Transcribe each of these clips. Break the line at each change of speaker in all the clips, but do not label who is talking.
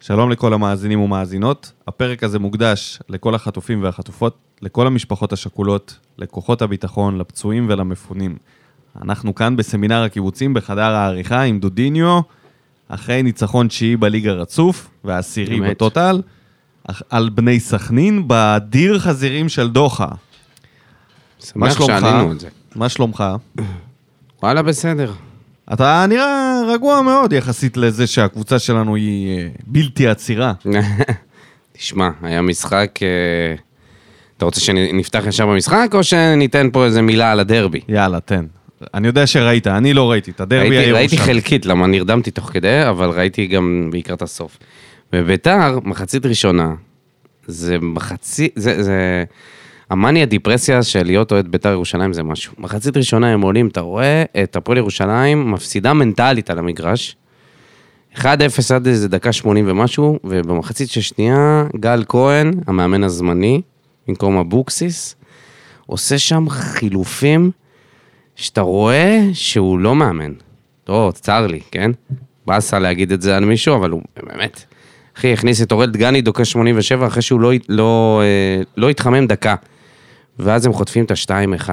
שלום לכל המאזינים ומאזינות. הפרק הזה מוקדש לכל החטופים והחטופות, לכל המשפחות השכולות, לכוחות הביטחון, לפצועים ולמפונים. אנחנו כאן בסמינר הקיבוצים בחדר העריכה עם דודיניו, אחרי ניצחון תשיעי בליגה רצוף, והעשירי
אמת.
בטוטל, אך- על בני סכנין, בדיר חזירים של דוחה. מה
שמח
שלומך?
שענינו את זה.
מה שלומך?
וואלה, בסדר.
אתה נראה רגוע מאוד יחסית לזה שהקבוצה שלנו היא אה, בלתי עצירה.
תשמע, היה משחק... אה, אתה רוצה שנפתח ישר במשחק, או שניתן פה איזה מילה על הדרבי?
יאללה, תן. אני יודע שראית, אני לא ראיתי את הדרבי
ראיתי,
הירושלמי.
ראיתי חלקית, למה נרדמתי תוך כדי, אבל ראיתי גם בעיקר את הסוף. בביתר, מחצית ראשונה, זה מחצית, זה, זה... המאניה דיפרסיה של להיות אוהד ביתר ירושלים זה משהו. מחצית ראשונה הם עולים, אתה רואה את הפועל ירושלים מפסידה מנטלית על המגרש. 1-0 עד איזה דקה 80 ומשהו, ובמחצית של שנייה, גל כהן, המאמן הזמני, במקום אבוקסיס, עושה שם חילופים שאתה רואה שהוא לא מאמן. לא, צר לי, כן? באסה להגיד את זה על מישהו, אבל הוא באמת... אחי, הכניס את אורל דגני, דוקה 87, אחרי שהוא לא, הת- לא, אה, לא התחמם דקה. ואז הם חוטפים את ה-2-1.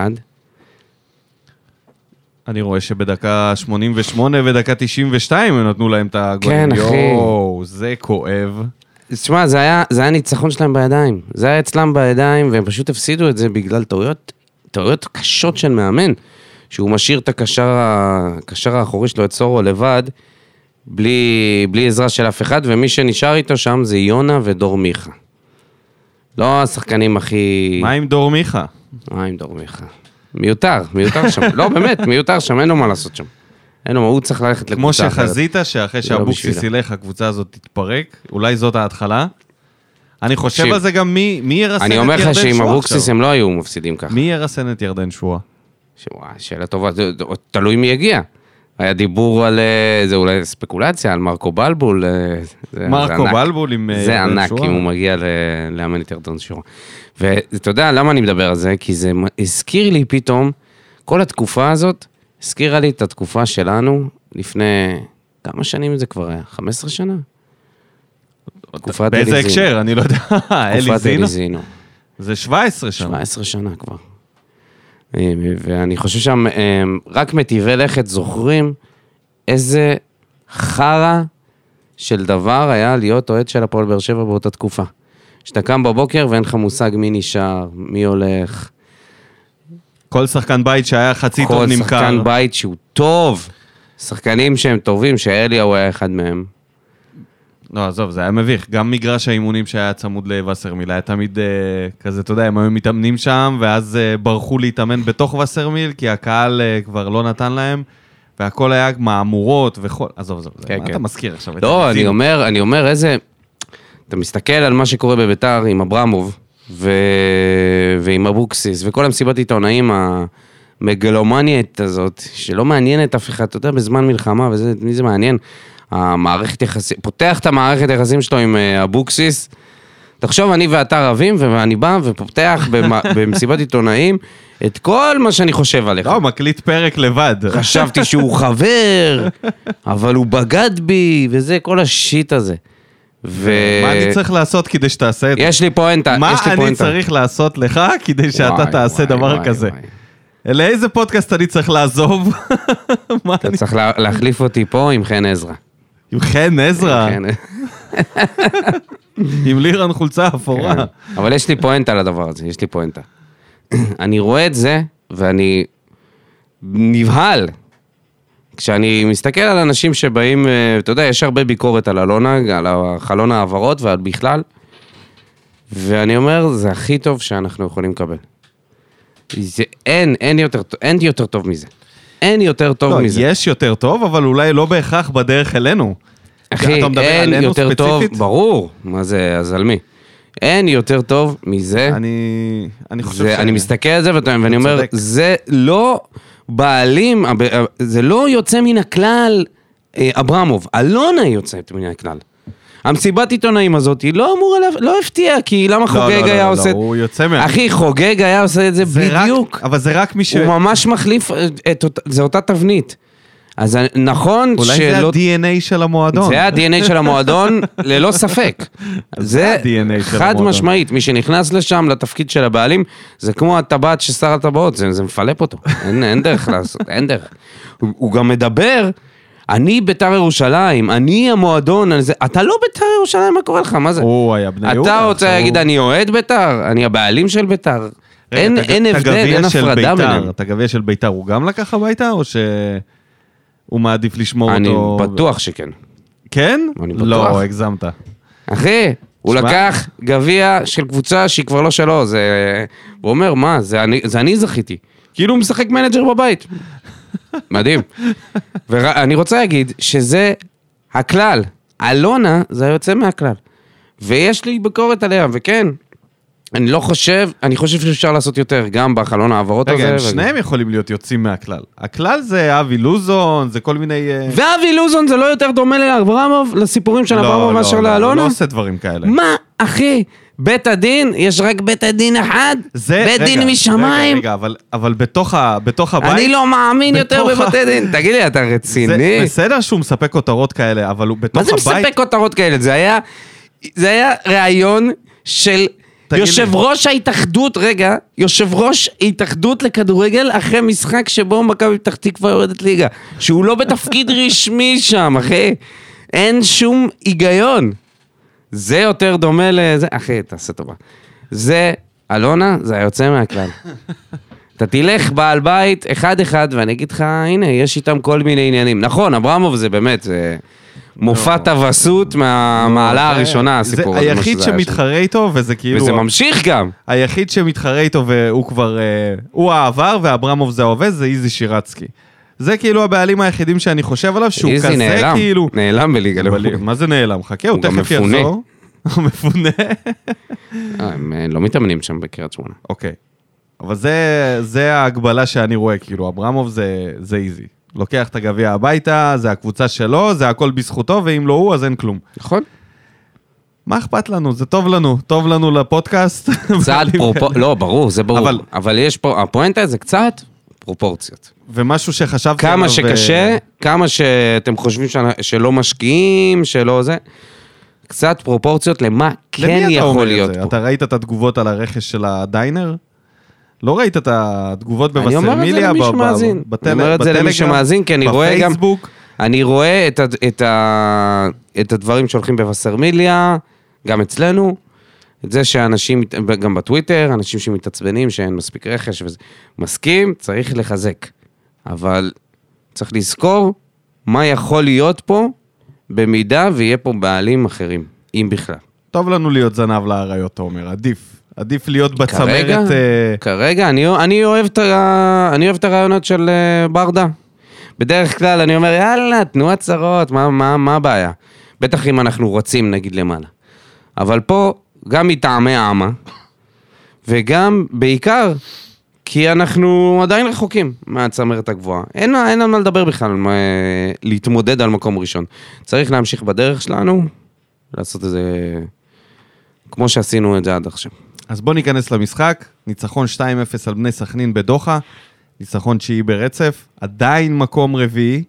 אני רואה שבדקה 88 ודקה 92 הם נתנו להם את הגולים.
כן, אחי.
יואו, זה כואב.
תשמע, זה היה, זה היה ניצחון שלהם בידיים. זה היה אצלם בידיים, והם פשוט הפסידו את זה בגלל טעויות, טעויות קשות של מאמן, שהוא משאיר את הקשר, ה- הקשר האחורי שלו, את סורו, לבד, בלי, בלי עזרה של אף אחד, ומי שנשאר איתו שם זה יונה ודור מיכה. לא השחקנים הכי...
מה עם דור מיכה?
מה עם דור מיכה? מיותר, מיותר שם. לא, באמת, מיותר שם, אין לו מה לעשות שם. אין לו מה, הוא צריך ללכת
כמו
לקבוצה אחרת.
שחזית שאחרי
לא
שאבוקסיס
בשבילו.
ילך הקבוצה הזאת תתפרק, אולי זאת ההתחלה. אני חושב
תקשיב,
על זה גם מי מי ירסן את
אני אומר
ירדן
לך שעם
שועה
אבוקסיס
עכשיו.
הם לא היו מפסידים ככה.
מי ירסן את ירדן שועה?
שוואי, שאלה טובה, זה- זה- תלוי מי יגיע. היה דיבור על, אה, זה אולי ספקולציה, על מרקו בלבול. אה, זה- זה
מרקו
ענק.
בלבול עם אה, ירדן
זה
שועה?
ענק אם הוא מגיע ל- לאמן את ירדן שואה. ואתה יודע למה אני מדבר על זה? כי זה מ- הזכיר לי פתאום, כל התקופה הזאת, הזכירה לי את התקופה שלנו לפני, כמה שנים זה כבר היה? 15 שנה? תקופת
באיזה
אליזינו.
הקשר? אני לא יודע. אלי
תקופת
זינו?
אליזינו.
זה 17 שנה.
17 שנה כבר. אה, ואני חושב שם, אה, רק מטיבי לכת זוכרים איזה חרא של דבר היה להיות אוהד של הפועל באר שבע באותה תקופה. שאתה קם בבוקר ואין לך מושג מי נשאר, מי הולך.
כל שחקן בית שהיה חצי טוב
כל
נמכר.
שחקן בית שהוא טוב. שחקנים שהם טובים, שאליהו היה אחד מהם.
לא, עזוב, זה היה מביך. גם מגרש האימונים שהיה צמוד לווסרמיל, היה תמיד אה, כזה, אתה יודע, הם היו מתאמנים שם, ואז אה, ברחו להתאמן בתוך וסרמיל, כי הקהל אה, כבר לא נתן להם, והכל היה מהמורות וכל... עזוב, עזוב, זה-
כן,
מה
כן.
אתה מזכיר עכשיו? את
לא, אני
הניסים?
אומר, אני אומר איזה... אתה מסתכל על מה שקורה בביתר עם אברמוב ו... ועם אבוקסיס וכל המסיבת עיתונאים המגלומניית הזאת, שלא מעניינת אף אחד, אתה יודע, בזמן מלחמה, וזה, מי זה מעניין? המערכת יחסים, פותח את המערכת היחסים שלו עם אה, אבוקסיס. תחשוב, אני ואתה רבים, ואני בא ופותח במ- במסיבת עיתונאים את כל מה שאני חושב עליך.
לא, מקליט פרק לבד.
חשבתי שהוא חבר, אבל הוא בגד בי, וזה, כל השיט הזה. ו...
מה אני צריך לעשות כדי שתעשה את זה?
אה, יש לי פואנטה,
מה
יש לי
אני
פואנטה.
צריך לעשות לך כדי שאתה
וואי,
תעשה
וואי,
דבר
וואי,
כזה?
וואי.
לאיזה פודקאסט אני צריך לעזוב? מה
אתה
אני...
צריך לה- להחליף אותי פה עם חן עזרא.
עם חן עזרא,
חן-
עם לירן חולצה אפורה.
כן. אבל יש לי פואנטה לדבר הזה, יש לי פואנטה. אני רואה את זה, ואני נבהל. כשאני מסתכל על אנשים שבאים, אה, אתה יודע, יש הרבה ביקורת על אלונה, על חלון ההעברות ועל בכלל, ואני אומר, זה הכי טוב שאנחנו יכולים לקבל. זה, אין, אין יותר, טוב- אין יותר טוב מזה. אין יותר טוב
לא,
מזה.
יש יותר טוב, אבל אולי לא בהכרח בדרך אלינו.
אחי,
אתה מדבר
אין
עלינו
יותר טוב,
ספציפית?
ברור. מה זה, אז על מי? אין יותר טוב מזה.
אני, אני חושב
זה,
ש...
אני מסתכל על זה ואתה- ואני אומר,
צודק.
זה לא בעלים, הב- ה- זה לא יוצא מן הכלל אה, אברמוב, אלונה היא יוצאת מן הכלל. המסיבת עיתונאים הזאת, היא לא אמורה, לה- לא הפתיעה, כי למה
לא,
חוגג
לא, לא,
היה
לא,
עושה... את-
הוא יוצא מה...
אחי, חוגג היה עושה את זה
זה רק-
בדיוק.
אבל זה רק מי ש...
הוא ממש מחליף, אה, את אות- זה אותה תבנית. אז אני- נכון
אולי זה
שלא...
ה-DNA של המועדון.
זה ה-DNA של המועדון, ללא ספק. זה
ה-DNA של
חד
המועדון.
משמעית, מי שנכנס לשם לתפקיד של הבעלים, זה כמו הטבעת של שר הטבעות, זה, זה מפלפ אותו, אין, אין דרך לעשות, אין דרך. הוא, הוא גם מדבר, אני ביתר ירושלים, אני המועדון, אני זה, אתה לא ביתר ירושלים, מה קורה לך, מה זה?
הוא היה בני יהודה.
אתה רוצה
עכשיו
להגיד,
הוא-
אני אוהד ביתר, אני הבעלים של ביתר.
רגע,
אין,
את הג-
אין
את
הבדל,
הגביע
אין
של
הפרדה
בית"ר,
ביניהם.
את הגביע של ביתר הוא גם לקח הביתה, או שהוא מעדיף לשמור
אני
אותו?
בטוח שכן.
כן?
אני בטוח.
לא, הגזמת.
אחי, הוא
שמע.
לקח גביע של קבוצה שהיא כבר לא שלו, זה... הוא אומר, מה, זה אני, זה אני זכיתי. כאילו הוא משחק מנג'ר בבית. מדהים. ואני רוצה להגיד שזה הכלל. אלונה זה היוצא מהכלל. ויש לי ביקורת עליה, וכן, אני לא חושב, אני חושב שאפשר לעשות יותר, גם בחלון ההעברות הזה.
רגע, הם
וגם-
שניהם יכולים להיות יוצאים מהכלל. הכלל זה אבי לוזון, זה כל מיני... אה,
ואבי לוזון זה לא יותר דומה לאברמוב, לסיפורים של אברמוב מאשר
הוא
לאלונה?
לא עושה דברים כאלה.
מה, אחי? בית הדין, יש רק בית הדין אחד?
זה-
בית
רגע,
דין
רגע,
משמיים?
רגע, אבל- אבל בתוך ה- בתוך הבית...
אני לא מאמין יותר
בתוך ה-
בבתי דין. תגיד לי, אתה
זה
רציני?
בסדר שהוא מספק כותרות כאלה, אבל הוא בתוך
מה זה
הבית...
מספק כותרות כאלה? זה היה... זה היה ראיון של...
תגיד לי.
יושב ראש ההתאחדות, רגע, יושב ראש התאחדות לכדורגל אחרי משחק שבו מכבי פתח תקווה יורדת ליגה. שהוא לא בתפקיד רשמי שם, אחי. אין שום היגיון. זה יותר דומה לזה, אחי, תעשה טובה. זה, אלונה, זה היוצא מהכלל. אתה תלך בעל בית אחד-אחד, ואני אגיד לך, הנה, יש איתם כל מיני עניינים. נכון, אברמוב זה באמת, זה מופע טווסות מהמעלה
לא. זה-
הראשונה, הסיפור הזה.
זה
מה
היחיד
שזה היה שם.
שמתחרה איתו, וזה כאילו...
וזה ממשיך גם.
היחיד שמתחרה איתו והוא כבר... אה, הוא העבר ואברמוב זה ההווה, זה איזי שירצקי. זה כאילו הבעלים היחידים שאני חושב עליו, שהוא
איזי
כזה
נעלם,
כאילו...
נעלם בליגה
אבל
לאומית.
מה זה נעלם? חכה, הוא
הוא גם
תכף
מפונה.
יחזור. הוא מפונה.
הם אה, לא מתאמנים שם בקריית שמונה.
אוקיי. אבל זה, זה ההגבלה שאני רואה, כאילו, אברמוב זה, זה איזי. לוקח את הגביע הביתה, זה הקבוצה שלו, זה הכל בזכותו, ואם לא הוא, אז אין כלום.
נכון?
מה אכפת לנו? זה טוב לנו, טוב לנו לפודקאסט.
צעד פרופורציות, לא, ברור, זה ברור.
אבל-
אבל יש פה, הפואנטה זה קצת פרופורציות.
ומשהו שחשבתי
כמה
עליו, אה,
שקשה, כמה שאתם חושבים שאנ- שלא משקיעים, שלא זה, קצת פרופורציות למה כן
למי אתה אומר
יכול
את
להיות
זה?
פה.
אתה ראית את התגובות על הרכש של הדיינר? לא ראית את התגובות
אני אומר את זה
בבסרמיליה?
למי
ב- ב-
שמאזין.
בטל-
אני אומר את זה
בטלגרם,
למי שמאזין, כי אני רואה גם-
בפייסבוק.
אני רואה את, ה- את, ה, את הדברים שהולכים בבשרמיליה, גם אצלנו, את זה שאנשים, מת- גם בטוויטר, אנשים שמתעצבנים שאין מספיק רכש וזה. מסכים, צריך לחזק. אבל צריך לזכור מה יכול להיות פה, במידה ויהיה פה בעלים אחרים, אם בכלל.
טוב לנו להיות זנב לאריות, תומר, עדיף. עדיף להיות
כרגע,
בצמרת... אה,
כרגע, אני, אני, אוהב את ה, אני אוהב את הרעיונות של אה, ברדה. בדרך כלל אני אומר, יאללה, תנו הצהרות, מה, מה, מה הבעיה? בטח אם אנחנו רוצים, נגיד, למעלה. אבל פה, גם מטעמי עמה, וגם, בעיקר, כי אנחנו עדיין רחוקים מהצמרת הגבוהה. אין, אין על מה לדבר בכלל, מה, להתמודד על מקום ראשון. צריך להמשיך בדרך שלנו, לעשות את זה כמו שעשינו את זה עד עכשיו.
אז בואו ניכנס למשחק. ניצחון 2-0 על בני סכנין בדוחה. ניצחון תשיעי ברצף. עדיין מקום רביעי.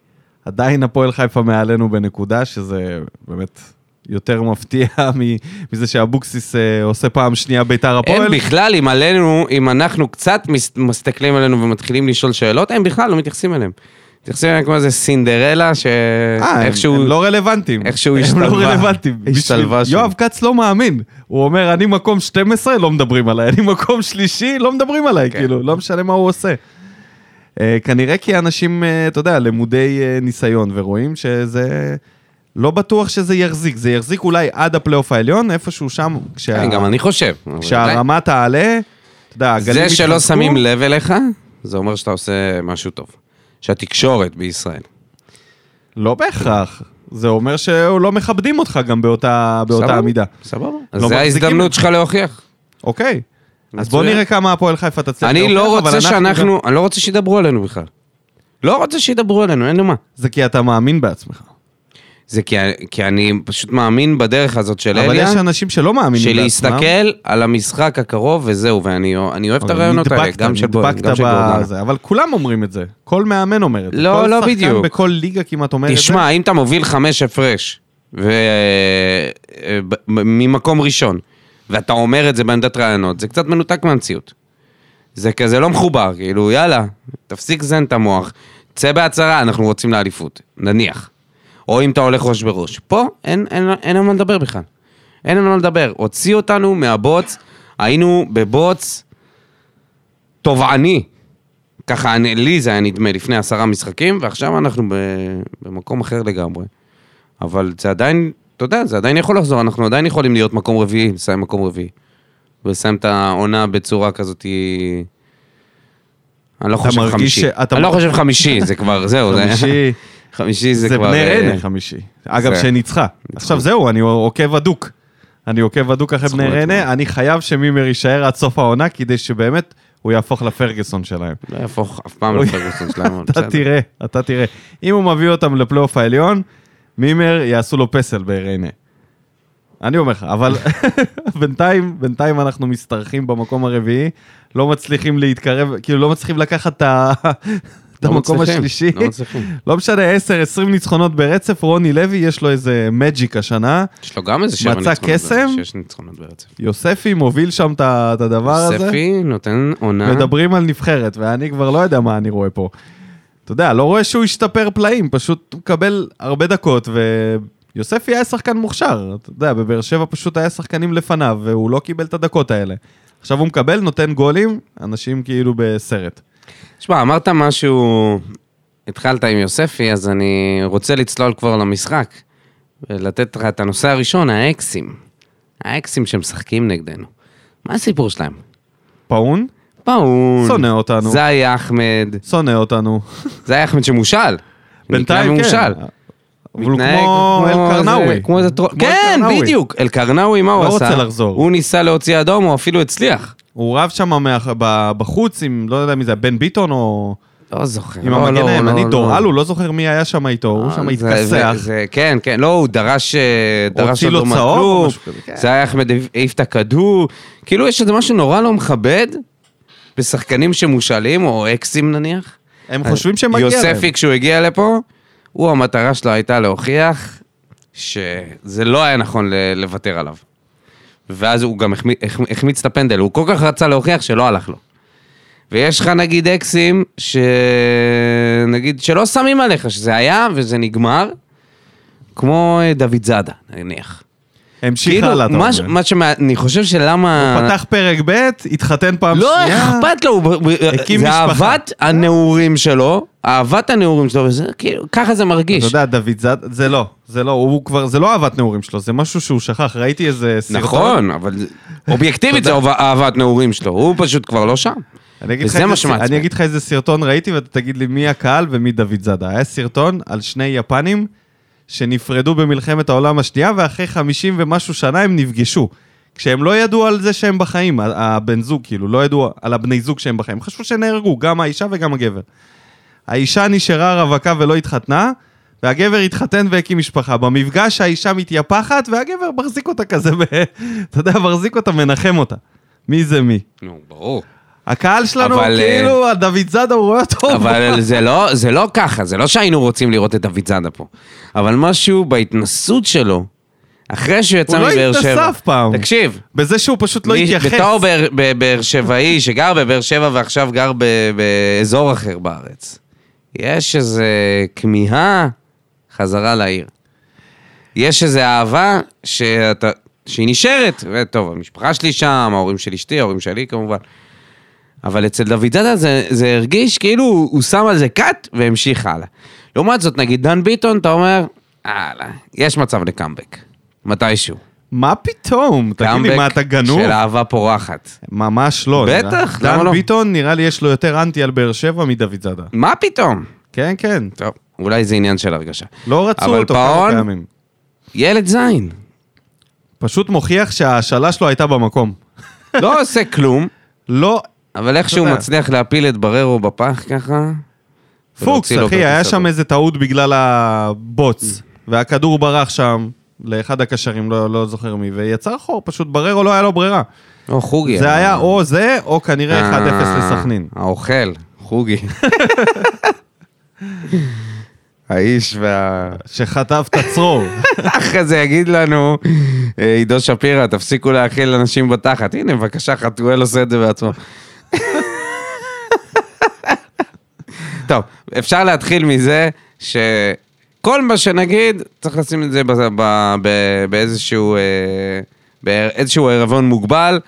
עדיין הפועל חיפה מעלינו בנקודה, שזה באמת יותר מפתיע מ- מזה שאבוקסיס אה, עושה פעם שנייה ביתר הפועל.
הם בכלל, אם עלינו, אם אנחנו קצת מס- מסתכלים עלינו ומתחילים לשאול שאלות, הם בכלל לא מתייחסים אליהם. מתייחסים אליהם כמו איזה סינדרלה,
אה, הם-
שאיכשהו...
הם לא רלוונטיים.
איכשהו
הם לא
השתלבה.
רלוונטיים. בשביל-
השתלבה שם.
יואב כץ לא מאמין. הוא אומר, אני מקום 12, לא מדברים עליי. אני מקום שלישי, לא מדברים עליי.
כן.
כאילו, לא משנה מה הוא עושה. אה, כנראה כי אנשים, אה, אתה יודע, למודי אה, ניסיון, ורואים שזה... לא בטוח שזה יחזיק. זה יחזיק אולי עד הפלייאוף העליון, איפשהו שם, כשה-
כן, גם אני חושב.
כשהרמה תעלה. אתה יודע, הגלים
זה שלא
יתחזקו.
שמים לב אליך, זה אומר שאתה עושה משהו טוב. שהתקשורת בישראל.
לא בהכרח. זה אומר שלא מכבדים אותך גם באותה באותה
סבבה?
מידה.
סבבה.
לא
אז זה
מחזיקים.
ההזדמנות שלך להוכיח.
אוקיי. אז
מצוין.
בוא נראה כמה הפועל חיפה תצליח.
אני לא
להוכיח, אבל
רוצה
גם-
שאנחנו, אני לא רוצה שידברו עלינו בכלל. לא רוצה שידברו עלינו, אין למה.
זה כי אתה מאמין בעצמך.
זה כי, כי אני פשוט מאמין בדרך הזאת של
אבל
אליה,
יש אנשים שלא מאמינים אוקיי,
של
לעצמם.
להסתכל על המשחק הקרוב וזהו, ואני אני אוהב את
אבל
הרעיונות האלה,
נדבקת,
גם של בויאן,
נדבקת
גם של גורדנה.
בזה, אבל כולם אומרים את זה. כל מאמן אומר את זה.
לא, לא
כל שחקן
בדיוק.
בכל ליגה כמעט אומר את זה.
תשמע, אם אתה מוביל חמש הפרש, ו... אה, ב- ממקום ראשון, ואתה אומר את זה בעמדת רעיונות, זה קצת מנותק מהמציאות. זה כזה לא מחובר, כאילו, יאללה, תפסיק זן את המוח, צא בהצהרה, אנחנו רוצים לאליפות, נניח. או אם אתה הולך ראש בראש. פה אין, אין, אין על מה לדבר בכלל. אין על מה לדבר. הוציאו אותנו מהבוץ, היינו בבוץ תובעני. ככה אני- לי זה היה נדמה לפני עשרה משחקים, ועכשיו אנחנו ב, במקום אחר לגמרי. אבל זה עדיין, אתה יודע, זה עדיין יכול לחזור, אנחנו עדיין יכולים להיות מקום רביעי, לסיים מקום רביעי. ולסיים את העונה בצורה כזאת... אני לא
אתה
חושב
מרגיש
חמישי.
שאתה-
אני לא חושב חמישי, זה כבר, זהו. זה-
חמישי,
חמישי זה,
זה
כבר...
בני
אה,
ריינה חמישי. אגב,
זה-
שניצחה. עכשיו זהו, אני עוקב הדוק. אני עוקב הדוק אחרי
צריך
בני
להיות
ריינה, אני חייב שמימר יישאר עד סוף העונה, כדי שבאמת הוא יהפוך לפרגוסון שלהם.
לא יהפוך אף פעם
אוי.
לפרגוסון שלהם, אבל
אתה
בסדר.
תראה, אתה תראה. אם הוא מביא אותם לפלייאוף העליון, מימר יעשו לו פסל בריינה. אני אומר לך, אבל בינתיים, בינתיים אנחנו משתרכים במקום הרביעי, לא מצליחים להתקרב, כאילו לא מצליחים לקחת את ה- את
לא
המקום
מצליחים,
השלישי.
לא מצליחים.
לא משנה, 10, 20 ניצחונות ברצף, רוני לוי, יש לו איזה מג'יק השנה.
יש לו גם איזה שבע
מצא
ניצחונות.
קסם?
ברצף, שש ניצחונות ברצף.
יוספי מוביל שם את ה- את הדבר הזה.
ספי נותן עונה.
מדברים על נבחרת, ואני כבר לא יודע מה אני רואה פה. אתה יודע, לא רואה שהוא השתפר פלאים, פשוט הוא מקבל הרבה דקות, ויוספי היה שחקן מוכשר. אתה יודע, בבאר שבע פשוט היה שחקנים לפניו, והוא לא קיבל את הדקות האלה. עכשיו הוא מקבל, נותן גולים, אנשים כאילו בסרט.
תשמע, אמרת משהו, התחלת עם יוספי, אז אני רוצה לצלול כבר למשחק. ולתת לך את הנושא הראשון, האקסים. האקסים שמשחקים נגדנו. מה הסיפור שלהם?
פאון,
פאון.
שונא אותנו.
זאי אחמד.
שונא אותנו.
זאי אחמד שמושל.
בינתיים כן.
נקרא ממושל.
אבל הוא
מתנהג
כמו אל
איזה-
קרנאווי.
כמו איזה טרול.
כמו
כן,
אלקרנאווי.
בדיוק. אל קרנאווי, מה הוא
לא
עשה?
רוצה לחזור.
הוא ניסה להוציא אדום, הוא אפילו הצליח.
הוא רב שם מאח- ב- בחוץ עם, לא יודע מי זה, בן ביטון או...
לא זוכר.
עם
לא,
המגן
לא,
הימני,
לא,
דורל,
לא.
הוא לא זוכר מי היה שם איתו, הוא
אה,
שם
זה-
התכסח.
זה- זה- כן, כן, לא, הוא דרש אה,
הוא
דרש
הוציא לו
אדום
צהוב או
מהכלום.
משהו כזה, כן.
זה היה אחמד העיף- העיף את הכדור. כאילו, יש איזה משהו נורא לא מכבד בשחקנים שמושאלים, או אקסים נניח.
הם
אה,
חושבים שמגיע להם.
יוספי, כשהוא הגיע לפה, הוא, המטרה שלו הייתה להוכיח שזה לא היה נכון ל- לוותר עליו. ואז הוא גם החמי- החמ- החמיץ את הפנדל, הוא כל כך רצה להוכיח שלא הלך לו. ויש לך נגיד אקסים, שנגיד, שלא שמים עליך, שזה היה וזה נגמר, כמו אה, דוד זאדה, נניח.
המשיך הלאה, אתה
כאילו, מה, ש-
אומר.
מה שמה... אני חושב שלמה...
פתח פרק ב', התחתן פעם
לא
שנייה.
אכפת לו, הוא- הוא-
הקים
זה
משפחה.
אהבת הנעורים שלו, אהבת הנעורים שלו, וזה כאילו, ככה זה
אתה
מרגיש.
יודע, דוד זאד, זה לא, זה לא, הוא כבר, זה לא אהבת נעורים שלו, זה משהו שהוא שכח, ראיתי איזה סרטון.
נכון, אבל זה- אובייקטיבית זה אוה- אהבת נעורים שלו, הוא פשוט כבר לא שם.
אני אגיד, לך
וזה מה
איזה,
שמעצבן.
אני אגיד לך איזה סרטון ראיתי ואתה תגיד לי מי הקהל ומי דוד זאדה. היה סרטון על שני יפנים שנפרדו במלחמת העולם השנייה ואחרי 50 ומשהו שנה הם נפגשו. כשהם לא ידעו על זה שהם בחיים, ה- הבן זוג כאילו, לא ידעו על הבני זוג שהם בחיים. חשבו שנהרגו, גם האישה וגם הגבר. האישה נשארה רווקה ולא התחתנה, והגבר התחתן והקים משפחה. במפגש האישה מתייפחת והגבר מחזיק אותה כזה, ב- אתה יודע, מחזיק אותה, מנחם אותה. מי זה מי?
נו, ברור.
הקהל שלנו,
אבל, אה,
כאילו, הדוד זאדה, הוא רואה אותו.
אבל זה לא, זה לא ככה, זה לא שהיינו רוצים לראות את דוד זאדה פה. אבל משהו בהתנסות שלו, אחרי שהוא יצא
הוא לא
מבאר שבע...
התנסה אף פעם.
תקשיב,
בזה שהוא פשוט לא
מי-
התייחס.
בתור באר- ב- באר שבעי שגר בבאר שבע ועכשיו גר ב- באזור אחר בארץ, יש איזו כמיהה חזרה לעיר. יש איזו אהבה שאתה, שהיא נשארת. טוב, המשפחה שלי שם, ההורים של אשתי, ההורים שלי כמובן. אבל אצל דוד זאדה זה, זה הרגיש כאילו הוא הוא שם על זה קאט והמשיך הלאה. לעומת זאת, נגיד דן ביטון, אתה אומר, יאללה, יש מצב לקאמבק. מתישהו.
מה פתאום? תגיד לי,
קאמבק
מה, אתה גנוב?
של אהבה פורחת.
ממש לא. נראה.
בטח, למה
דן
לא?
ביטון, נראה לי יש לו יותר אנטי על באר שבע מדוד זאדה.
מה פתאום?
כן, כן.
טוב, אולי זה עניין של הרגשה.
לא רצו
אבל
אותו כמה
פאון?
פעמים.
ילד זין,
פשוט מוכיח שההשאלה שלו הייתה במקום.
לא עושה כלום,
לא,
אבל איכשהו
יודע.
מצליח להפיל את בררו בפח ככה.
פוקס,
ולהוציא לו
אחי,
כרטיס
היה
אדום.
שם איזה טעות בגלל הבוץ. והכדור ברח שם לאחד הקשרים, לא, לא זוכר מי, ויצר חור, פשוט בררו לא היה לו ברירה.
או חוגי.
זה היה או זה, או כנראה 1-0
כן. אה,
לסכנין.
האוכל, חוגי. האיש וה...
שחטף את הצרור.
אחרי זה יגיד לנו, אה, עידו שפירא, תפסיקו להאכיל אנשים בתחת. הנה, בבקשה, חתואל עושה את זה בעצמו. טוב, אפשר להתחיל מזה שכל מה שנגיד, צריך לשים את זה בזה- ב- ב- באיזשהו אה, באיזשהו ערבון מוגבל.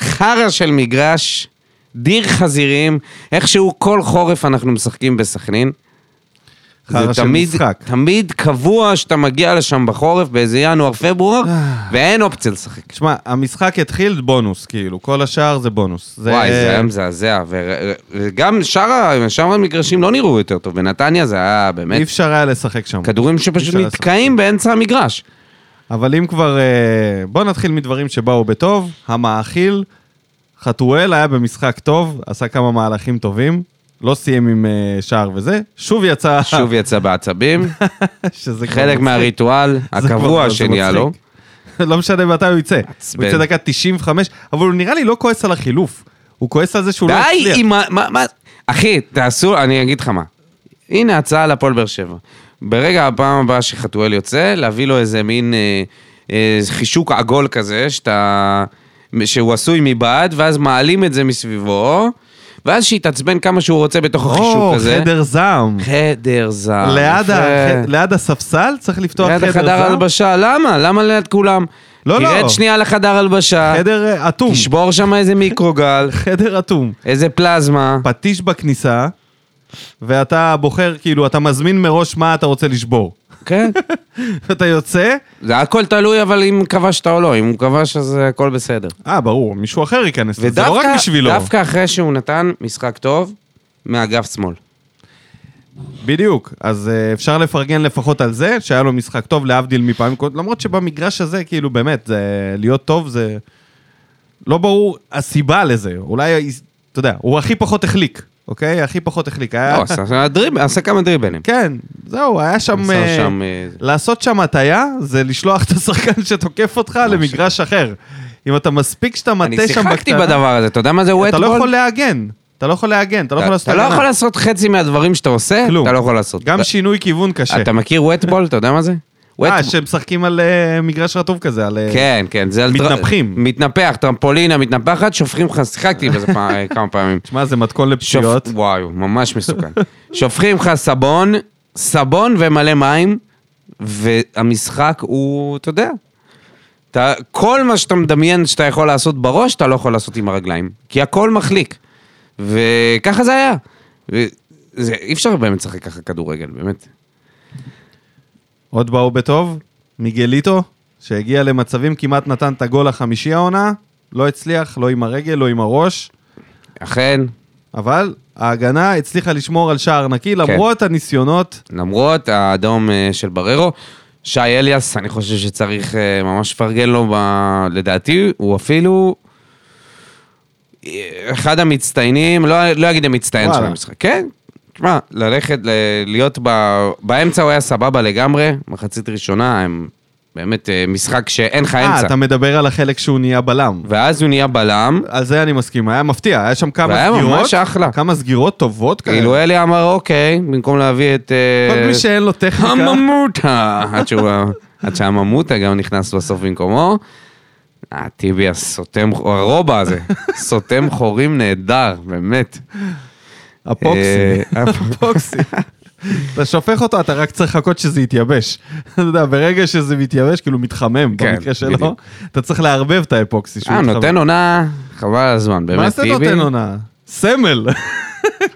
חרא של מגרש, דיר חזירים, איכשהו כל חורף אנחנו משחקים בסכנין.
חרא
זה
של
תמיד,
משחק.
תמיד קבוע שאתה מגיע לשם בחורף, באיזה ינואר-פברואר,
אה.
ואין אופציה לשחק.
תשמע, המשחק התחיל בונוס, כאילו, כל השאר זה בונוס. זה...
וואי, זה היה מזעזע, ו- וגם שאר ה- שאר המגרשים לא נראו יותר טוב. בנתניה זה היה באמת
אי אפשר היה לשחק שם.
כדורים
אי
שפשוט
אפשר לעשות אה.
נתקעים באמצע המגרש.
אבל אם כבר... אה, בוא נתחיל מדברים שבאו בטוב. המאכיל, חתואל היה במשחק טוב, עשה כמה מהלכים טובים, לא סיים עם אה, שער וזה, שוב יצא...
שוב יצא בעצבים,
שזה כבר
חלק
מצחיק.
מהריטואל
זה כבר-
הקבוע
זה
שנהיה
מצחיק.
לו.
לא משנה מתי הוא יצא.
מעצבן.
הוא יצא דקה 95, אבל הוא נראה לי לא כועס על החילוף. הוא כועס על זה שהוא לא
די
הצליח.
עם ה... מה, מה... אחי, תעשו, אני אגיד לך מה. הנה הצעה להפועל באר שבע. ברגע הפעם הבאה שחתואל יוצא, להביא לו איזה מין אה, אה, חישוק עגול כזה, שאתה... שהוא עשוי מבעד, ואז מעלים את זה מסביבו, ואז שיתעצבן כמה שהוא רוצה בתוך החישוק
או,
הזה.
חדר זעם.
חדר זר.
ליד, ה...
אה, יפה.
ליד הספסל צריך לפתוח
ליד
חדר זעם.
החדר הלבשה, למה? למה ליד כולם?
לא, לא.
תרד שנייה לחדר הלבשה,
חדר אה, אטום.
תשבור שם איזה מיקרוגל,
חדר אטום.
איזה פלזמה.
פטיש בכניסה, ואתה בוחר, כאילו, אתה מזמין מראש מה אתה רוצה לשבור.
כן.
אתה יוצא,
זה הכל תלוי, אבל אם כבשת או לא, אם הוא כבש אז אה, הכל בסדר.
אה, ברור, מישהו אחר ייכנס, לזה, זה לא רק בשבילו.
דווקא אחרי שהוא נתן משחק טוב, מאגף שמאל.
בדיוק, אז אה, אפשר לפרגן לפחות על זה, שהיה לו משחק טוב, להבדיל מפעמים קודמות, למרות שבמגרש הזה, כאילו, באמת, זה, להיות טוב זה... לא ברור הסיבה לזה, אולי, אתה יודע, הוא הכי פחות החליק, אוקיי? הכי פחות החליק. היה-
לא, עשה- עשה דריב- עשה כמה דריבלים.
כן, זהו, היה שם...
עשה
אה,
שם, אה, זה.
לעשות שם הטיה זה לשלוח את השחקן שתוקף אותך למגרש אחר. אם אתה מספיק שאתה מטה
אני
שם בקטנה...
שיחקתי בדבר הזה, אתה יודע מה זה
אתה לא
וטבול?
יכול להגן. אתה לא יכול להגן, אתה לא יכול לעשות...
אתה לא
הגנה.
יכול לעשות חצי מהדברים שאתה עושה,
כלום.
אתה לא יכול לעשות.
גם
אתה-
שינוי כיוון קשה.
אתה מכיר וטבול? אתה יודע מה זה?
אה,
וטבול.
שמשחקים על אה, מגרש רטוב כזה, על... אה,
כן, כן, זה... על טר-
מתנפחים.
מתנפח, טרמפולינה מתנפחת, שופכים לך, שיחקתי בזה פעם- אה, כמה פעמים.
שמע, זה מתכון לפציעות.
שופ... וואי, הוא ממש מסוכן. שופכים לך סבון, סבון ומלא מים, והמשחק הוא, אתה יודע, אתה, כל מה שאתה מדמיין שאתה יכול לעשות בראש, אתה לא יכול לעשות עם הרגליים, כי הכל מחליק. וככה זה היה. ו... זה, אי אפשר באמת לשחק ככה כדורגל, באמת.
עוד באו בטוב, מיגליטו, שהגיע למצבים, כמעט נתן את הגול החמישי העונה, לא הצליח, לא עם הרגל, לא עם הראש.
אכן,
אבל ההגנה הצליחה לשמור על שער
כן.
נקי, למרות הניסיונות
למרות האדום אה, של בררו, שי אליאס, אני חושב שצריך אה, ממש לפרגן לו, ב... לדעתי, הוא אפילו אה, אחד המצטיינים, לא, לא אגיד המצטיין של
וואלה.
המשחק, כן? תשמע, ללכת, ל... להיות ב... באמצע הוא היה סבבה לגמרי, מחצית ראשונה, הם באמת אה, משחק שאין לך
אה,
אמצע.
אתה מדבר על החלק שהוא נהיה בלם.
ואז הוא נהיה בלם,
על זה אני מסכים, היה מפתיע, היה שם כמה
והיה
סגירות,
ממש אחלה.
כמה סגירות טובות כאלה.
כאילו אלי אמר, אוקיי, במקום להביא את... אה,
כן. כל מי שאין לו טכניקה,
הממוטה! עד שהוא- עד שהממוטה גם נכנס בסוף במקומו. אה, טיבי הסותם, הרובע הזה, סותם חורים נהדר, באמת.
הפוקסי,
אה,
הפוקסי. אתה שופך אותו, אתה רק צריך לחכות שזה יתייבש. אתה יודע, ברגע שזה מתייבש, כאילו מתחמם,
כן,
במקרה שלו,
בדיוק.
אתה צריך לערבב את האפוקסי שהוא
אה,
מתחמם.
נותן עונה, חבל על הזמן, באמת
מה
טיבי.
זה נותן עונה? סמל,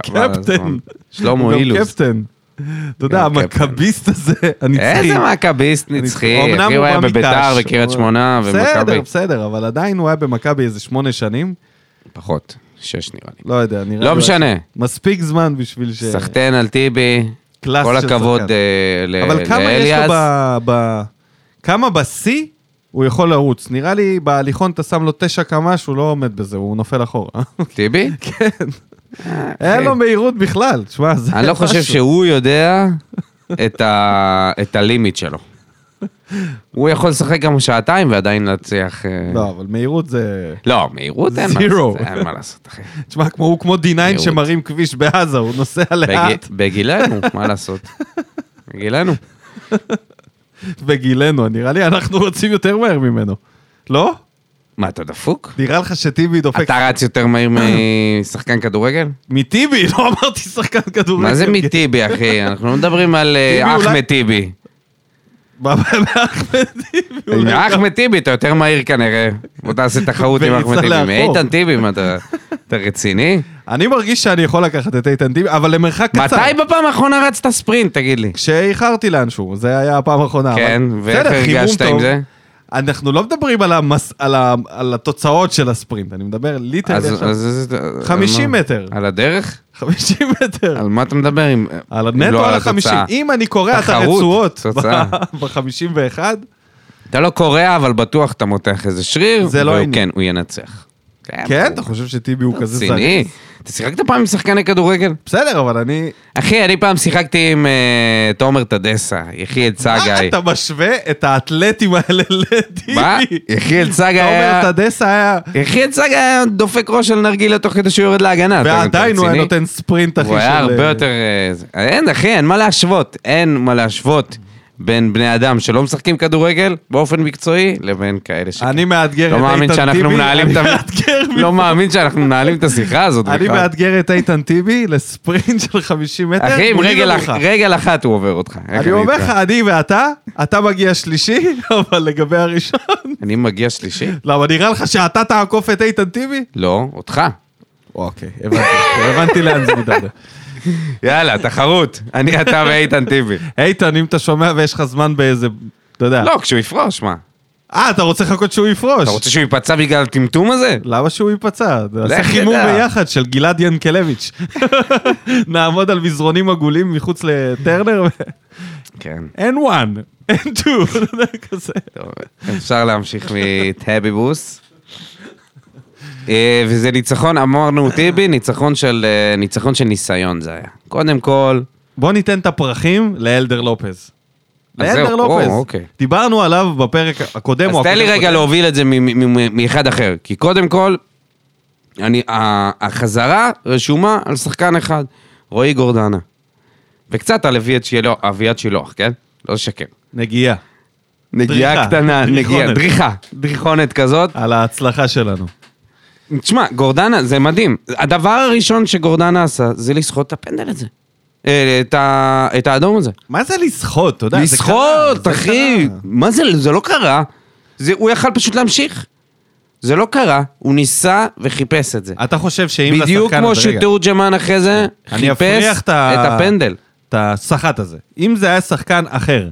חבל על הזמן.
קפטן.
שלמה
הוא גם
אילוז.
קפטן. אתה יודע,
לא גם קפטן.
המכביסט הזה, הנצחי.
איזה מכביסט נצחי,
אמנם
אחי, הוא היה
בא
בביתר,
מקאש.
בקריית שמונה,
בסדר,
ומכבי.
בסדר, אבל עדיין הוא היה במכבי איזה שמונה שנים,
פחות, שש נראה לי.
לא יודע, נראה
לא
לי-
משנה,
מספיק זמן בשביל ש...
סחטיין על טיבי,
קלאס
כל
של
הכבוד
שחקן.
אה, ל- לאליאס.
אבל כמה יש לו ב... ב... כמה בשיא הוא יכול לרוץ? נראה לי בהליכון אתה שם לו תשע קמ"ש, הוא לא עומד בזה, הוא נופל אחורה.
טיבי?
כן. אין לו מהירות בכלל, תשמע, זה
אני לא חושב
משהו.
שהוא יודע את, ה, את הלימיט שלו. הוא יכול לשחק גם שעתיים ועדיין להצליח... אה,
לא, אבל מהירות זה...
לא, מהירות אין מה
Zero.
לעשות, אין מה לעשות, אחי.
תשמע, כמו- הוא כמו D9
מהירות.
שמרים כביש בעזה, הוא נוסע לאט.
בגיל- בגילנו, מה לעשות? בגילנו.
בגילנו, נראה לי אנחנו רוצים יותר מהר ממנו. לא?
מה, אתה דפוק?
נראה לך שטיבי דופק...
אתה רץ יותר מהיר משחקן כדורגל?
מטיבי, לא אמרתי שחקן כדורגל. כן.
מה זה מטיבי, אחי? אנחנו לא מדברים על אה,
טיבי אולי-
אחמד טיבי.
מה, מאחמד טיבי?
עם
אולי גם.
אה, אחמד טיבי אתה יותר מהיר כנראה. בוא תעשה תחרות עם
וריצה
אחמד טיבי. עם
לאחור.
איתן טיבי, מה אתה... אתה רציני?
אני מרגיש שאני יכול לקחת את איתן טיבי, אבל למרחק קצר.
מתי בפעם האחרונה רצת ספרינט, תגיד לי?
כשאיחרתי לאנשהו, זה היה הפעם האחרונה.
כן,
אבל-
ואיך
בסדר, חימום
הרגשת עם
טוב.
זה?
אנחנו לא מדברים על, המס... על, ה... על התוצאות של הספרינט, אני מדבר ליטרלי
אז...
עכשיו.
אז- אז-
50
על מה?
כן, מטר,
על הדרך?
50 מטר.
על מה אתה מדבר? אם-
על
אם לא
הנטו על החמישים.
התוצאה?
אם אני קורע את
תחרות,
הרצועות
תוצאה.
ב-51,
אתה לא קורע, אבל בטוח אתה מותח איזה שריר.
זה לא
והוא-
העניין.
כן, הוא ינצח.
כן,
הוא-
אתה חושב שטיבי הוא כזה זר?
רציני? אתה שיחקת פעם עם שחקני כדורגל?
בסדר, אבל אני...
אחי, אני פעם שיחקתי עם אה, תומר טדסה, יחיאל
מה
צגאי.
אה, אתה משווה את האתלטים האלה לטיבי?
מה? יחיאל צגאי היה...
אתה אומר, טדסה היה...
יחיאל צגאי היה דופק ראש על נרגילה תוך כדי שהוא יורד להגנה. אתה- אתה
ועדיין הוא היה
רציני?
נותן ספרינט, אחי, של...
הוא היה הרבה יותר... אה, זה- אין, אחי, אין מה להשוות. אין מה להשוות בין בני אדם שלא משחקים כדורגל באופן מקצועי לבין כאלה ש...
אני מאתגר
לא
את
מאמין
איתן
שאנחנו
טיבי,
מנהלים
אני
את ה...
מאתגר
לא מאמין שאנחנו מנהלים את השיחה הזאת
אני
בכלל.
מאתגר את איתן טיבי לספרינט של 50 מטר.
אחי, עם
מולי
רגל
ומולך.
אח- רגל אחת הוא עובר אותך. איך
אני אומר
איתך?
לך, אני ואתה, אתה מגיע שלישי, אבל לגבי הראשון...
אני מגיע שלישי?
למה, נראה לך שאתה תעקוף את איתן טיבי?
לא, אותך.
אוקיי, הבנתי, הבנתי לאן זה מדבר.
יאללה, תחרות. אני, אתה ואיתן טיבי.
איתן, אם אתה שומע ויש לך זמן באיזה... אתה יודע.
לא, כשהוא יפרוש, מה?
אה, אתה רוצה לחכות שהוא
אתה
יפרוש?
רוצה שהוא ייפצע בגלל הטמטום הזה?
למה שהוא ייפצע? נעשה
לך
חימום
תדע.
ביחד של גלעד ינקלביץ'. נעמוד על מזרונים עגולים מחוץ לטרנר. ו-
כן.
אין one, אין two, אתה יודע, כזה.
טוב, אפשר להמשיך מטאביבוס. אה, וזה ניצחון, אמרנו טיבי, ניצחון של, אה, ניצחון של ניסיון זה היה. קודם כל,
בוא ניתן את הפרחים לאלדר לופז.
אז
לאלדר
זהו,
לופז.
או, אוקיי.
דיברנו עליו בפרק הקודם.
אז
או
תן לי
הקודם-
רגע להוביל את זה מ- מ- מ- מאחד אחר. כי קודם כל, אני, ה- החזרה רשומה על שחקן אחד, רועי גורדנה. וקצת על אביעד שילוח, אביעד שילוח, כן? לא לשקר.
נגיעה,
נגיעה
דריכה,
קטנה, נגיעה,
דריכונת.
דריכה, דריכונת כזאת.
על ההצלחה שלנו.
תשמע, גורדנה, זה מדהים. הדבר הראשון שגורדנה עשה, זה לסחוט את הפנדל הזה. אה, את, ה, את האדום הזה.
מה זה לסחוט, אתה יודע? לא, זה קרה,
לסחוט,
זה
אחי.
קרה.
מה זה, זה לא קרה. זה, הוא יכל פשוט להמשיך. זה לא קרה, הוא ניסה וחיפש את זה.
אתה חושב שאם לשחקן...
בדיוק כמו
הזה- רגע,
שתורג'מן אחרי זה,
אני
חיפש
אפריח
את הפנדל.
את הסחט הזה. אם זה היה שחקן אחר,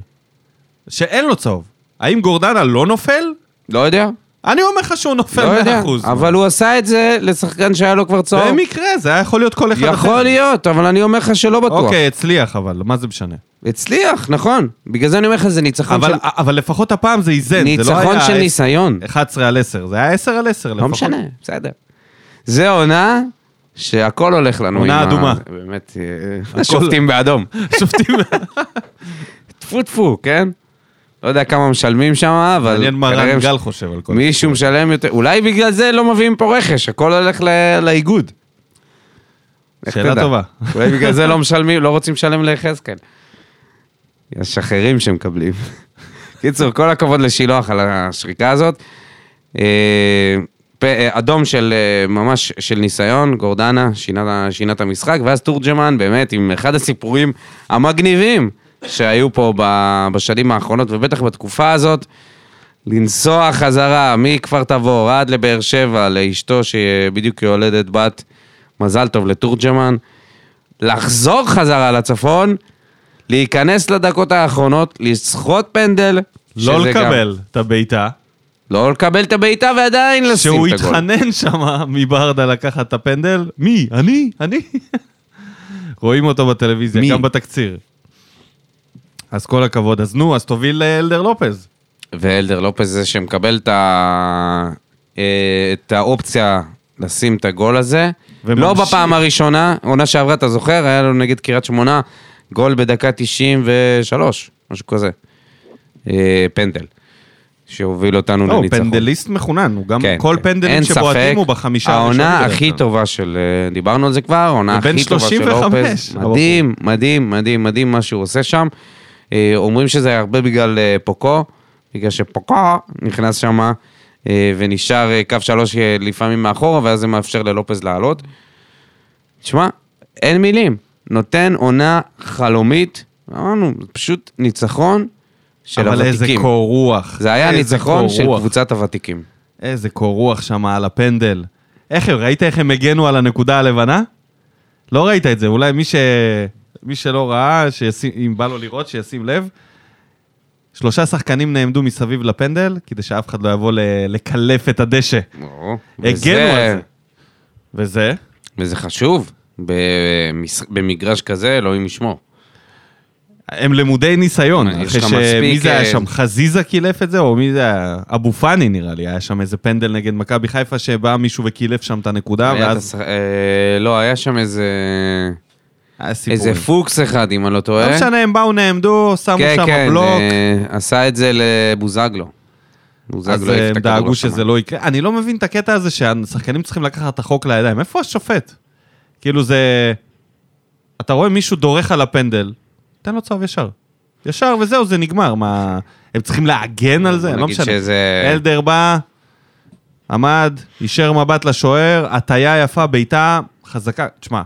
שאין לו צהוב, האם גורדנה לא נופל?
לא יודע,
אני אומר לך שהוא
לא
נופל
יודע.
100%.
אבל הוא עשה את זה לשחקן שהיה לו כבר צהוב.
במקרה, זה היה יכול להיות כל אחד אחר.
יכול להיות, אבל אני אומר לך שלא בטוח.
אוקיי, הצליח אבל, מה זה משנה?
הצליח, נכון. בגלל זה אני אומר לך, זה ניצחון
אבל,
של...
אבל לפחות הפעם זה איזן, זה לא היה...
נכון ניצחון של
עשר-
ניסיון.
11 על 10, זה היה 10 על 10 לפחות.
לא משנה, בסדר. זה עונה שהכל הולך לנו.
עונה
עם ה-
אדומה.
זה באמת, אה, השופטים באדום.
שופטים,
טפו טפו, כן? לא יודע כמה משלמים שם, אבל...
מעניין מה
כנראה
רן
מש-
גל חושב על כל זה.
מישהו משלם יותר, אולי בגלל זה לא מביאים פה רכש, הכל הולך ל- לאיגוד. איך
שאלה
תדע?
טובה.
אולי בגלל זה לא משלמים, לא רוצים לשלם ליחזקאל. יש אחרים שמקבלים. קיצור, כל הכבוד לשילוח על השריקה הזאת. אה, פ- אה, אדום של אה, ממש של ניסיון, גורדנה שינה, שינה את המשחק, ואז תורג'מן באמת עם אחד הסיפורים המגניבים שהיו פה ב- בשנים האחרונות, ובטח בתקופה הזאת, לנסוע חזרה מכפר תבור עד לבאר שבע, לאשתו שבדיוק יולדת בת, מזל טוב לתורג'מן, לחזור חזרה לצפון, להיכנס לדקות האחרונות, לסחוט פנדל.
לא
שזה גם-
לקבל את הבעיטה,
לא לקבל את הבעיטה ועדיין לא לשים
שהוא
את הגול.
התחנן שם מברדה לקחת את הפנדל, מי? אני? אני? רואים אותו בטלוויזיה,
מי?
גם בתקציר. אז כל הכבוד, אז נו, אז תוביל לאלדר לופז.
ואלדר לופז זה שמקבל את, ה... אה, את האופציה לשים את הגול הזה.
וממשיך.
לא בפעם הראשונה, עונה שעברה, אתה זוכר, היה לנו נגד קריית שמונה גול בדקה 93, משהו כזה. אה, פנדל. שהוביל אותנו
לא, הוא
לניצחון.
פנדליסט מחונן, הוא גם,
כן,
כל
כן. אין
פנדלים
ספק.
שבועטים הוא בחמישה הראשונים.
העונה
בדרך
הכי
כלל.
טובה של... אה, דיברנו על זה כבר, העונה
הוא בן לא
הכי טובה של
35,
לופס.
הבחור.
מדהים, מדהים, מדהים, מדהים מה שהוא עושה שם. אה, אומרים שזה היה הרבה בגלל אה, פוקו, בגלל שפוקו נכנס שם ונשאר אה, קו שלוש אה, לפעמים מאחורה, ואז זה מאפשר ללופז לעלות. תשמע, אין מילים. נותן עונה חלומית, אמרנו, פשוט ניצחון של
אבל איזה
הוותיקים.
קור רוח.
זה היה
איזה
ניצחון
קור
של
רוח.
קבוצת הוותיקים.
איזה קור רוח שם על הפנדל. איך הם, ראית איך הם הגנו על הנקודה הלבנה? לא ראית את זה, אולי מי, ש... מי שלא ראה, שישים... אם בא לו לראות, שישים לב. שלושה שחקנים נעמדו מסביב לפנדל, כדי שאף אחד לא יבוא ל... לקלף את הדשא. הגנו
לא. וזה-
על זה. וזה?
וזה חשוב, במש... במגרש כזה, אלוהים ישמור.
הם למודי ניסיון.
יש
אחרי
לך
ש-
מספיק,
מי זה היה
אה,
שם? חזיזה קילף את זה? או מי זה היה? אבו פאני נראה לי, היה שם איזה פנדל נגד מכבי חיפה, שבא מישהו וקילף שם את הנקודה,
היה את
ואז...
הש... אה, לא, היה שם איזה...
היה סיפורים.
איזה פוקס אחד, אם אני לא טועה.
לא משנה, הם באו, נעמדו, שמו
כן,
שם
כן,
בלוק.
אה, עשה את זה לבוזגלו.
אז
בוזגלו העיף לא את
הם
הכדור
דאגו
לשם.
שזה לא יקרה. אני לא מבין את הקטע הזה שהשחקנים צריכים לקחת את החוק לידיים. איפה השופט? כאילו זה... אתה רואה מישהו דורך על הפנדל, תן לו צהוב ישר. ישר וזהו, זה נגמר. מה, הם צריכים להגן על זה?
אה, בוא
לא
נגיד
משנה.
שזה-
אלדר בא, עמד, הישר מבט לשוער, הטיה יפה, בעיטה חזקה. תשמע,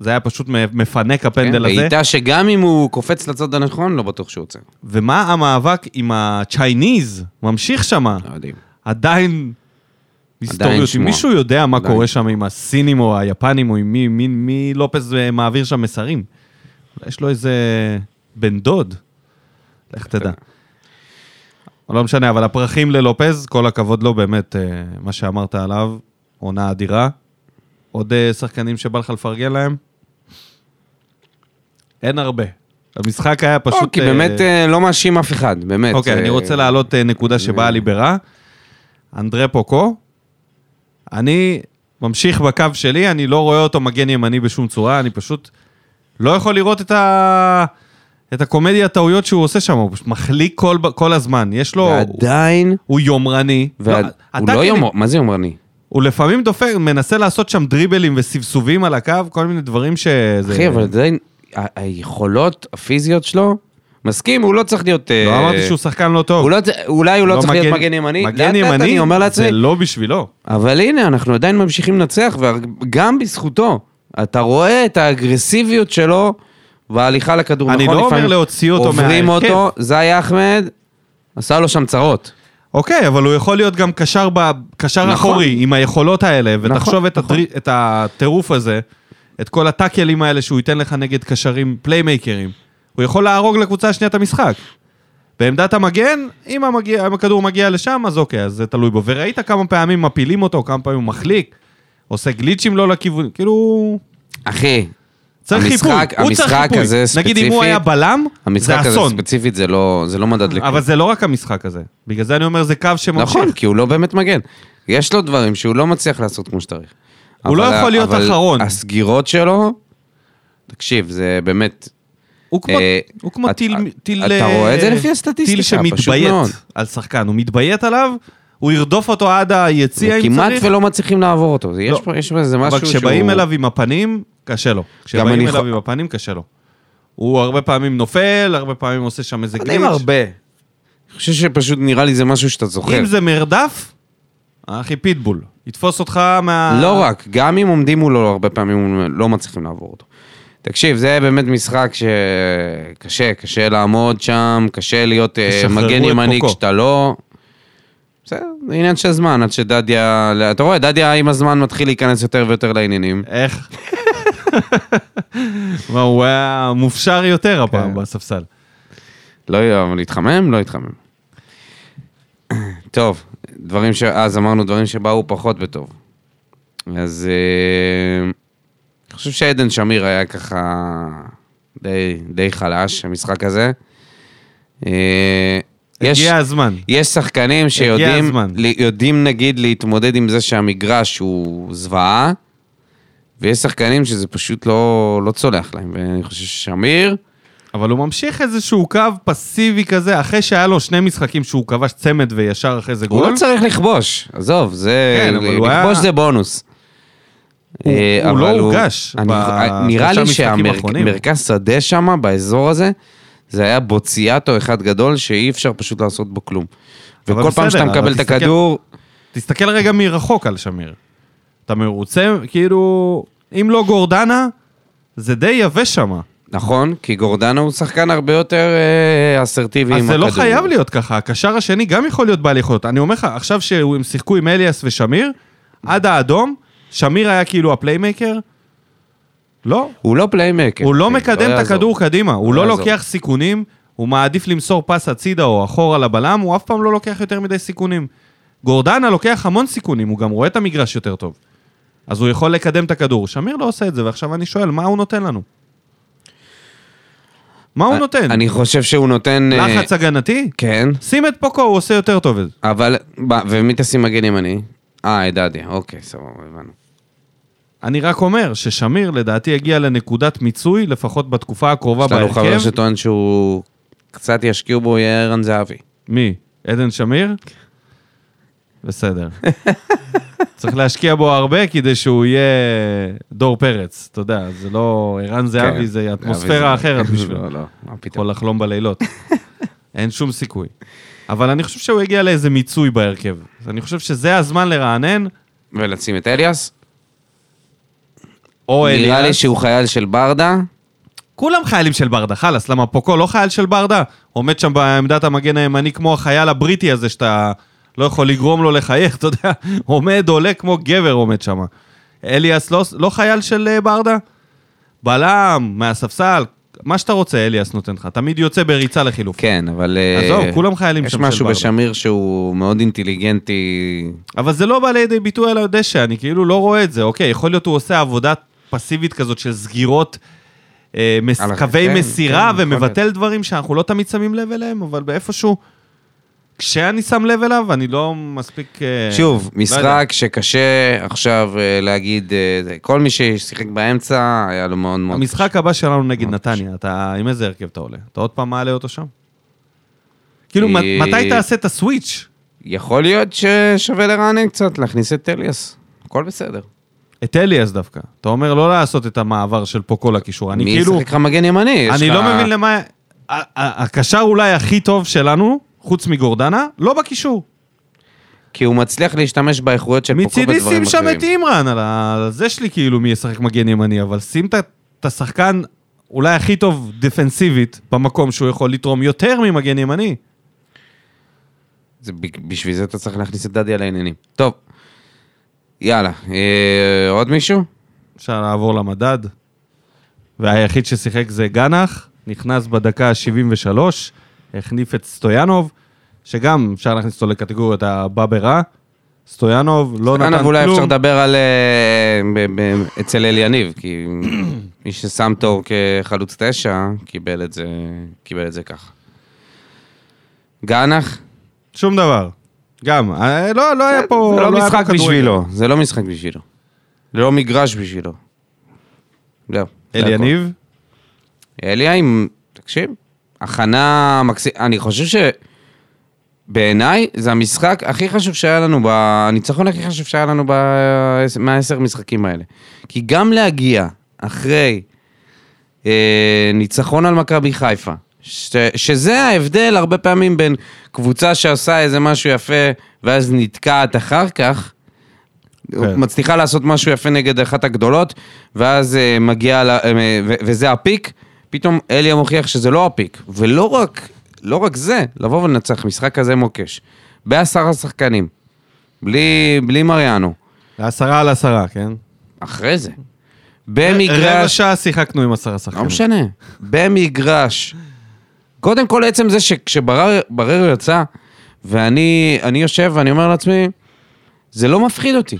זה היה פשוט מפנק הפנדל
כן,
הזה.
בעיטה שגם אם הוא קופץ לצד הנכון, לא בטוח שהוא עוצר.
ומה המאבק עם הצ'ייניז? ממשיך שמה.
לא יודעים.
עדיין היסטוריות. אם
שמועה.
מישהו יודע מה
עדיין.
קורה שם עם הסינים או היפנים או עם מי, מי, מי לופז אה, מעביר שם מסרים? אולי יש לו איזה בן דוד. לך תדע.
אה.
לא משנה, אבל הפרחים ללופז, כל הכבוד לו, באמת, אה, מה שאמרת עליו, עונה אדירה. עוד אה, שחקנים שבא לך לפרגן להם? אין הרבה. המשחק היה פשוט...
פשוט... כי
אה,
באמת אה, לא מאשים אף אחד, באמת.
אוקיי, אני
אה,
רוצה להעלות אה, נקודה שבאה לי ברע. אנדרה פוקו, אני ממשיך בקו שלי, אני לא רואה אותו מגן ימני בשום צורה, אני פשוט לא יכול לראות את ה... את הקומדיה, הטעויות שהוא עושה שם, הוא פשוט מחליק כל, ב- כל הזמן. יש לו...
ועדיין...
הוא יומרני.
ועד- הוא
אתה כן-
לא
כלי-
יומר... מה זה יומרני?
הוא לפעמים דופק, מנסה לעשות שם דריבלים וסבסובים על הקו, כל מיני דברים שזה...
אחי, אבל עדיין, ה- היכולות הפיזיות שלו, מסכים, הוא לא צריך להיות...
לא
אה,
אמרתי שהוא שחקן לא טוב.
הוא לא צ- אולי הוא לא צריך להיות מגן ימני. לאט
מגן
לאט
ימני,
אני אומר
זה
לעצמי,
לא בשבילו.
אבל הנה, אנחנו עדיין ממשיכים לנצח, וגם בזכותו. אתה רואה את האגרסיביות שלו וההליכה לכדור.
אני
נכון,
לא
לפעמים
אומר להוציא אותו
עוברים
מההרכב.
אותו, זי אחמד, עשה לו שם צרות.
אוקיי, אבל הוא יכול להיות גם קשר, ב... קשר
נכון.
נכון. אחורי עם היכולות האלה,
נכון,
ותחשוב את, הטרי... את הטירוף הזה, את כל הטאקלים האלה שהוא ייתן לך נגד קשרים פליימייקרים. הוא יכול להרוג לקבוצה השנייה את המשחק. בעמדת המגן, אם, המגיע, אם הכדור מגיע לשם, אז אוקיי, אז זה תלוי בו. וראית כמה פעמים מפילים אותו, כמה פעמים הוא מחליק, עושה גליצ'ים לא לכיוון, כאילו...
אחי,
צריך
המשחק-
חיפוי, הוא צריך
המשחק
חיפוי.
הזה
נגיד אם הוא
ספציפית-
היה בלם, זה
המשחק הזה
אסון.
ספציפית זה לא, זה לא מדד לכלום.
אבל זה לא רק המשחק הזה. בגלל זה אני אומר, זה קו שממשיך.
נכון, כי הוא לא באמת מגן. יש לו דברים שהוא לא מצליח לעשות כמו שצריך.
הוא לא
אבל-
יכול להיות אחרון.
אבל הסגירות שלו, תקשיב, זה באמת...
הוא כמו,
אה,
הוא כמו
את-
טיל,
את-
טיל...
אתה
אה,
רואה את זה לפי הסטטיסטיקה,
טיל
פשוט
שמתביית
מאוד.
על שחקן, הוא מתביית עליו, הוא ירדוף אותו עד היציע אם צריך.
כמעט ולא מצליחים לעבור אותו. זה- יש
לא.
פה יש פה איזה משהו
אבל
שהוא...
כשבאים אליו עם הפנים, קשה לו. כשבאים
אני
אליו
חו-
עם הפנים, קשה לו. הוא הרבה פעמים נופל, הרבה פעמים עושה שם איזה
לא יודע אם הרבה. אני חושב שפשוט נראה לי זה משהו שאתה זוכר.
אם זה מרדף, אחי פיטבול. יתפוס אותך מה...
לא רק, גם אם עומדים מולו, הרבה פעמים הם לא מצליחים לעבור אותו. תקשיב, זה באמת משחק שקשה, קשה לעמוד שם, קשה להיות אה,
תשחררו
מגן
את
ימני
פוקו.
כשאתה לא... בסדר, זה עניין של זמן, עד שדדיה... אתה רואה, דדיה עם הזמן מתחיל להיכנס יותר ויותר לעניינים.
איך? מה, הוא היה מופשר יותר הפעם
כן.
בספסל.
לא יהיה, אבל להתחמם? לא התחמם. טוב, דברים ש... אז אמרנו דברים שבאו פחות בטוב. אז אה, אני חושב שעדן שמיר היה ככה די, די חלש, המשחק הזה. אה, יש,
הגיע הזמן.
יש שחקנים שיודעים,
הזמן.
ל- יודעים נגיד להתמודד עם זה שהמגרש הוא זוועה, ויש שחקנים שזה פשוט לא, לא צולח להם, ואני חושב ששמיר...
אבל הוא ממשיך איזשהו קו פסיבי כזה, אחרי שהיה לו שני משחקים שהוא כבש צמד וישר אחרי זה
הוא
גול.
לא צריך לכבוש, עזוב, זה...
כן, אבל הוא היה-
לכבוש זה בונוס.
הוא-
אה,
הוא
אבל
לא הורגש
אני- אה,
בשלושה
נראה לי
משחקים האחרונים.
שהמרכז שדה שם, באזור הזה, זה היה בוציאטו אחד גדול, שאי אפשר פשוט לעשות בו כלום.
אבל
וכל פעם
בסדר,
שאתה
אבל
מקבל את
תסתכל-
הכדור,
תסתכל רגע מרחוק על שמיר. אתה מרוצה, כאילו, אם לא גורדנה, זה די יבש שם.
נכון, כי גורדנה הוא שחקן הרבה יותר אה, אסרטיבי עם
אז
הכדור.
זה לא חייב להיות ככה, הקשר השני גם יכול להיות בעל יכולת. אני אומר לך, עכשיו שהם שיחקו עם אליאס ושמיר, עד האדום, שמיר היה כאילו הפליימייקר, לא,
הוא לא פליימקר.
הוא לא מקדם את הכדור קדימה, הוא
לא
לא
יעזור.
לוקח סיכונים, הוא מעדיף למסור פס הצידה או אחורה לבלם, הוא אף פעם לא לוקח יותר מדי סיכונים. גורדנה לוקח המון סיכונים, הוא גם רואה את המגרש יותר טוב. אז הוא יכול לקדם את הכדור. שמיר לא עושה את זה, ועכשיו אני שואל, מה הוא נותן לנו? מה הוא נותן?
אה, אני חושב שהוא נותן... אה,
לחץ הגנתי?
כן.
שים את פוקו, הוא עושה יותר טוב את זה.
אבל, ב- ומי תשים מגן ימני? אה, את דדיה, אוקיי, סבבה, הבנו.
אני רק אומר ששמיר לדעתי יגיע לנקודת מיצוי, לפחות בתקופה הקרובה
יש לנו חבר
בהרכב.
שטוען שהוא... קצת ישקיעו בו, יהיה ערן זהבי.
מי? עדן שמיר? בסדר. צריך להשקיע בו הרבה כדי שהוא יהיה דור פרץ, אתה יודע, זה לא... ערן
כן.
זהבי זה
זהבי זה-
אטמוספירה אחרת בשבילו.
לא, לא, מה פתאום.
יכול לחלום בלילות. אין שום סיכוי. אבל אני חושב שהוא יגיע לאיזה מיצוי בהרכב. אז אני חושב שזה הזמן לרענן,
ולשים את אליאס?
או אליאס.
נראה לי שהוא חייל של ברדה.
כולם חיילים של ברדה, חלאס, למה פוקו לא חייל של ברדה? עומד שם בעמדת המגן הימני כמו החייל הבריטי הזה שאתה לא יכול לגרום לו לחייך, אתה יודע, עומד, עולה כמו גבר עומד שם. אליאס לא, לא חייל של אה, ברדה? בלם, מהספסל, מה שאתה רוצה אליאס נותן לך, תמיד יוצא בריצה לחילוף.
כן, אבל... אה,
עזוב, כולם חיילים
יש
שם של
משהו
ברדה.
בשמיר שהוא מאוד אינטליגנטי.
אבל זה לא בא לידי ביטוי על הדשא, אני כאילו לא רואה את זה. אוקיי, יכול להיות הוא עושה עבודה פסיבית כזאת של סגירות, אה, מס,
על הח-
קווי
כן,
מסירה
כן, יכול
ומבטל דברים שאנחנו לא תמיד שמים לב אליהם, אבל באיפשהו, כשאני שם לב אליו, אני לא מספיק... אה,
שוב,
לא יודע.
משחק שקשה עכשיו אה, להגיד, אה, זה- כל מי ששיחק באמצע היה לו מאוד מאוד...
המשחק הבא שלנו נגד נתניה, אתה עם איזה הרכב אתה עולה? אתה עוד פעם מעלה אותו שם? כאילו, מת-
אה,
מתי תעשה את הסוויץ'?
יכול להיות ששווה לרענן קצת, להכניס את אליאס. הכל בסדר.
את אליאס דווקא. אתה אומר לא לעשות את המעבר של פה כל הקישור. אני
מי
כאילו...
ישחק לך מגן ימני? יש
אני
לך-
לא מבין למה... ה- ה- הקשר אולי הכי טוב שלנו, חוץ מגורדנה, לא בקישור.
כי הוא מצליח להשתמש באיכויות של פוקו
מצידי שים
בדברים
שם
אחרים.
את אימרן על ה- על זה שלי כאילו מי ישחק מגן ימני, אבל שים את ה- את השחקן אולי הכי טוב דפנסיבית במקום שהוא יכול לתרום יותר ממגן ימני.
זה ב- בשביל זה אתה צריך להכניס את דדי על העניינים. טוב, יאללה, אה, עוד מישהו?
אפשר לעבור למדד. והיחיד ששיחק זה גנח, נכנס בדקה ה-73, החניף את סטויאנוב, שגם אפשר להכניס אותו לקטגוריית הבא ברע. סטויאנוב לא נתן
אנא,
כלום.
ואולי אפשר לדבר על... אה, ב- ב- אצל אל יניב, כי מי ששם תור כחלוץ תשע, קיבל את זה, קיבל את זה ככה. גנח?
שום דבר. גם, אה, לא, לא היה פה...
זה לא
היה פה
משחק
כדורגל.
בשבילו, זה לא משחק בשבילו. זה לא מגרש בשבילו. זהו. זה
אל
הכל.
יניב?
אליה עם, תקשיב, הכנה מקסימה, אני חושב שבעיניי זה המשחק הכי חשוב שהיה לנו, ב... הניצחון הכי חשוב שהיה לנו ב... מהעשר משחקים האלה. כי גם להגיע אחרי אה, ניצחון על מכבי חיפה, ש... שזה ההבדל הרבה פעמים בין קבוצה שעושה איזה משהו יפה ואז נתקעת אחר כך,
כן.
מצליחה לעשות משהו יפה נגד אחת הגדולות, ואז אה, מגיע, ל- אה, ו- וזה הפיק, פתאום אליה מוכיח שזה לא הפיק. ולא רק, לא רק זה, לבוא ולנצח משחק כזה מוקש. בעשרה שחקנים, בלי, בלי מריאנו,
עשרה על עשרה, כן? אה,
אחרי זה.
רבע
במגרש,
שעה שיחקנו עם עשרה
לא
שחקנים.
משנה, במגרש. קודם כל, עצם זה שכשברר ברר יצא, ואני אני יושב ואני אומר לעצמי, זה לא מפחיד אותי.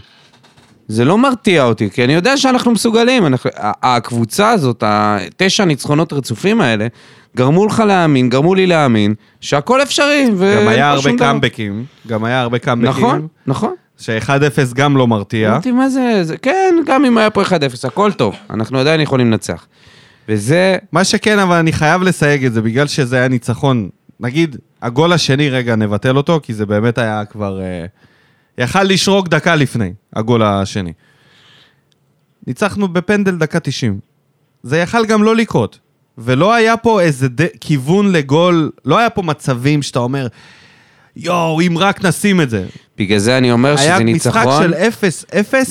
זה לא מרתיע אותי, כי אני יודע שאנחנו מסוגלים. אנחנו, ה- הקבוצה הזאת, התשע ניצחונות רצופים האלה, גרמו לך להאמין, גרמו לי להאמין, שהכל אפשרי. ו-
גם היה
אין פה
הרבה
לא שום דבר.
קאמבקים, גם היה הרבה קאמבקים.
נכון, נכון.
ש-1-0 גם לא מרתיע.
אמרתי, מה זה, זה? כן, גם אם היה פה 1-0, הכל טוב, אנחנו עדיין יכולים לנצח. וזה,
מה שכן, אבל אני חייב לסייג את זה, בגלל שזה היה ניצחון. נגיד, הגול השני, רגע, נבטל אותו, כי זה באמת היה כבר... אה, יכל לשרוק דקה לפני, הגול השני. ניצחנו בפנדל דקה 90. זה יכל גם לא לקרות. ולא היה פה איזה ד... כיוון לגול, לא היה פה מצבים שאתה אומר, יואו, אם רק נשים את זה.
בגלל זה אני אומר
היה
שזה
משחק
ניצחון,
של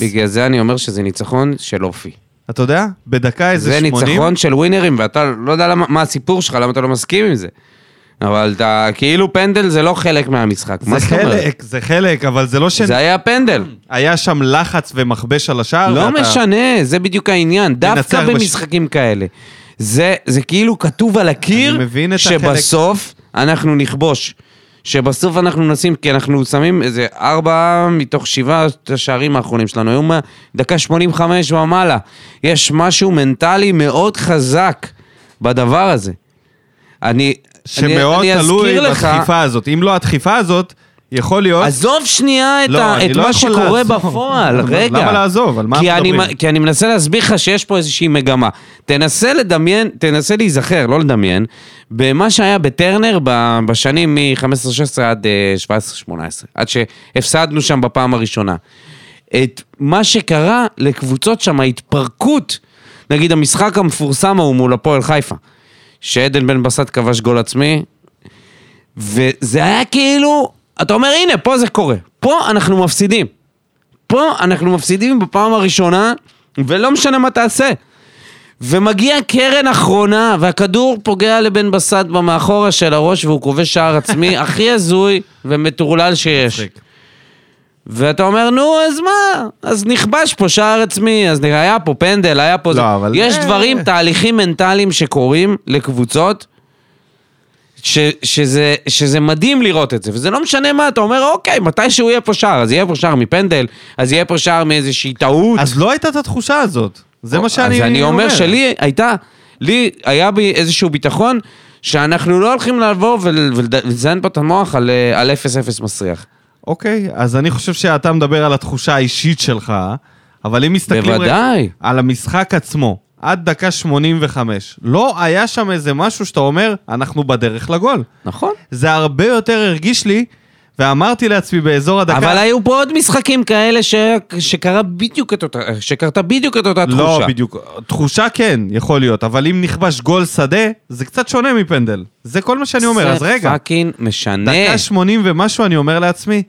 0-0,
בגלל זה אני אומר שזה ניצחון של אופי.
אתה יודע? בדקה איזה
זה
80.
ניצחון של ווינרים, ואתה לא יודע למה, מה הסיפור שלך, למה אתה לא מסכים עם זה. אבל אתה, כאילו פנדל זה לא חלק מהמשחק, מה
זה
זאת אומרת?
חלק, זה חלק, אבל זה לא ש...
זה היה פנדל.
היה שם לחץ ומכבש על השער.
לא
ואתה-
משנה, זה בדיוק העניין, דווקא
מנצח בש-
במשחקים כאלה. זה, זה כאילו כתוב על הקיר,
אני מבין את
שבסוף אנחנו נכבוש. שבסוף אנחנו נשים, כי אנחנו שמים איזה ארבע מתוך שבעה השערים האחרונים שלנו, היו מהדקה 85 ומעלה. יש משהו מנטלי מאוד חזק בדבר הזה. אני...
שמאוד
אני, אני
תלוי
אזכיר לך-
בדחיפה הזאת. אם לא הדחיפה הזאת, יכול להיות...
עזוב שנייה את,
לא,
ה...
אני
את
לא
מה
יכול
שקורה
לעזוב.
בפועל,
למה-
רגע.
למה לעזוב? על מה
כי
אנחנו
אני,
מדברים?
מ- כי אני מנסה להסביר לך שיש פה איזושהי מגמה. תנסה לדמיין, תנסה להיזכר, לא לדמיין, במה שהיה בטרנר ב- בשנים מ-15-16 עד אה, 17-18, עד שהפסדנו שם בפעם הראשונה. את מה שקרה לקבוצות שם, ההתפרקות, נגיד המשחק המפורסם ההוא מול הפועל חיפה, שעדן בן בסט כבש גול עצמי, וזה היה כאילו, אתה אומר, הנה, פה זה קורה. פה אנחנו מפסידים. פה אנחנו מפסידים בפעם הראשונה, ולא משנה מה תעשה. ומגיע קרן אחרונה, והכדור פוגע לבן בסט במאחורה של הראש, והוא כובש שער עצמי הכי הזוי ומטורלל שיש.
מצחיק.
ואתה אומר, נו, אז מה? אז נכבש פה שער עצמי, אז נראה, היה פה פנדל, היה פה
לא,
זה.
אבל-
יש
אה,
דברים,
אה.
תהליכים מנטליים שקורים לקבוצות, ש, שזה, שזה מדהים לראות את זה, וזה לא משנה מה, אתה אומר, אוקיי, מתישהו יהיה פה שער, אז יהיה פה שער מפנדל, אז יהיה פה שער מאיזושהי טעות.
אז לא הייתה את התחושה הזאת. זה מה שאני
אז אני אומר שלי הייתה, לי היה בי איזשהו ביטחון שאנחנו לא הולכים לבוא ול- ולד- ולזיין פה את המוח על אה, על 0-0 מסריח.
אוקיי, אז אני חושב שאתה מדבר על התחושה האישית שלך, אבל אם מסתכלים... רגע
בוודאי.
על המשחק עצמו, עד דקה 85, לא היה שם איזה משהו שאתה אומר, אנחנו בדרך לגול.
נכון.
זה הרבה יותר הרגיש לי, ואמרתי לעצמי באזור הדקה...
אבל היו פה עוד משחקים כאלה ש... שקרה בדיוק את אותה, שקרתה בדיוק את אותה
לא,
תחושה.
בדיוק. תחושה כן, יכול להיות, אבל אם נכבש גול שדה, זה קצת שונה מפנדל. זה כל מה שאני אומר, אז
זה
רגע,
פאקינג משנה.
דקה 80 ומשהו, אני אומר לעצמי,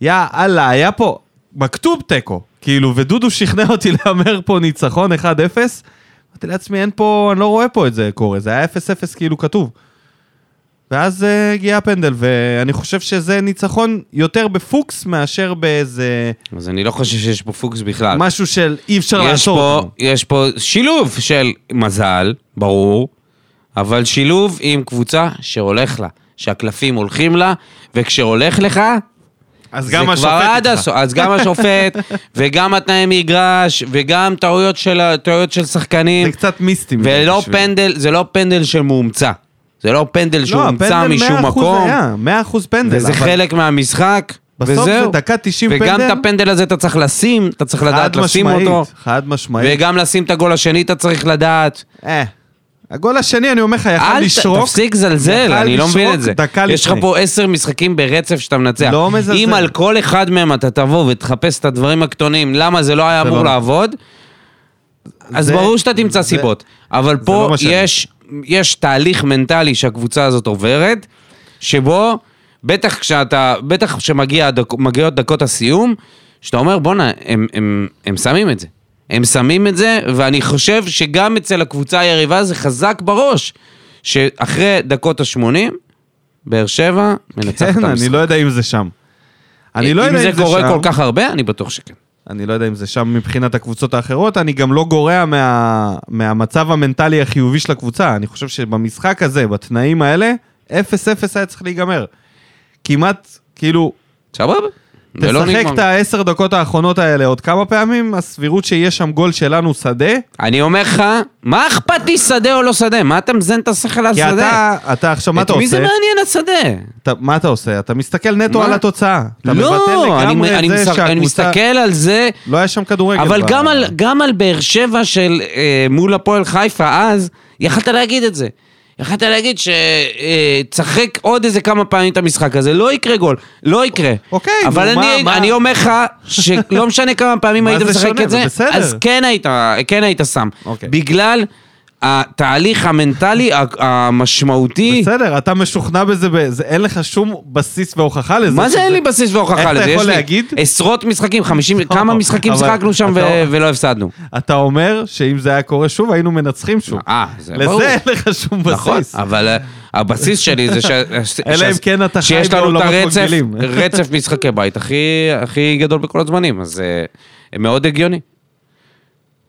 יא אללה, היה פה מכתוב תיקו. כאילו, ודודו שכנע אותי להמר פה ניצחון 1-0. אמרתי לעצמי, אין פה, אני לא רואה פה את זה קורה, זה היה 0-0 כאילו כתוב. ואז אה, הגיע הפנדל, ואני חושב שזה ניצחון יותר בפוקס מאשר באיזה
אז אני לא חושב שיש פה פוקס בכלל.
משהו של אי אפשר
אה, יש
לעצור
פה,
אותו.
יש פה שילוב של מזל, ברור, אבל שילוב עם קבוצה שהולך לה, שהקלפים הולכים לה, וכשהולך לך,
אז
זה
גם
כבר
השופט
עד
איתך.
הסוף. אז גם השופט, וגם התנאי מגרש, וגם טעויות של, ה- טעויות של שחקנים.
זה קצת מיסטי. מדי
ולא
בשבילי.
פנדל, זה לא פנדל שמומצא. זה לא פנדל שהומצא משום
לא,
מקום,
הפנדל 100% היה, 100% פנדל.
וזה
אבל
חלק מהמשחק,
בסוף זה
וזהו.
דקה 90 פנדל.
וגם את הפנדל הזה אתה צריך לשים, אתה צריך
חד
לדעת לשים
משמעית,
אותו,
חד משמעית.
וגם לשים את הגול השני אתה צריך לדעת.
אה, הגול השני, אני אומר לך, יכל
אל ת-
לשרוק.
תפסיק לזלזל,
יכל
אני לא מבין
לשרוק
את זה.
דקה
יש לך
לפני.
פה עשר משחקים ברצף שאתה מנצח.
לא מזלזל.
אם על כל אחד מהם אתה תבוא ותחפש את הדברים הקטנים, למה זה לא היה
זה
אמור
לא-
לעבוד, אז
זה-
ברור שאתה תמצא
זה-
סיבות. אבל פה
לא מה שאני-
יש, יש תהליך מנטלי שהקבוצה הזאת עוברת, שבו בטח כשאתה, בטח כשמגיעות דק, דקות הסיום, שאתה אומר, בואנה, הם, הם, הם שמים את זה. הם שמים את זה, ואני חושב שגם אצל הקבוצה היריבה זה חזק בראש, שאחרי דקות ה-80, באר שבע מנצחת את
כן,
המשחק.
אני לא יודע אם זה שם. אני לא יודע
אם
אם זה
קורה כל
שם.
כך הרבה, אני בטוח שכן.
אני לא יודע אם זה שם מבחינת הקבוצות האחרות, אני גם לא גורע מה- מהמצב המנטלי החיובי של הקבוצה. אני חושב שבמשחק הזה, בתנאים האלה, 0-0 היה צריך להיגמר. כמעט, כאילו,
סבבה? ולא
תשחק
לא נגמר.
את העשר דקות האחרונות האלה עוד כמה פעמים, הסבירות שיהיה שם גול שלנו שדה,
אני אומר לך, מה אכפת לי שדה או לא שדה? מה אתה מזיין את השכל על
כי
שדה?
אתה, אתה עכשיו, מה אתה
את מי זה
עושה?
מעניין השדה?
אתה, מה אתה עושה? אתה מסתכל נטו
מה?
על התוצאה. אתה מבטל
לא,
לגמרי
אני, אני,
את זה
מסתכל, אני
שהקבוצה-
מסתכל על זה,
לא היה שם כדורגל.
אבל
ב-
גם על, גם על באר שבע של אה, מול הפועל חיפה אז, יכלת להגיד את זה. יכלת להגיד שתשחק עוד איזה כמה פעמים את המשחק הזה, לא יקרה גול, לא יקרה.
אוקיי,
אבל
נו,
אני,
מה- מה-
אני אומר לך, שלא משנה כמה פעמים
מה
היית
זה
משחק
שונה?
את
זה
זה,
בסדר.
אז כן היית, כן היית שם.
אוקיי.
בגלל התהליך המנטלי ה- המשמעותי.
בסדר, אתה משוכנע בזה, ב- זה- אין לך שום בסיס והוכחה לזה.
מה זה
שזה-
אין לי בסיס והוכחה
איך
לזה?
אתה יכול
יש לי
להגיד?
עשרות משחקים, 50,
לא,
כמה משחקים
אבל
שיחקנו שם
אתה-
ו- ולא הפסדנו.
אתה אומר שאם זה היה קורה שוב, היינו מנצחים שוב.
אה, זה ברור.
לזה אין לך שום בסיס.
נכון, אבל אה, הבסיס שלי זה ש...
אלא אם
ש-
כן אתה חי
שיש לנו את
בעולמות
הרצף-
מקבילים.
רצף משחקי בית הכי הכי גדול בכל הזמנים, אז אה, מאוד הגיוני.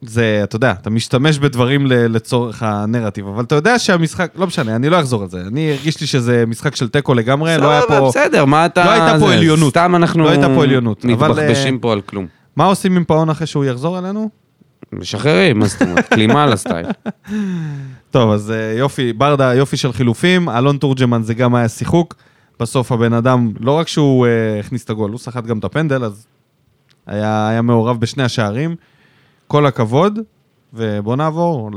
זה, אתה יודע, אתה משתמש בדברים ל- לצורך הנרטיב, אבל אתה יודע שהמשחק, לא משנה, אני לא אחזור על זה. אני הרגיש לי שזה משחק של תיקו לגמרי, לא היה
סבבה,
פה...
בסדר, מה אתה...
לא הייתה פה
זה,
עליונות.
סתם אנחנו...
לא הייתה פה עליונות, אבל, אה,
מתבחבשים פה על כלום.
מה עושים עם פאון אחרי שהוא יחזור אלינו?
משחררים, מה זאת אומרת? כלימה על הסטייל.
טוב, אז אה, יופי, ברדה, יופי של חילופים, אלון תורג'מן זה גם היה שיחוק. בסוף הבן אדם, לא רק שהוא אה, הכניס את הגול, הוא סחט גם את הפנדל, אז היה, היה מעורב בשני השערים. כל הכבוד, ובואו נעבור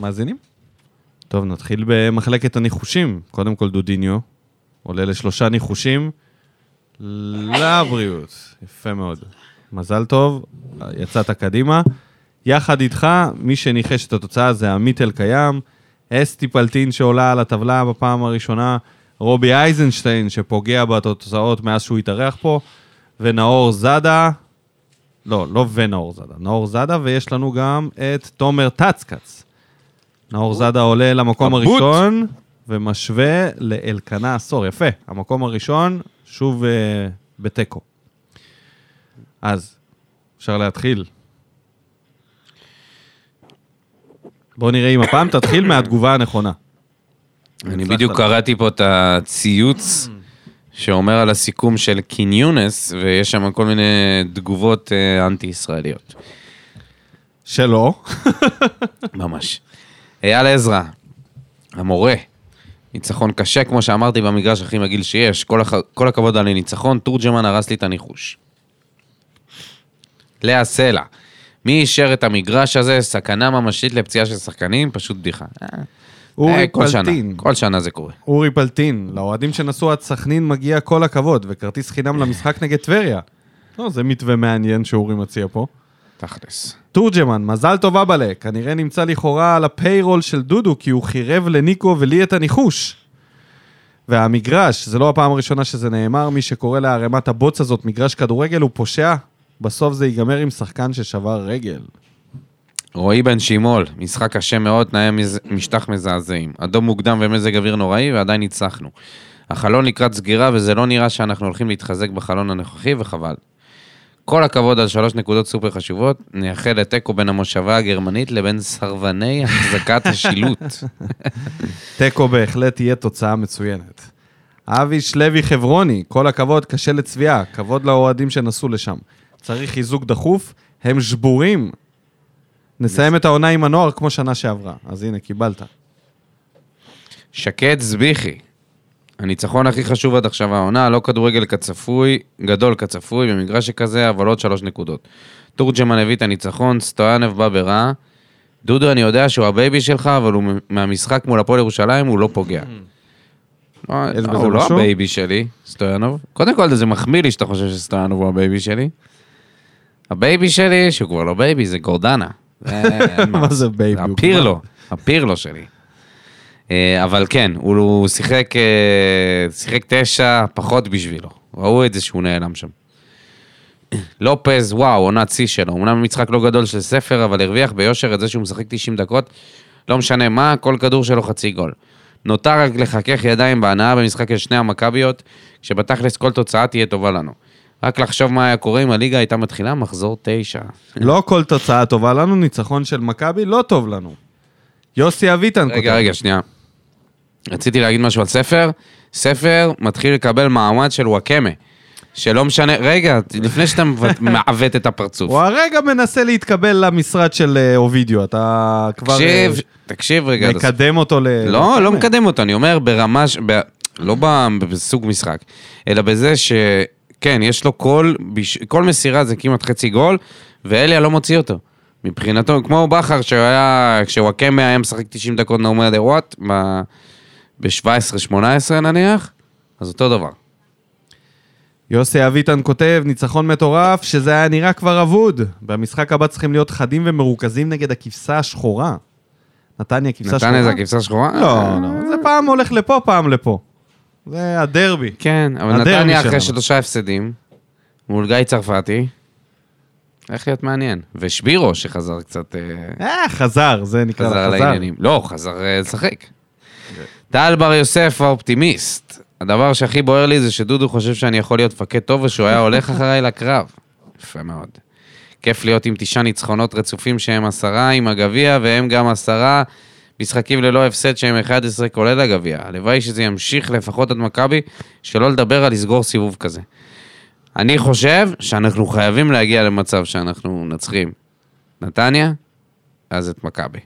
למאזינים. טוב, נתחיל במחלקת הניחושים. קודם כל דודיניו, עולה לשלושה ניחושים לבריאות. יפה מאוד. מזל טוב, יצאת קדימה. יחד איתך, מי שניחש את התוצאה זה עמית אלקיים, אסתי פלטין שעולה על הטבלה בפעם הראשונה, רובי אייזנשטיין שפוגע בתוצאות מאז שהוא התארח פה, ונאור זאדה, לא, לא ונאור זאדה, נאור זאדה, ויש לנו גם את תומר טצקץ. נאור זאדה עולה למקום
הבוט.
הראשון ומשווה לאלקנה עשור. יפה, המקום הראשון, שוב אה, בתיקו. אז, אפשר להתחיל. בואו נראה אם הפעם תתחיל מהתגובה הנכונה.
אני
הצלחת
בדיוק
לה.
קראתי פה את הציוץ שאומר על הסיכום של קיניונס, ויש שם כל מיני תגובות אה, אנטי-ישראליות.
שלא.
אה, ממש. אייל עזרא, המורה, ניצחון קשה, כמו שאמרתי, במגרש הכי מגעיל שיש. כל, הח... כל הכבוד על הניצחון, תורג'מן הרס לי את הניחוש. לאה סלע, מי אישר את המגרש הזה? סכנה ממשית לפציעה של שחקנים? פשוט בדיחה. אה,
אורי
אה, כל שנה,
פלטין.
כל שנה זה קורה.
אורי פלטין, לאוהדים שנסעו עד סכנין מגיע כל הכבוד, וכרטיס חינם למשחק נגד טבריה. לא, זה מתווה מעניין שאורי מציע פה.
תכלס.
תורג'מן, מזל טוב אבאלה, כנראה נמצא לכאורה על הפיירול של דודו, כי הוא חירב לניקו ולי את הניחוש. והמגרש, זה לא הפעם הראשונה שזה נאמר, מי שקורא לערימת הבוץ הזאת מגרש כדורגל הוא פושע, בסוף זה ייגמר עם שחקן ששבר רגל.
רועי בן שימול, משחק קשה מאוד, תנאי מז... משטח מזעזעים. אדום מוקדם ומזג אוויר נוראי, ועדיין ניצחנו. החלון לקראת סגירה, וזה לא נראה שאנחנו הולכים להתחזק בחלון הנוכחי, וחבל. כל הכבוד על שלוש נקודות סופר חשובות, נייחל לתיקו בין המושבה הגרמנית לבין סרבני החזקת השילוט.
תיקו בהחלט תהיה תוצאה מצוינת. אבי שלוי חברוני, כל הכבוד, קשה לצביעה, כבוד לאוהדים שנסעו לשם. צריך חיזוק דחוף, הם שבורים. נסיים את העונה עם הנוער כמו שנה שעברה. אז הנה, קיבלת.
שקד זביחי, הניצחון הכי חשוב עד עכשיו העונה, לא כדורגל כצפוי, גדול כצפוי במגרש שכזה, אבל עוד שלוש נקודות. תורג'מן הביא את הניצחון, סטויאנב בא ברע. דודו, אני יודע שהוא הבייבי שלך, אבל הוא מ- מהמשחק מול הפועל ירושלים, הוא לא פוגע. אה,
יש בזה
הוא לא
משהו?
הבייבי שלי, סטויאנוב. קודם כל, זה מחמיא לי שאתה חושב שסטויאנוב הוא הבייבי שלי. הבייבי שלי, שהוא כבר לא בייבי, זה גורדנה. כן, זה- אין
מה זה בייבי? הוא
הפירלו, הפירלו שלי. אה, אבל כן, הוא- הוא שיחק, אה, שיחק תשע פחות בשבילו. ראו את זה שהוא נעלם שם. לופז, וואו, עונת שיא שלו. אמנם משחק לא גדול של ספר, אבל הרוויח ביושר את זה שהוא משחק 90 דקות. לא משנה מה, כל כדור שלו חצי גול. נותר רק לחכך ידיים בהנאה במשחק של שני המכביות, כשבתכלס כל תוצאה תהיה טובה לנו. רק לחשוב מה היה קורה אם הליגה הייתה מתחילה מחזור תשע.
לא כל תוצאה טובה לנו, ניצחון של מכבי לא טוב לנו. יוסי אביטן כותב.
רגע, רגע, שנייה. רציתי להגיד משהו על ספר. ספר מתחיל לקבל מעמד של וואקמה. שלא משנה, רגע, לפני שאתה מב- מעוות את הפרצוף.
הוא הרגע מנסה להתקבל למשרד של אה, אובידיו, אתה כבר אה,
תקשיב, תקשיב רגע. עד הסוף.
מקדם אותו ל...
לא, לא מקדם אותו, אני אומר ברמה, ש... ב... לא ב- בסוג משחק, אלא בזה ש... כן, יש לו כל, ביש... כל מסירה זה כמעט חצי גול, ואליה לא מוציא אותו. מבחינתו, כמו בכר, שהיה, כשוואקמה היה משחק 90 דקות no matter what, ב-17-18 נניח, אז אותו דבר.
יוסי אביטן כותב, ניצחון מטורף, שזה היה נראה כבר אבוד. במשחק הבא צריכים להיות חדים ומרוכזים נגד הכבשה השחורה. נתניה כבשה שחורה?
נתן איזה כבשה שחורה?
לא, לא. זה פעם הולך לפה, פעם לפה. זה הדרבי.
כן, אבל
הדרבי
נתניה אחרי
שלנו.
שלושה הפסדים, מול גיא צרפתי, הולך להיות מעניין. ושבירו, שחזר קצת... אה,
אה, חזר, זה נקרא
חזר
חזר.
לעניינים. לא, חזר אה, לשחק. טל בר יוסף האופטימיסט. הדבר שהכי בוער לי זה שדודו חושב שאני יכול להיות מפקד טוב ושהוא היה הולך אחריי לקרב. יפה מאוד. כיף להיות עם תשעה ניצחונות רצופים שהם עשרה עם הגביע והם גם עשרה משחקים ללא הפסד שהם 11 כולל הגביע. הלוואי שזה ימשיך לפחות עד מכבי, שלא לדבר על לסגור סיבוב כזה. אני חושב שאנחנו חייבים להגיע למצב שאנחנו מנצחים נתניה, אז את מכבי.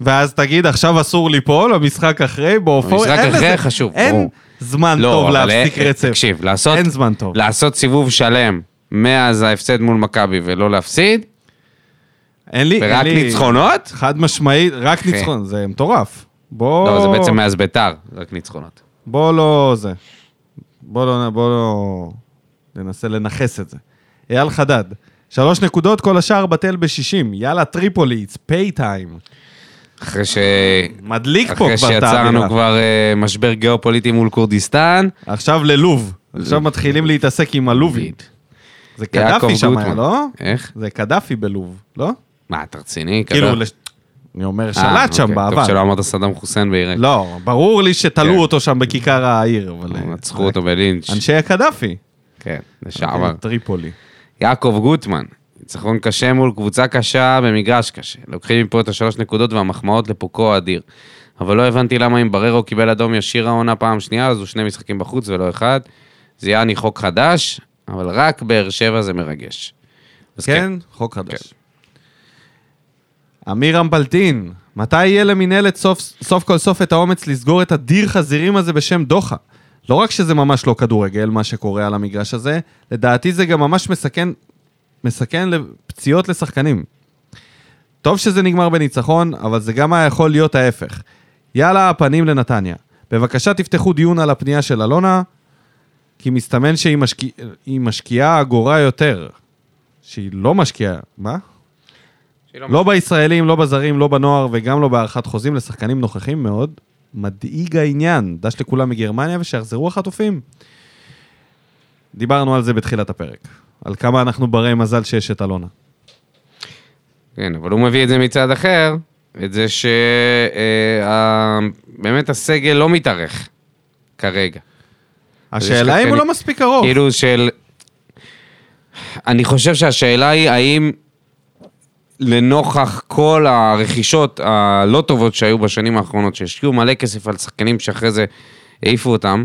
ואז תגיד, עכשיו אסור ליפול, המשחק אחרי, באופוריה.
המשחק
אין
אחרי
לזה-
חשוב,
אין
ברור. לא,
זמן טוב
אבל,
להפסיק
אה,
רצף.
תקשיב, לא, לעשות,
אין זמן טוב.
לעשות סיבוב שלם מאז ההפסד מול מכבי ולא להפסיד,
אין לי...
ורק
אין לי-
ניצחונות?
חד משמעית, רק
אחי.
ניצחון, זה מטורף. בוא...
לא, זה בעצם מאז ביתר, רק ניצחונות.
בוא לא זה. בוא לא, בוא לא ננסה לנכס את זה. אייל חדד, שלוש נקודות, כל השאר בטל בשישים. יאללה, טריפולי, it's pay time.
אחרי ש...
מדליק פה
אחרי
כבר את האווירה.
שיצרנו כבר אה, משבר גיאופוליטי מול כורדיסטן.
עכשיו ללוב. עכשיו מתחילים להתעסק עם הלובים. זה
יעקב
קדאפי שם, היה,
גוטמן.
לא?
איך?
זה קדאפי בלוב, לא?
מה, אתה רציני?
כאילו,
כזה?
לש- אני אומר,
אה,
שלט שם
אוקיי. טוב
בעבר.
שלא אמרת סדאם חוסיין בעיראק.
לא, ברור לי שתלו
כן.
אותו שם בכיכר העיר, אבל... אה,
רצחו אותו בלינץ'.
אנשי אוקיי. הקדאפי.
כן, לשעבר.
טריפולי.
יעקב גוטמן, ניצחון קשה מול קבוצה קשה במגרש קשה. לוקחים מפה את השלוש נקודות והמחמאות לפוקו האדיר. אבל לא הבנתי למה אם בררו קיבל אדום ישיר העונה פעם שנייה, אז הוא שני משחקים בחוץ ולא אחד. זה יעני חוק חדש, אבל רק באר שבע זה מרגש. אז
כן, חוק חדש. אמיר אמפלטין, מתי יהיה למינהלת סוף, סוף כל סוף את האומץ לסגור את הדיר חזירים הזה בשם דוחה? לא רק שזה ממש לא כדורגל, מה שקורה על המגרש הזה, לדעתי זה גם ממש מסכן, מסכן לפציעות לשחקנים. טוב שזה נגמר בניצחון, אבל זה גם היה יכול להיות ההפך. יאללה, הפנים לנתניה. בבקשה תפתחו דיון על הפנייה של אלונה, כי מסתמן שהיא משקיע, היא משקיעה אגורה יותר. שהיא לא משקיעה, מה?
שהיא
לא בישראלים, לא בזרים, לא בנוער וגם לא בהארכת חוזים לשחקנים נוכחים מאוד. מדאיג העניין, דש לכולם מגרמניה ושיחזרו החטופים. דיברנו על זה בתחילת הפרק, על כמה אנחנו ברי מזל שיש את אלונה.
כן, אבל הוא מביא את זה מצד אחר, את זה שבאמת הסגל לא מתארך כרגע.
השאלה אם הוא
שחקנים-
לא מספיק קרוב.
כאילו של... אני חושב שהשאלה היא האם לנוכח כל הרכישות הלא טובות שהיו בשנים האחרונות, שהשקיעו מלא כסף על שחקנים שאחרי זה העיפו אותם,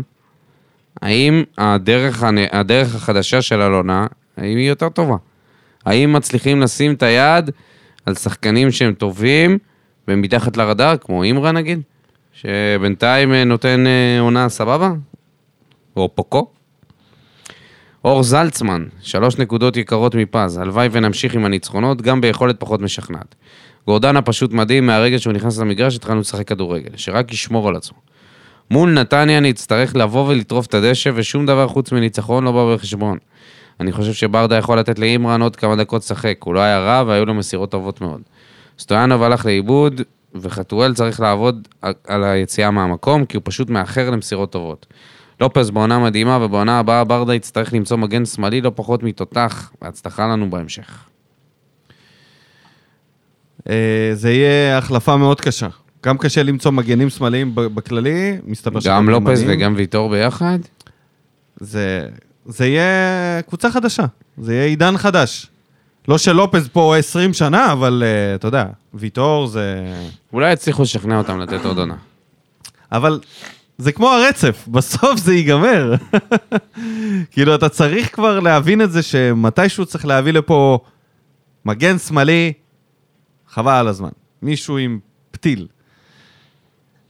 האם הדרך, הנ- הדרך החדשה של אלונה, האם היא יותר טובה? האם מצליחים לשים את היד על שחקנים שהם טובים ומתחת לרדאר, כמו אימרה נגיד, שבינתיים אה, נותן אה, עונה סבבה? או פוקו? אור זלצמן, שלוש נקודות יקרות מפז, הלוואי ונמשיך עם הניצחונות, גם ביכולת פחות משכנעת. גורדנה פשוט מדהים, מהרגע שהוא נכנס למגרש התחלנו לשחק כדורגל, שרק ישמור על עצמו. מול נתניה נצטרך לבוא ולטרוף את הדשא, ושום דבר חוץ מניצחון לא בא בחשבון. אני חושב שברדה יכול לתת לאימרן עוד כמה דקות לשחק, הוא לא היה רע והיו לו מסירות טובות מאוד. סטויאנוב הלך לאיבוד, וחתואל צריך לעבוד על היציאה מהמקום, כי הוא פשוט מאחר למסירות טובות. לופס בעונה מדהימה, ובעונה הבאה ברדה יצטרך למצוא מגן שמאלי לא פחות מתותח, והצלחה לנו בהמשך.
אה, זה יהיה החלפה מאוד קשה. גם קשה למצוא מגנים שמאליים ב- בכללי, מסתבר
גם לופס
ימניים.
וגם ויטור ביחד?
זה, זה יהיה קבוצה חדשה, זה יהיה עידן חדש. לא שלופז פה 20 שנה, אבל אה, אתה יודע, ויטור זה...
אולי יצליחו לשכנע אותם לתת עוד עונה.
אבל זה כמו הרצף, בסוף זה ייגמר. כאילו, אתה צריך כבר להבין את זה שמתישהו צריך להביא לפה מגן שמאלי, חבל על הזמן. מישהו עם פתיל.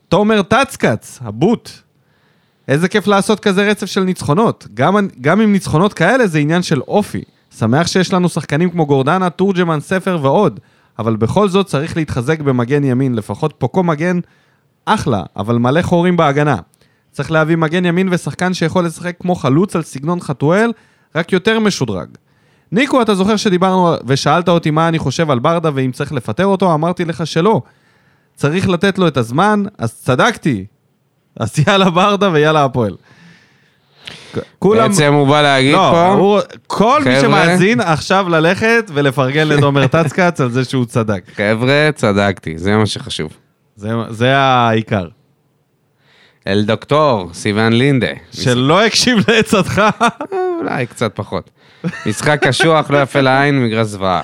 תומר טצקץ, הבוט. איזה כיף לעשות כזה רצף של ניצחונות. גם, גם עם ניצחונות כאלה זה עניין של אופי. שמח שיש לנו שחקנים כמו גורדנה, תורג'מן, ספר ועוד, אבל בכל זאת צריך להתחזק במגן ימין, לפחות פוקו מגן אחלה, אבל מלא חורים בהגנה. צריך להביא מגן ימין ושחקן שיכול לשחק כמו חלוץ על סגנון חתואל, רק יותר משודרג. ניקו, אתה זוכר שדיברנו ושאלת אותי מה אני חושב על ברדה ואם צריך לפטר אותו? אמרתי לך שלא. צריך לתת לו את הזמן, אז צדקתי. אז יאללה ברדה ויאללה הפועל. כולם...
בעצם הוא בא להגיד
לא,
פה,
הוא... כל מי
חבר'ה.
שמאזין עכשיו ללכת ולפרגן לתומר טצקץ על זה שהוא צדק.
חבר'ה, צדקתי, זה מה שחשוב.
זה, זה העיקר.
אל דוקטור סיוון לינדה.
שלא הקשיב לעצתך.
אה, אולי קצת פחות. משחק קשוח, לא יפה לעין, מגרש זוועה.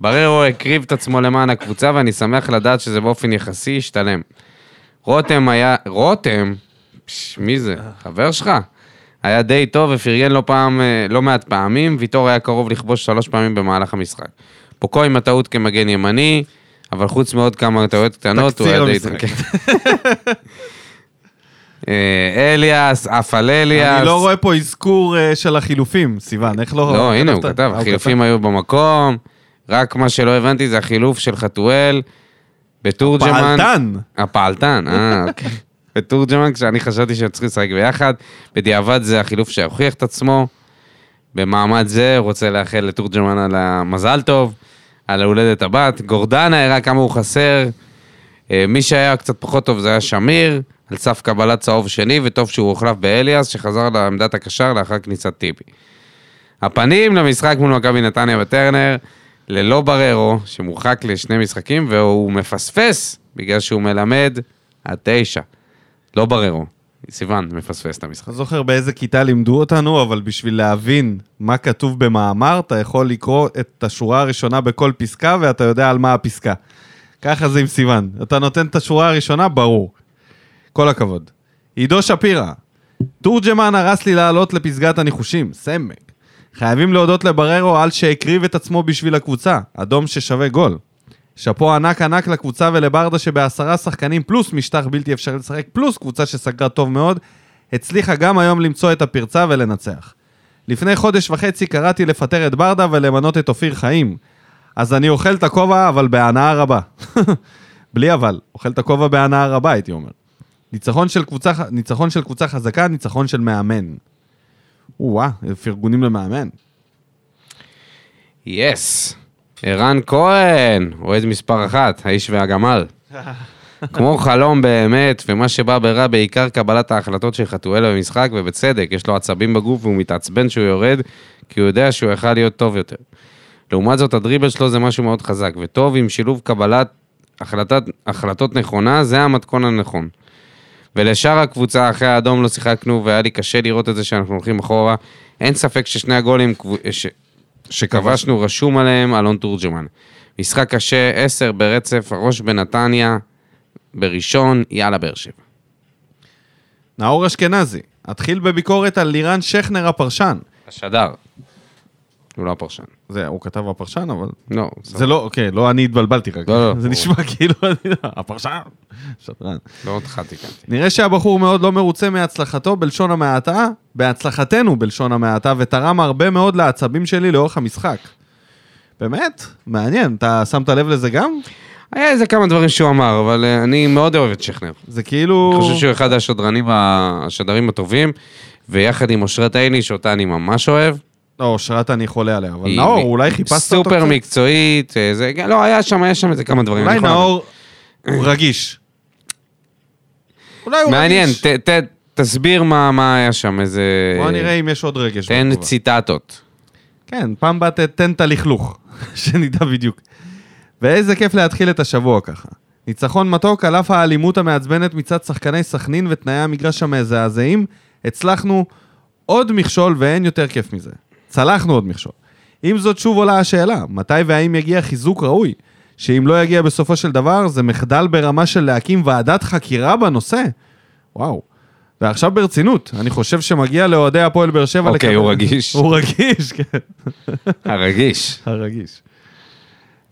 בררו הקריב את עצמו למען הקבוצה, ואני שמח לדעת שזה באופן יחסי השתלם. רותם היה... רותם? פש, מי זה? חבר שלך? היה די טוב ופרגן לא פעם, אה, לא מעט פעמים, ויטור היה קרוב לכבוש שלוש פעמים במהלך המשחק. פוקו עם הטעות כמגן ימני, אבל חוץ מעוד כמה טעויות קטנות, הוא היה
תקציר
די...
המשחק.
כן. אה, אליאס, עף על אליאס.
אני לא רואה פה אזכור אה, של החילופים, סיוון, איך לא...
לא, הנה, הוא
כתבת?
כתב,
אה,
החילופים היו במקום, רק מה שלא הבנתי זה החילוף של חתואל בתורג'מן.
פעלתן.
הפעלתן, אה, אוקיי. בתורג'מן, כשאני חשבתי שהם צריכים לשחק ביחד, בדיעבד זה החילוף שהוכיח את עצמו. במעמד זה, רוצה לאחל לתורג'מן על המזל טוב, על ההולדת הבת. גורדנה הראה כמה הוא חסר. אה, מי שהיה קצת פחות טוב זה היה שמיר, על סף קבלת צהוב שני, וטוב שהוא הוחלף באליאס, שחזר לעמדת הקשר לאחר כניסת טיבי. הפנים למשחק מול מכבי נתניה בטרנר, ללא בררו, שמורחק לשני משחקים, והוא מפספס בגלל שהוא מלמד עד תשע. לא בררו. סיוון מפספס את המשחק.
לא זוכר באיזה כיתה לימדו אותנו, אבל בשביל להבין מה כתוב במאמר, אתה יכול לקרוא את השורה הראשונה בכל פסקה, ואתה יודע על מה הפסקה. ככה זה עם סיוון. אתה נותן את השורה הראשונה, ברור. כל הכבוד. עידו שפירא, תורג'מן הרס לי לעלות לפסגת הניחושים, סמק. חייבים להודות לבררו על שהקריב את עצמו בשביל הקבוצה, אדום ששווה גול. שאפו ענק ענק לקבוצה ולברדה שבעשרה שחקנים פלוס משטח בלתי אפשרי לשחק, פלוס קבוצה שסגרה טוב מאוד, הצליחה גם היום למצוא את הפרצה ולנצח. לפני חודש וחצי קראתי לפטר את ברדה ולמנות את אופיר חיים. אז אני אוכל את הכובע, אבל בהנאה רבה. בלי אבל, אוכל את הכובע בהנאה רבה, הייתי אומר. ניצחון של קבוצה, ח- ניצחון של קבוצה חזקה, ניצחון של מאמן. או-אה, פרגונים למאמן.
יס! ערן כהן, אוהד מספר אחת, האיש והגמל. כמו חלום באמת, ומה שבא ברע בעיקר קבלת ההחלטות של חתואל במשחק, ובצדק, יש לו עצבים בגוף והוא מתעצבן שהוא יורד, כי הוא יודע שהוא יכל להיות טוב יותר. לעומת זאת, הדריבל שלו זה משהו מאוד חזק, וטוב עם שילוב קבלת החלטת, החלטות נכונה, זה המתכון הנכון. ולשאר הקבוצה, אחרי האדום לא שיחקנו, והיה לי קשה לראות את זה שאנחנו הולכים אחורה. אין ספק ששני הגולים קבו- ש... שכבשנו רשום עליהם אלון תורג'מן. משחק קשה, עשר ברצף, הראש בנתניה, בראשון, יאללה באר שבע.
נאור אשכנזי, אתחיל בביקורת על לירן שכנר הפרשן.
השדר. הוא לא הפרשן.
זה, הוא כתב הפרשן, אבל...
לא,
זה לא, אוקיי, לא אני התבלבלתי רק.
לא,
זה
לא, ברור.
נשמע כאילו, אני לא- הפרשן. שדרן.
לא אותך תיקנתי.
נראה שהבחור מאוד לא מרוצה מהצלחתו בלשון המעטה, בהצלחתנו בלשון המעטה, ותרם הרבה מאוד לעצבים שלי לאורך המשחק. באמת? מעניין, אתה שמת לב לזה גם?
היה איזה כמה דברים שהוא אמר, אבל אה, אני מאוד אוהב את שכנר.
זה כאילו...
אני חושב שהוא אחד השדרנים, ה- השדרים הטובים, ויחד עם אושרת עיני, שאותה אני ממש אוהב.
לא, אושרת אני חולה עליה, אבל
היא
נאור,
מ-
אולי חיפשת אותו
סופר
קצת?
מקצועית, אה, זה... לא, היה שם, היה שם איזה כמה דברים. אני
אולי
יכול
נאור הוא רגיש. אולי הוא
מעניין,
רגיש.
ת- ת- תסביר מה מה היה שם, איזה...
בוא נראה אם יש עוד רגש.
תן
בתגובה.
ציטטות.
כן, פעם באת, תן את הלכלוך, שנדע בדיוק. ואיזה כיף להתחיל את השבוע ככה. ניצחון מתוק על אף האלימות המעצבנת מצד שחקני סכנין ותנאי המגרש המזעזעים, הצלחנו עוד מכשול ואין יותר כיף מזה. צלחנו עוד מכשול. עם זאת שוב עולה השאלה, מתי והאם יגיע חיזוק ראוי? שאם לא יגיע בסופו של דבר, זה מחדל ברמה של להקים ועדת חקירה בנושא? וואו. ועכשיו ברצינות, אני חושב שמגיע לאוהדי הפועל באר שבע
אוקיי, הוא רגיש. אה,
הוא רגיש, כן,
הרגיש.
הרגיש.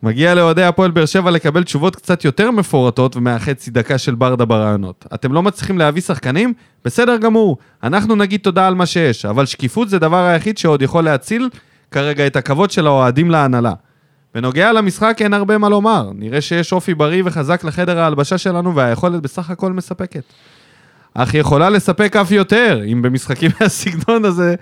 מגיע לאוהדי הפועל באר שבע לקבל תשובות קצת יותר מפורטות ומהחצי דקה של ברדה ברעיונות. אתם לא מצליחים להביא שחקנים? בסדר גמור, אנחנו נגיד תודה על מה שיש, אבל שקיפות זה דבר היחיד שעוד יכול להציל כרגע את הכבוד של האוהדים להנהלה. בנוגע למשחק אין הרבה מה לומר, נראה שיש אופי בריא וחזק לחדר ההלבשה שלנו והיכולת בסך הכל מספקת. אך יכולה לספק אף יותר, אם במשחקים מהסגנון הזה,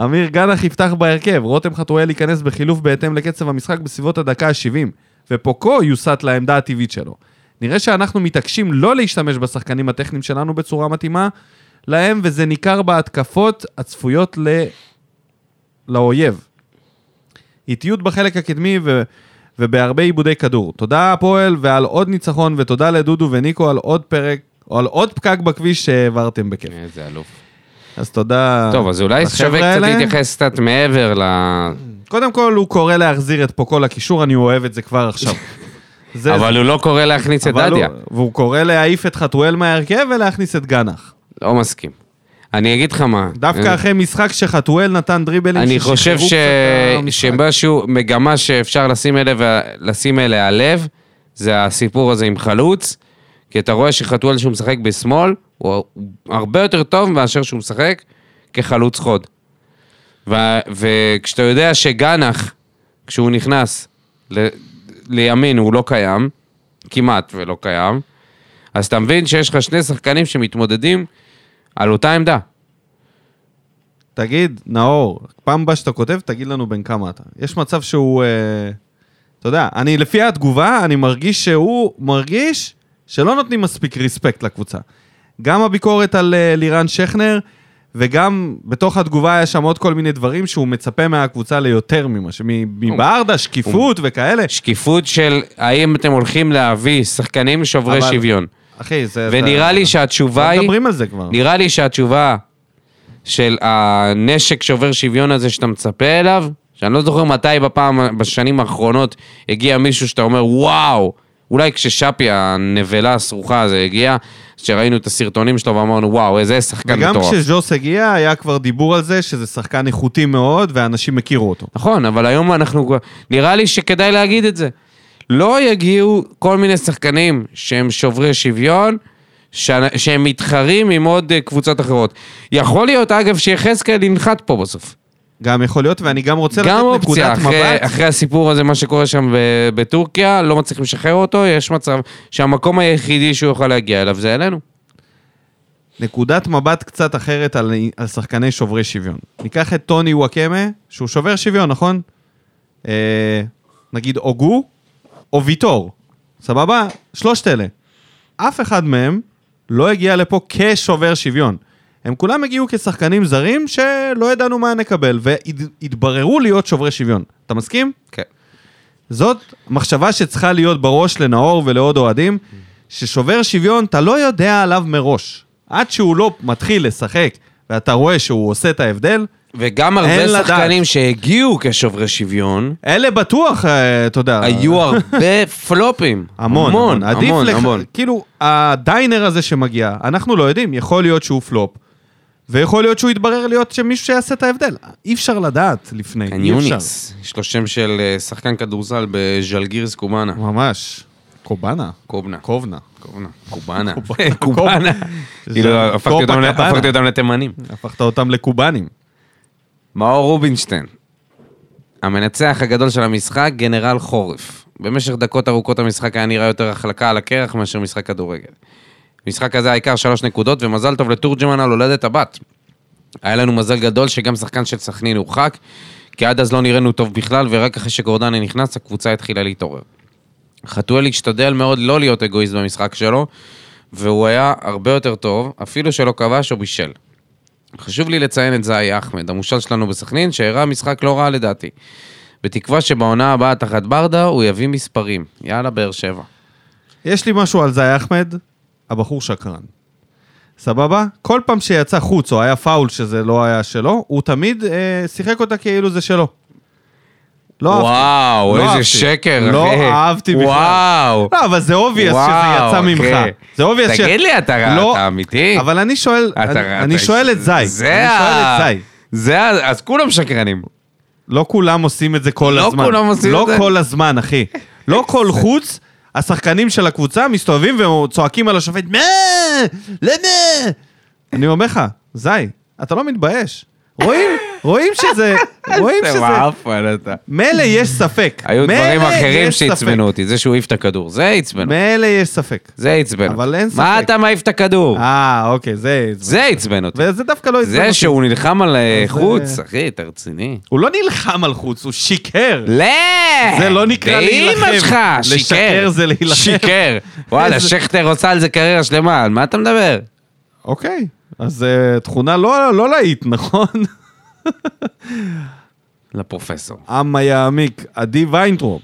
אמיר גנח יפתח בהרכב, רותם חתואל ייכנס בחילוף בהתאם לקצב המשחק בסביבות הדקה ה-70, ופוקו יוסט לעמדה הטבעית שלו. נראה שאנחנו מתעקשים לא להשתמש בשחקנים הטכניים שלנו בצורה מתאימה להם, וזה ניכר בהתקפות הצפויות ל... לאויב. איטיות בחלק הקדמי ו... ובהרבה עיבודי כדור. תודה הפועל ועל עוד ניצחון, ותודה לדודו וניקו על עוד פרק, או על עוד פקק בכביש שהעברתם בכיף.
איזה אלוף.
אז תודה.
טוב, אז אולי
לחבר'ה
שווה קצת
אה. האלה.
להתייחס קצת מעבר ל...
קודם כל, הוא קורא להחזיר את פוקו לקישור, אני אוהב את זה כבר עכשיו. זה-
אבל הוא לא קורא להכניס את
אבל
דדיה.
הוא- והוא קורא להעיף את חתואל מההרכב ולהכניס את גנח.
לא מסכים. אני אגיד לך מה.
דווקא
אני-
אחרי משחק שחתואל נתן דריבלים
אני
ששחררו
חושב ש...
קצת אה, את המשחק.
שמשהו, מגמה שאפשר לשים אליה, לשים אליה לב, זה הסיפור הזה עם חלוץ, כי אתה רואה שחתואל שהוא משחק בשמאל, הוא הרבה יותר טוב מאשר שהוא משחק כחלוץ חוד. ו... וכשאתה יודע שגנח, כשהוא נכנס ל... לימין, הוא לא קיים, כמעט ולא קיים, אז אתה מבין שיש לך שני שחקנים שמתמודדים על אותה עמדה.
תגיד, נאור, פעם הבאה שאתה כותב, תגיד לנו בן כמה אתה. יש מצב שהוא... אה, אתה יודע, אני, לפי התגובה, אני מרגיש שהוא מרגיש שלא נותנים מספיק ריספקט לקבוצה. גם הביקורת על אה, לירן שכנר, וגם בתוך התגובה היה שם עוד כל מיני דברים שהוא מצפה מהקבוצה ליותר ממה ש... מ- מברדה, שקיפות וכאלה.
שקיפות של האם אתם הולכים להביא שחקנים שוברי
אבל-
שוויון.
אחי, זה...
ונראה לי שהתשובה
היא...
היא,
מדברים על זה כבר.
נראה לי שהתשובה של הנשק שובר שוויון הזה שאתה מצפה אליו, שאני לא זוכר מתי בפעם, בשנים האחרונות הגיע מישהו שאתה אומר וואו, אולי כששאפי הנבלה הסרוחה הזה הגיע, שראינו את הסרטונים שלו ואמרנו וואו, איזה שחקן
וגם
מטורף.
כשז'וס הגיע, היה כבר דיבור על זה שזה שחקן איכותי מאוד, ואנשים הכירו אותו.
נכון, אבל היום אנחנו... כבר- נראה לי שכדאי להגיד את זה. לא יגיעו כל מיני שחקנים שהם שוברי שוויון, ש... שהם מתחרים עם עוד אה, קבוצות אחרות. יכול להיות, אגב, שיחזקאל ינחת פה בסוף.
גם יכול להיות, ואני גם רוצה
גם
לתת
אופציה,
נקודת
אחרי,
מבט.
אחרי הסיפור הזה, מה שקורה שם ב- בטורקיה, לא מצליחים לשחרר אותו, יש מצב שהמקום היחידי שהוא יוכל להגיע אליו זה אלינו.
נקודת מבט קצת אחרת על, על שחקני שוברי שוויון. ניקח את טוני וואקמה, שהוא שובר שוויון, נכון? אה, נגיד אוגו או ויטור, סבבה? שלושת אלה. אף אחד מהם לא הגיע לפה כשובר שוויון. הם כולם הגיעו כשחקנים זרים שלא ידענו מה נקבל, והתבררו להיות שוברי שוויון. אתה מסכים?
כן.
זאת מחשבה שצריכה להיות בראש לנאור ולעוד אוהדים, ששובר שוויון, אתה לא יודע עליו מראש. עד שהוא לא מתחיל לשחק, ואתה רואה שהוא עושה את ההבדל,
וגם
אין
הרבה
לדעת.
שחקנים שהגיעו כשוברי שוויון,
אלה בטוח, אה, אתה יודע.
היו הרבה פלופים.
המון, המון, עדיף
המון,
לך,
המון.
כאילו, הדיינר הזה שמגיע, אנחנו לא יודעים, יכול להיות שהוא פלופ, ויכול להיות שהוא יתברר להיות שמישהו שיעשה את ההבדל. אי אפשר לדעת לפני,
כן,
אי אפשר.
קניוניס, יש לו שם של אה, שחקן כדורסל בז'לגירס קובאנה.
ממש. קובאנה?
קובנה.
קובנה.
קובנה. קובאנה.
קובאנה.
קובאנה.
זה
כאילו, הפכתי אותם ל-
קופקבאנה.
הפכתי אותם לתימנים.
הפכת אותם לקובנים.
מאור רובינשטיין, המנצח הגדול של המשחק, גנרל חורף. במשך דקות ארוכות המשחק היה נראה יותר החלקה על הקרח מאשר משחק כדורגל. משחק הזה העיקר שלוש נקודות, ומזל טוב לתורג'מן על הולדת הבת. היה לנו מזל גדול שגם שחקן של סכנין הורחק, כי עד אז לא נראינו טוב בכלל, ורק אחרי שגורדני נכנס, הקבוצה התחילה להתעורר. חתואל השתדל מאוד לא להיות אגואיסט במשחק שלו, והוא היה הרבה יותר טוב, אפילו שלא כבש או בישל. חשוב לי לציין את זאי אחמד, המושל שלנו בסכנין, שהראה משחק לא רע לדעתי. בתקווה שבעונה הבאה תחת ברדה הוא יביא מספרים. יאללה, באר שבע.
יש לי משהו על זה, אחמד, הבחור שקרן. סבבה? כל פעם שיצא חוץ או היה פאול שזה לא היה שלו, הוא תמיד אה, שיחק אותה כאילו זה שלו. לא אהבתי.
וואו,
לא
איזה
אהבתי.
שקר, אחי.
לא אהבתי בכלל.
וואו.
לא, אבל זה אובייס שזה
וואו,
יצא
אחי.
ממך. זה אובייס ש...
תגיד לי, אתה
לא,
אתה אמיתי?
אבל אני שואל,
אתה-
אני-
אתה-
אני שואל את זי.
זה
אני שואל
ה-
את זי.
זה ה... אז כולם שקרנים.
לא כולם עושים את זה כל
לא
הזמן.
כולם עושים את זה.
לא כל הזמן, אחי. לא כל חוץ, השחקנים של הקבוצה מסתובבים וצועקים על השופט, מה? למה? אני אומר לך, זי, אתה לא מתבייש. רואים, רואים שזה, רואים
איזה
שזה...
מעפן אתה.
מילא יש ספק.
היו
מילא
דברים
יש
אחרים
ספק.
שעצבנו אותי, זה שהוא העיף את הכדור, זה עצבן. אותי.
מילא יש ספק.
זה עצבן. אותי.
אבל אין
מה
ספק.
אתה מעיף את הכדור?
אה, אוקיי, זה... עצבן.
זה עצבן אותי.
וזה דווקא לא עצבן
זה
אותי.
שהוא נלחם על אה,
זה-
חוץ, אחי, אתה רציני.
הוא לא נלחם על חוץ, הוא שיקר.
לא!
זה לא נקרא להילחם.
באמא שלך,
לשקר
שיקר.
זה להילחם.
שיקר. וואלה,
איזה-
שכטר עושה על זה קריירה שלמה, על מה אתה מדבר?
אוקיי, אז אה, תכונה לא לא להיט, נכון?
לפרופסור.
עמה יעמיק, עדי ויינטרופ.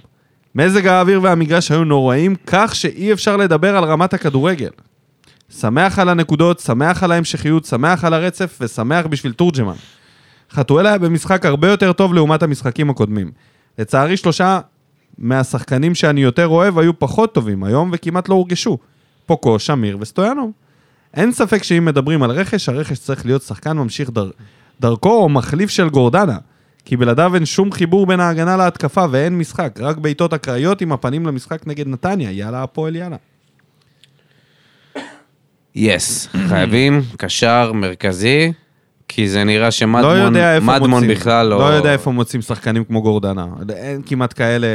מזג האוויר והמגרש היו נוראים, כך שאי אפשר לדבר על רמת הכדורגל. שמח על הנקודות, שמח על ההמשכיות, שמח על הרצף ושמח בשביל תורג'מן. חתואל היה במשחק הרבה יותר טוב לעומת המשחקים הקודמים. לצערי שלושה מהשחקנים שאני יותר אוהב היו פחות טובים היום וכמעט לא הורגשו. פוקו, שמיר וסטויאנוב. אין ספק שאם מדברים על רכש, הרכש צריך להיות שחקן ממשיך דר... דרכו או מחליף של גורדנה. כי בלעדיו אין שום חיבור בין ההגנה להתקפה ואין משחק, רק בעיטות אקראיות עם הפנים למשחק נגד נתניה, יאללה הפועל יאללה.
יס, חייבים קשר מרכזי, כי זה נראה
לא
שמדמון
יודע איפה
מדמון
מוצאים.
בכלל לא...
לא יודע איפה מוצאים שחקנים כמו גורדנה. אין כמעט כאלה...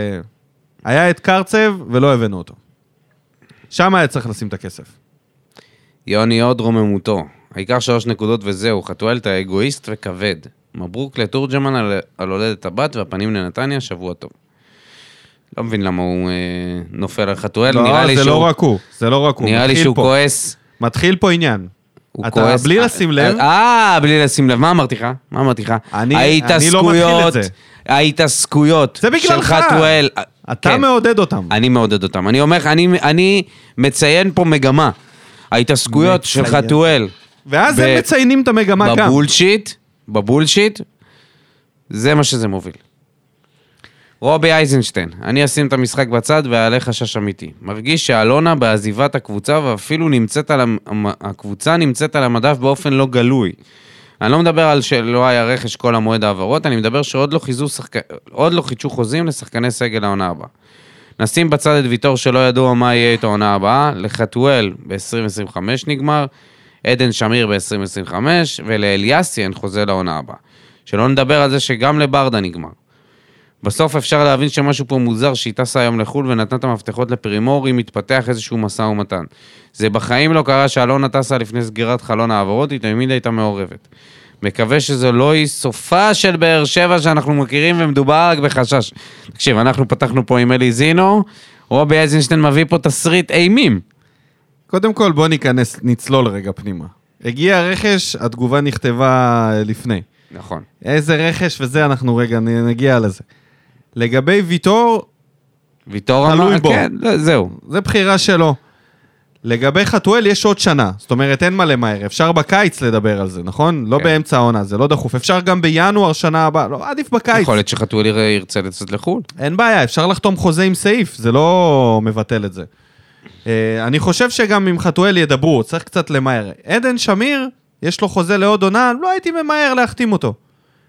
היה את קרצב ולא הבאנו אותו. שם היה צריך לשים את הכסף.
יוני הוד רוממותו. העיקר שלוש נקודות וזהו, חתואל אתה אגואיסט וכבד. מברוק לתורג'מן על, על הולדת הבת והפנים לנתניה, שבוע טוב. לא מבין למה הוא אה, נופל על חתואל, נראה לי
זה
שהוא,
לא רק הוא, זה לא רק הוא.
נראה לי
מתחיל
שהוא
פה-
כועס.
מתחיל פה עניין.
הוא
אתה
כועס.
בלי לשים לב-
אה, בלי לשים לב. מה אמרתי לך? מה אמרתי לך?
אני- אני לא מתחיל את זה.
ההתעסקויות
זה בגללך.
של חתואל.
אתה
כן.
מעודד אותם.
אני מעודד אותם. אני אומר לך, אני, אני מציין פה מגמה. ההתעסקויות של
מציין.
חתואל
ואז
ב-
הם מציינים את המגמה גם.
בבולשיט, בבולשיט, זה מה שזה מוביל. רובי אייזנשטיין, אני אשים את המשחק בצד ואעלה חשש אמיתי. מרגיש שאלונה בעזיבת הקבוצה ואפילו נמצאת על המ... המ- הקבוצה נמצאת על המדף באופן לא גלוי. אני לא מדבר על שלא היה רכש כל המועד העברות, אני מדבר שעוד לא, חיזו שחק... עוד לא חידשו חוזים לשחקני סגל העונה הבאה. נשים בצד את ויטור שלא ידוע מה יהיה איתו העונה הבאה, לחתואל ב-2025 נגמר, עדן שמיר ב-2025, ולאליאסי אין חוזה לעונה הבאה. שלא נדבר על זה שגם לברדה נגמר. בסוף אפשר להבין שמשהו פה מוזר שהיא טסה היום לחו"ל ונתנה את המפתחות לפרימור אם התפתח איזשהו משא ומתן. זה בחיים לא קרה שאלונה טסה לפני סגירת חלון העברות, היא תמיד הייתה מעורבת. מקווה שזה לא היא סופה של באר שבע שאנחנו מכירים ומדובר רק בחשש. תקשיב, אנחנו פתחנו פה עם אלי זינו, רובי אייזנשטיין מביא פה תסריט אימים.
קודם כל, בוא ניכנס, נצלול רגע פנימה. הגיע הרכש, התגובה נכתבה לפני.
נכון.
איזה רכש וזה, אנחנו רגע נ- נגיע לזה. לגבי ויטור,
ויטור
תלוי
אמר,
בו.
כן, לא, זהו.
זה בחירה שלו. לגבי חתואל, יש עוד שנה. זאת אומרת, אין מה למהר. אפשר בקיץ לדבר על זה, נכון? לא
כן.
באמצע העונה, זה לא דחוף. אפשר גם בינואר שנה הבאה, לא, עדיף בקיץ.
יכול להיות שחתואל יראה- ירצה לצאת לחו"ל.
אין בעיה, אפשר לחתום חוזה עם סעיף, זה לא מבטל את זה. אה, אני חושב שגם עם חתואל ידברו, צריך קצת למהר. עדן שמיר, יש לו חוזה לעוד עונה, לא הייתי ממהר להחתים אותו.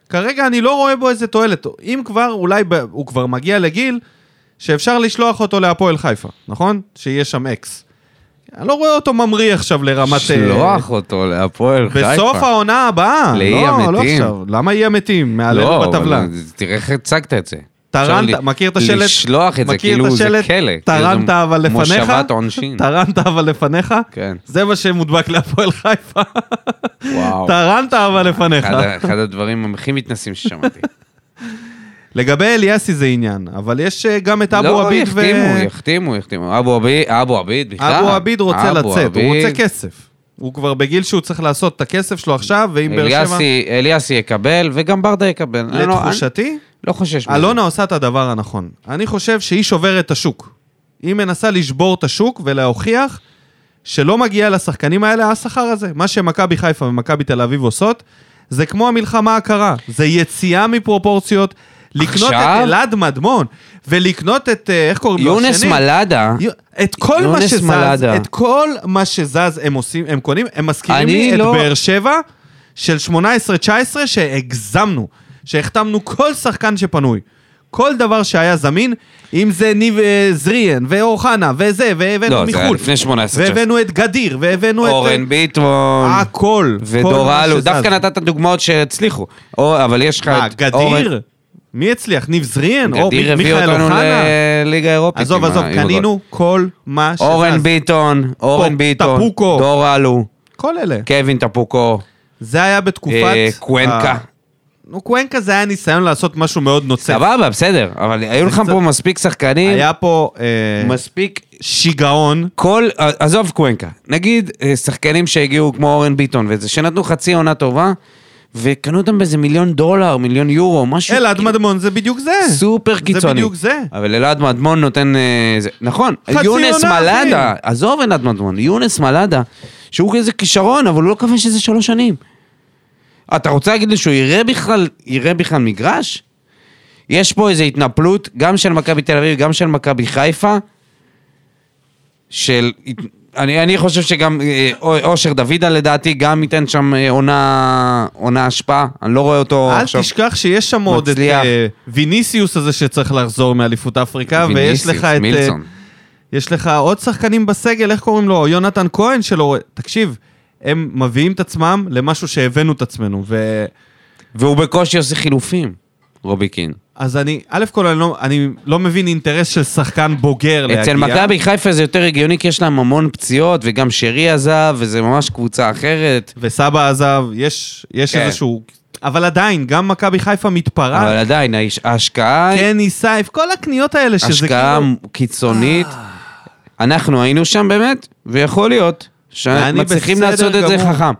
כרגע אני לא רואה בו איזה תועלת. אם כבר, אולי ב... הוא כבר מגיע לגיל שאפשר לשלוח אותו להפועל חיפה, נכון? שיהיה שם אקס. אני לא רואה אותו ממריא עכשיו לרמת... אה,
שלוח אותו להפועל חיפה.
בסוף העונה הבאה.
לאי
לא, לא
המתים.
עכשיו. למה אי המתים? מעלינו
לא,
בטבלה.
אבל תראה איך הצגת את זה. אפשר
טרנת,
ל-
מכיר את השלט?
לשלוח את זה,
מכיר
כאילו זה
השלט?
כלא.
טרנת
כאילו זה
אבל לפניך?
מושבת עונשין.
טרנת אבל לפניך?
כן.
זה מה שמודבק להפועל חיפה.
וואו.
טרנת אבל לפניך.
אחד ה- אחד הדברים הכי מתנסים ששמעתי.
לגבי אליאסי זה עניין, אבל יש אה, גם את אבו
לא,
עביד ו...
יחתימו, יחתימו, יחתימו. אבו עביד, אבו עביד בכלל.
אבו עביד רוצה
אבו
לצאת, הוא
עביד.
רוצה כסף. הוא כבר בגיל שהוא צריך לעשות את הכסף שלו עכשיו, ואם באר שבע...
אליאסי, אליאסי יקבל, וגם ברדה יקבל. אני לא-
לתחושתי,
אני לא חושש מזה.
אלונה עושה את הדבר הנכון. אני חושב שהיא שוברת את השוק. היא מנסה לשבור את השוק ולהוכיח שלא מגיע לשחקנים האלה השכר הזה. מה שמכבי חיפה ומכבי תל אביב עושות, זה כמו המלחמה הקרה. זה יציאה מפרופורציות, לקנות
עכשיו?
את אלעד מדמון, ולקנות את, אה, איך קוראים לו השני?
יונס מלאדה,
י- את כל מה
יונס
שזז,
מלאדה.
את כל מה שזז הם עושים, הם קונים, הם מזכירים
אני
לי את
לא-
באר שבע של 18-19 שהגזמנו, שהחתמנו כל שחקן שפנוי. כל דבר שהיה זמין, אם זה ניב אה, זריאן, ואוחנה, וזה, והבאנו
לא, זה היה
מחו"ל.
לפני 18 שנה.
והבאנו את גדיר, והבאנו את... אה,
אורן ביטון,
הכל. כל
ודור
מה
אלו,
שזז.
דווקא נתת דוגמאות שהצליחו. או- אבל יש לך
מה,
את אורן-
גדיר? מי הצליח? ניב זריאן? או
גדיר
מי-
הביא
מיכאל
אותנו
אוחנה?
לליגה האירופית.
עזוב,
עם ה-
עזוב,
עם הגול.
קנינו כל מה שזז.
אורן ביטון, אורן ביטון,
טפוקו.
דור אלו,
כל אלה.
קווין טפוקו,
זה היה בתקופת...
אה,
ה-
קוונקה.
נו, קוונקה זה היה ניסיון לעשות משהו מאוד נוצר.
סבבה, בסדר, אבל היו לך
קצת-
פה מספיק שחקנים,
היה פה אה,
מספיק
שיגעון.
כל, עזוב קוונקה, נגיד אה, שחקנים שהגיעו כמו אורן ביטון וזה, שנתנו חצי עונה טובה, וקנו אותם באיזה מיליון דולר, מיליון יורו, משהו
אלעד
כאילו
מדמון זה בדיוק זה.
סופר
כן.
קיצוני.
זה בדיוק זה.
אבל אלעד מדמון נותן... אה, זה, נכון,
חצי
יונס
עונה, אחי.
מלאדה, עזוב אלעד מדמון, יונס מלאדה, שהוא איזה כישרון, אבל הוא לא כבש איזה שלוש שנים. אתה רוצה להגיד לי שהוא יראה בכלל, יראה בכלל מגרש? יש פה איזו התנפלות, גם של מכבי תל אביב, גם של מכבי חיפה, של... אני, אני חושב שגם אה, אוי- אושר דוידה לדעתי גם ייתן שם אה, עונה, עונה השפעה, אני לא רואה אותו
אל
עכשיו.
תשכח שיש שם עוד את
מצליח.
אה, ויניסיוס הזה שצריך לחזור מאליפות אפריקה, ויש לך את... אה,
מילסון.
יש לך עוד שחקנים בסגל, איך קוראים לו? יונתן כהן שלו. תקשיב, הם מביאים את עצמם למשהו שהבאנו את עצמנו. ו...
והוא בקושי עושה חילופים, רוביקין.
אז אני, א' כל אני לא, אני לא מבין אינטרס של שחקן בוגר להגיע.
אצל מכבי חיפה זה יותר הגיוני, כי יש להם המון פציעות, וגם שרי עזב, וזה ממש קבוצה אחרת.
וסבא עזב, יש, יש
כן.
איזשהו... אבל עדיין, גם מכבי חיפה
אבל
מתפרעת.
עדיין, האיש- ההשקעה היא
קני סייף, כל הקניות האלה כן, שזה
השקעה
כאילו... אה.
קיצונית. אנחנו היינו שם באמת, ויכול להיות
ואני
שמצליחים
בסדר
לעשות את זה
גמור.
חכם.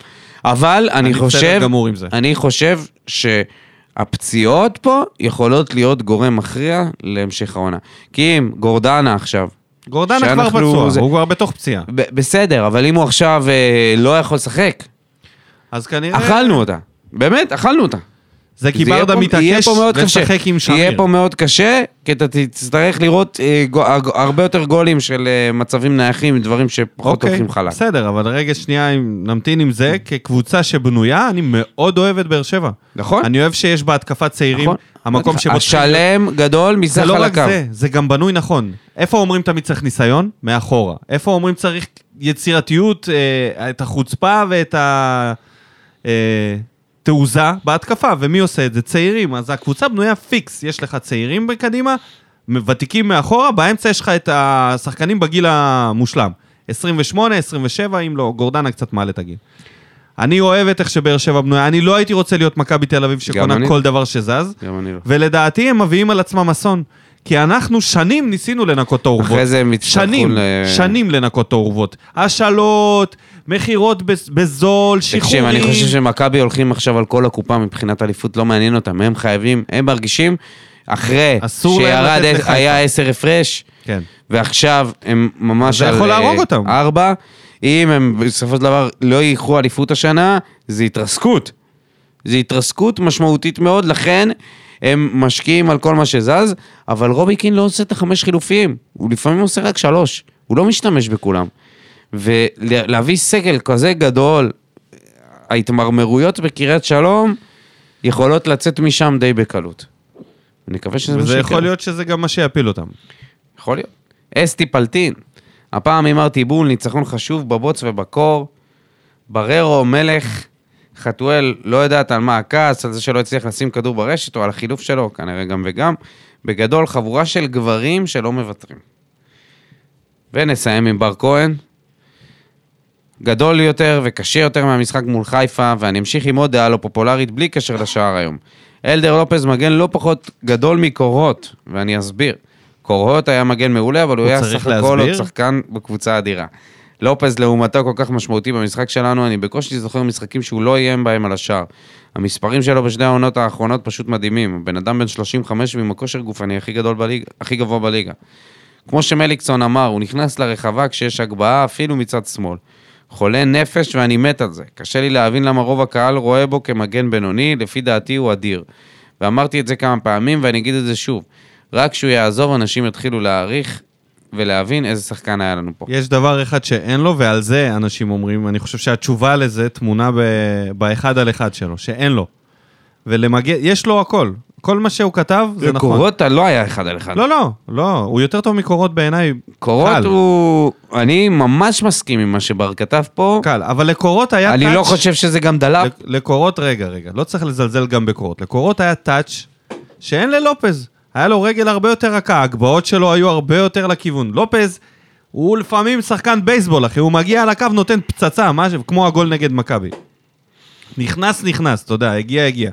אבל אני
אני בסדר
חושב,
גמור עם זה.
אני חושב שהפציעות פה יכולות להיות גורם מכריע להמשך העונה. כי אם גורדנה עכשיו,
גורדנה כבר
שאנחנו-
פצוע,
זה-
הוא כבר בתוך פציעה.
ב- בסדר, אבל אם הוא עכשיו אה, לא יכול לשחק,
אז כנראה...
אכלנו אותה. באמת, אכלנו אותה.
זה אה. כי
זה יהיה
ברדה
פה- יהיה
מתעקש
פה מאוד קשה.
לשחק עם שמיר.
יהיה פה מאוד קשה, כי אתה תצטרך לראות אה, גו- הג- הרבה יותר גולים של אה, מצבים נייחים, דברים שפחות
אוקיי,
הולכים חלק.
בסדר, אבל רגע שנייה, אם נמתין עם זה. כקבוצה שבנויה, אני מאוד אוהב את באר שבע.
נכון?
אני אוהב שיש בה התקפת צעירים,
נכון.
המקום שבו צריכים
השלם גדול מסך
זה לא רק
חלקיו.
זה, זה גם בנוי נכון. איפה אומרים תמיד צריך ניסיון? מאחורה. איפה אומרים צריך יצירתיות, אה, את החוצפה ואת התעוזה בהתקפה? ומי עושה את זה? צעירים. אז הקבוצה בנויה פיקס. יש לך צעירים בקדימה, ותיקים מאחורה, באמצע יש לך את השחקנים בגיל המושלם. 28, 27, אם לא, גורדנה קצת מעלה את הגיל. אני אוהב את איך שבאר שבע בנויה. אני לא הייתי רוצה להיות מכבי תל אביב שקונה
אני.
כל דבר שזז.
גם אני לא.
ולדעתי הם מביאים על עצמם אסון. כי אנחנו שנים ניסינו לנקות את האורוות.
אחרי זה הם יצטרכו
שנים,
ל...
שנים לנקות את האורוות. השאלות, מכירות בז- בזול,
תקשיב,
שחרורים.
אני חושב שמכבי הולכים עכשיו על כל הקופה מבחינת אליפות, לא מעניין אותם, הם חייבים, הם מרגישים, אחרי
אסור להם
שירד,
לתת לחיפה.
היה עשר הפרש,
כן.
ועכשיו הם ממש
זה
על...
יכול
אה,
להרוג אותם.
ארבע. אם הם בסופו של דבר לא ייקחו אליפות השנה, זה התרסקות. זה התרסקות משמעותית מאוד, לכן הם משקיעים על כל מה שזז, אבל רובי קין לא עושה את החמש חילופים, הוא לפעמים עושה רק שלוש, הוא לא משתמש בכולם. ולהביא סגל כזה גדול, ההתמרמרויות בקריית שלום יכולות לצאת משם די בקלות. אני מקווה שזה מה
וזה
שיקרה.
יכול להיות שזה גם מה שיפיל אותם.
יכול להיות. אסתי פלטין, הפעם עם ארטי בול, ניצחון חשוב בבוץ ובקור. בררו, מלך, חתואל, לא יודעת על מה הכעס, על זה שלא הצליח לשים כדור ברשת, או על החילוף שלו, כנראה גם וגם. בגדול, חבורה של גברים שלא מוותרים. ונסיים עם בר כהן. גדול יותר וקשה יותר מהמשחק מול חיפה, ואני אמשיך עם עוד דעה לא פופולרית בלי קשר לשער היום. אלדר לופז מגן לא פחות גדול מקורות, ואני אסביר. קורות היה מגן מעולה, אבל הוא
הוא
היה
צריך
סך הכל עוד
להסביר?
שחקן בקבוצה אדירה. לופז לעומתו כל כך משמעותי במשחק שלנו, אני בקושי זוכר משחקים שהוא לא איים בהם על השער. המספרים שלו בשתי העונות האחרונות פשוט מדהימים. הבן אדם בן 35 ועם הכושר גופני הכי, גדול בליג, הכי גבוה בליגה. כמו שמליקסון אמר, הוא נכנס לרחבה כשיש הגבהה אפילו מצד שמאל. חולה נפש ואני מת על זה. קשה לי להבין למה רוב הקהל רואה בו כמגן בינוני, לפי דעתי הוא אדיר. ואמרתי את זה כמה פעמים, ואני אגיד את זה שוב. רק כשהוא יעזוב, אנשים יתחילו להעריך ולהבין איזה שחקן היה לנו פה.
יש דבר אחד שאין לו, ועל זה אנשים אומרים, אני חושב שהתשובה לזה תמונה ב... באחד על אחד שלו, שאין לו. ולמגן, יש לו הכל. כל מה שהוא כתב, זה נכון.
קורוטה לא היה אחד על אחד.
לא, לא, לא, הוא יותר טוב מקורות בעיניי.
קורות
קל.
הוא... אני ממש מסכים עם מה שבר כתב פה.
קל, אבל לקורות היה
אני
טאץ'.
לא חושב שזה גם דלף.
לק- לקורות, רגע, רגע, לא צריך לזלזל גם בקורות. לקורות היה טאץ' שאין ללופז. היה לו רגל הרבה יותר רכה, הגבהות שלו היו הרבה יותר לכיוון. לופז, הוא לפעמים שחקן בייסבול, אחי, הוא מגיע לקו, נותן פצצה, משהו, כמו הגול נגד מכבי. נכנס, נכנס, אתה יודע, הגיע, הגיע.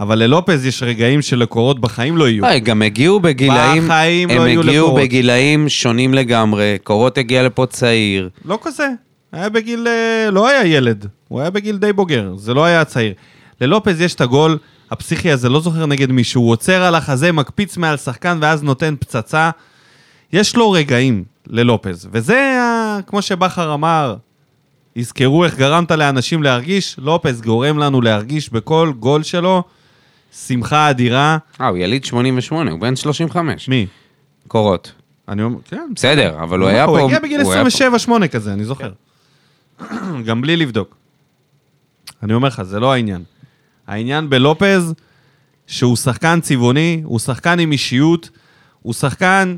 אבל ללופז יש רגעים שלקורות בחיים לא יהיו.
לא, גם הגיעו בגילאים,
בחיים
הם
לא היו
הגיעו
לקורות.
בגילאים שונים לגמרי, קורות הגיע לפה צעיר,
לא כזה. היה בגיל... אה, לא היה ילד, הוא היה בגיל די בוגר, זה לא היה צעיר. ללופז יש את הגול הפסיכי הזה, לא זוכר נגד מישהו, הוא עוצר על החזה, מקפיץ מעל שחקן ואז נותן פצצה. יש לו רגעים ללופז, וזה, ה- כמו שבכר אמר, יזכרו איך גרמת לאנשים להרגיש, לופז גורם לנו להרגיש בכל גול שלו שמחה אדירה.
אה, הוא יליד 88, הוא בן 35,
מי?
קורות.
אני אומר, כן,
בסדר, אבל הוא היה פה...
הוא הגיע בגיל
הוא היה פה. כן.
27-8 כזה, אני זוכר. גם בלי לבדוק. אני אומר לך, זה לא העניין. העניין בלופז, שהוא שחקן צבעוני, הוא שחקן עם אישיות, הוא שחקן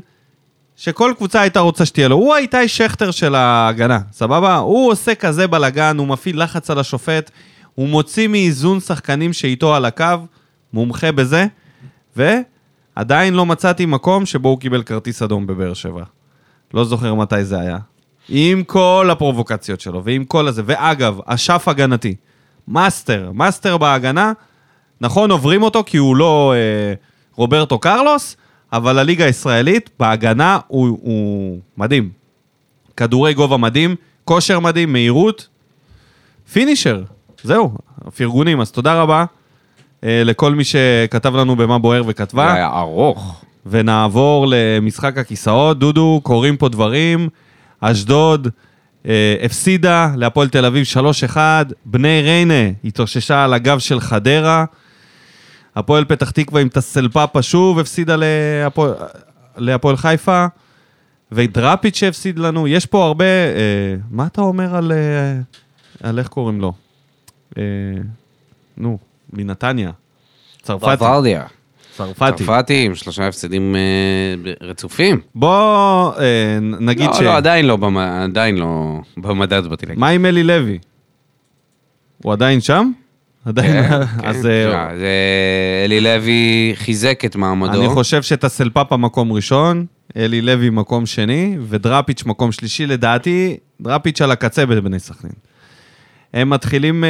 שכל קבוצה הייתה רוצה שתהיה לו. הוא האיתי שכטר של ההגנה, סבבה? הוא עושה כזה בלאגן, הוא מפעיל לחץ על השופט, הוא מוציא מאיזון שחקנים שאיתו על הקו, מומחה בזה, ועדיין לא מצאתי מקום שבו הוא קיבל כרטיס אדום בבאר שבע. לא זוכר מתי זה היה. עם כל הפרובוקציות שלו, ועם כל הזה. ואגב, אשף הגנתי. מאסטר, מאסטר בהגנה. נכון, עוברים אותו כי הוא לא אה, רוברטו קרלוס, אבל הליגה הישראלית, בהגנה הוא, הוא מדהים. כדורי גובה מדהים, כושר מדהים, מהירות. פינישר, זהו, פרגונים. אז תודה רבה אה, לכל מי שכתב לנו במה בוער
הוא
וכתבה.
היה ארוך.
ונעבור למשחק הכיסאות. דודו, קורים פה דברים. אשדוד אה, הפסידה להפועל תל אביב 3-1. בני ריינה התאוששה על הגב של חדרה. הפועל פתח תקווה עם טסלפאפה שוב הפסידה להפועל, להפועל חיפה. ודראפיץ' שהפסיד לנו. יש פה הרבה... אה, מה אתה אומר על... אה, על איך קוראים לו? אה, נו, מנתניה. צרפתי.
ורדיה.
צרפתי.
צרפתי עם שלושה הפסדים אה, ב- רצופים.
בוא אה, נ- נגיד
לא,
ש...
לא, עדיין לא במ- עדיין לא במדד באתי להגיד.
מה עם אלי לוי? הוא עדיין שם? עדיין?
כן, כן.
אז אה,
תשמע, זה- אלי לוי חיזק את מעמדו.
אני חושב שטסלפאפה מקום ראשון, אלי לוי מקום שני, ודראפיץ' מקום שלישי, לדעתי, דראפיץ' על הקצה בבני סכנין. הם מתחילים... אה,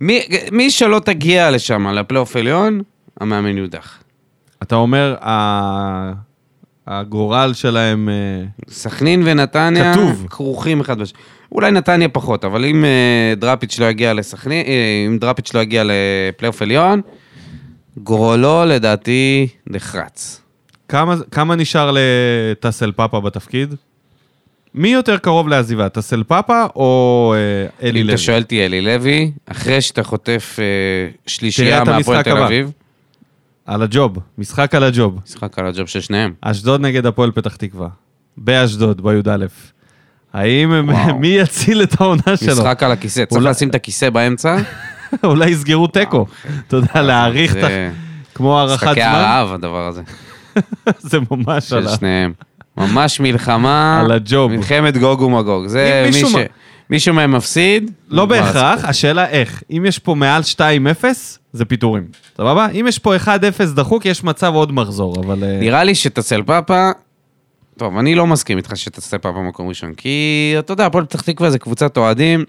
מי, מי שלא תגיע לשם, לפלייאוף עליון, המאמן יודח.
אתה אומר, ה- הגורל שלהם... אה,
סכנין ונתניה
כתוב.
כרוכים אחד בשני. אולי נתניה פחות, אבל אם אה, דראפיץ' לא יגיע לסכנין, אה, אם דראפיץ' לא יגיע לפלייאוף עליון, גורלו לדעתי נחרץ.
כמה, כמה נשאר לטסל פאפה בתפקיד? מי יותר קרוב לעזיבה, טסל פאפה או אה, אלי
אם
לוי?
אתה שואל אותי אלי לוי, אחרי שאתה חוטף אה,
תראה
שלישייה
את
מהפועל
המשחק
תל
הבא.
אביב,
על הג'וב, משחק על הג'וב.
משחק על הג'וב של שניהם.
אשדוד נגד הפועל פתח תקווה. באשדוד, בי"א. האם
וואו.
הם, מי יציל את העונה שלו?
משחק על הכיסא, צריך
אולי-
לשים את הכיסא באמצע.
אולי יסגרו תיקו. אתה יודע, להעריך את ה...
אה, זה
כמו הארכת
משחקי
זמן,
הרעב הדבר הזה.
זה ממש
של
עלה.
שניהם. ממש מלחמה.
על הג'וב.
מלחמת גוג ומגוג. זה
אם
מי
מישהו
ש...
מ-
מישהו מהם מפסיד.
לא
נגמר
בהכרח,
הסיפור.
השאלה איך. אם יש פה מעל 2-0, זה פיטורים. סבבה? אם יש פה 1-0 דחוק, יש מצב עוד מחזור, אבל... אה,
נראה לי שתצל פאפה... טוב, אני לא מסכים איתך שתצל פאפה במקום ראשון, כי אתה יודע, הפועל פתח תקווה זה קבוצת אוהדים.